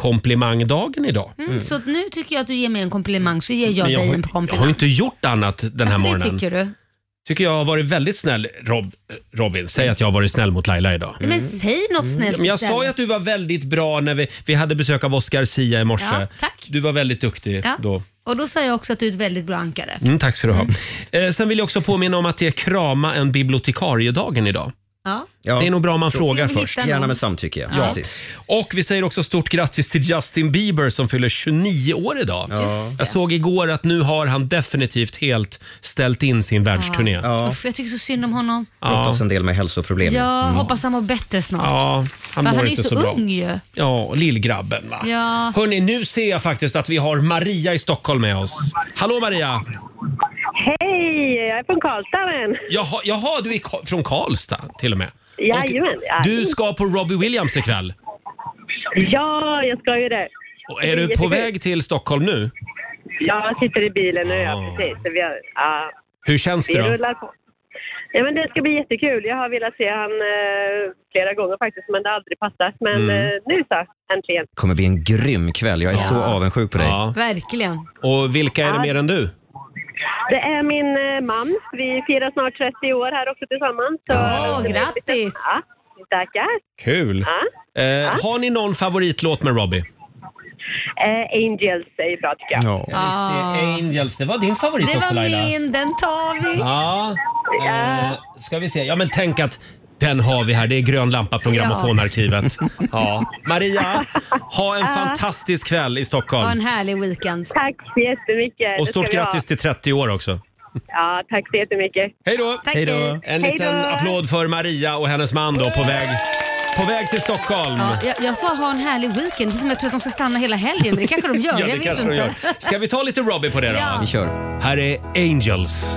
Speaker 1: världskomplimangdagen idag.
Speaker 2: Mm, Så att nu tycker jag att du ger mig en komplimang så ger jag
Speaker 1: Men
Speaker 2: dig
Speaker 1: har,
Speaker 2: en komplimang.
Speaker 1: jag har ju inte gjort annat den här
Speaker 2: alltså,
Speaker 1: morgonen. Mm.
Speaker 2: Det tycker du.
Speaker 1: Tycker jag har varit väldigt snäll. Rob, Robin, säg att jag har varit snäll mot Laila idag.
Speaker 2: Men säg något snällt
Speaker 1: Mm. Men jag
Speaker 2: istället.
Speaker 1: sa ju att du var väldigt bra när vi, vi hade besök av Oscar Sia i morse.
Speaker 2: Ja, tack.
Speaker 1: Du var väldigt duktig
Speaker 2: Ja.
Speaker 1: då.
Speaker 2: Och då sa jag också att du är ett väldigt bra ankare.
Speaker 1: Mm, tack ska du ha. Eh, sen vill jag också påminna om att det är krama en bibliotekariedagen idag.
Speaker 2: Ja.
Speaker 1: Det är nog bra om man
Speaker 2: Så-
Speaker 1: frågar
Speaker 2: Ska vi hitta
Speaker 1: först.
Speaker 2: någon? Gärna med
Speaker 3: samtycke, ja.
Speaker 1: ja.
Speaker 3: Precis.
Speaker 1: Och vi säger också stort grattis till Justin Bieber som fyller 29 år idag.
Speaker 3: Ja. Just det.
Speaker 1: Jag såg igår att nu har han definitivt helt ställt in sin världsturné.
Speaker 2: Ja. Uff, jag tycker så synd om honom.
Speaker 3: Brottas en del med hälsoproblem. Mm.
Speaker 2: Jag hoppas han mår bättre snart.
Speaker 1: Mm. Ja, han
Speaker 2: För
Speaker 1: mår
Speaker 2: han är
Speaker 1: inte
Speaker 2: ju
Speaker 1: så bra.
Speaker 2: ung ju.
Speaker 1: Ja, och lillgrabben va?
Speaker 2: Ja.
Speaker 1: Hörni, nu ser jag faktiskt att vi har Maria i Stockholm med oss. Hallå Maria!
Speaker 5: Hej, jag är från Karlstad men.
Speaker 1: Jaha, jaha du är Ka- från Karlstad till och med?
Speaker 5: Jajamän. ja.
Speaker 1: Du ska på Robbie Williams ikväll.
Speaker 5: Ja, jag ska ju det.
Speaker 1: Och är du på
Speaker 5: Jättekul.
Speaker 1: väg till Stockholm nu?
Speaker 5: Ja, jag sitter i bilen nu, ja
Speaker 1: Ah.
Speaker 5: precis. Så Vi, har, ja,
Speaker 1: Hur känns
Speaker 5: vi
Speaker 1: det då?
Speaker 5: rullar på. Ja, men det ska bli jättekul. Jag har velat se han eh, flera gånger faktiskt, men det har aldrig passat. Men
Speaker 3: Mm.
Speaker 5: eh, nu så, äntligen.
Speaker 3: kommer bli en grym kväll. Jag är så avundsjuk på dig.
Speaker 2: Verkligen.
Speaker 1: Och vilka är det
Speaker 5: Ja.
Speaker 1: mer än du?
Speaker 5: Det är min eh, man. Vi firar snart 30 år här också tillsammans. Åh,
Speaker 1: Ja.
Speaker 5: grattis! Ja, tackar.
Speaker 1: Kul!
Speaker 5: Ja.
Speaker 1: Eh,
Speaker 5: Ja.
Speaker 1: har ni någon favoritlåt med Robbie?
Speaker 5: Eh, Angels säger bra tycker jag.
Speaker 2: Ah.
Speaker 1: Angels, det var din favorit
Speaker 2: Det var
Speaker 1: också Laila. Ah, uh,
Speaker 2: min, den tar vi.
Speaker 1: Ja, eh, ska vi se. Ja men tänk att den har vi här. Det är grön lampa från
Speaker 2: Ja. <laughs>
Speaker 1: grammofonarkivet. Ja. Maria, ha en fantastisk kväll
Speaker 2: Ah. Ha
Speaker 1: i
Speaker 2: en
Speaker 1: Stockholm.
Speaker 2: härlig weekend.
Speaker 5: Tack så jättemycket.
Speaker 1: Och stort grattis till 30 år också.
Speaker 5: Ja, tack så jättemycket.
Speaker 1: Hej då!
Speaker 5: Tack.
Speaker 1: En liten applåd för Maria och hennes man då på väg, på väg till Stockholm.
Speaker 2: Ja, jag, jag sa ha en härlig weekend, precis som jag tror att de ska stanna hela helgen. Men det kanske de gör.
Speaker 1: Ja,
Speaker 2: jag
Speaker 1: det
Speaker 2: vet
Speaker 1: kanske
Speaker 2: inte.
Speaker 1: de gör. Ska vi ta lite Robbie på det då?
Speaker 2: Ja. Vi
Speaker 1: kör. Här är Angels.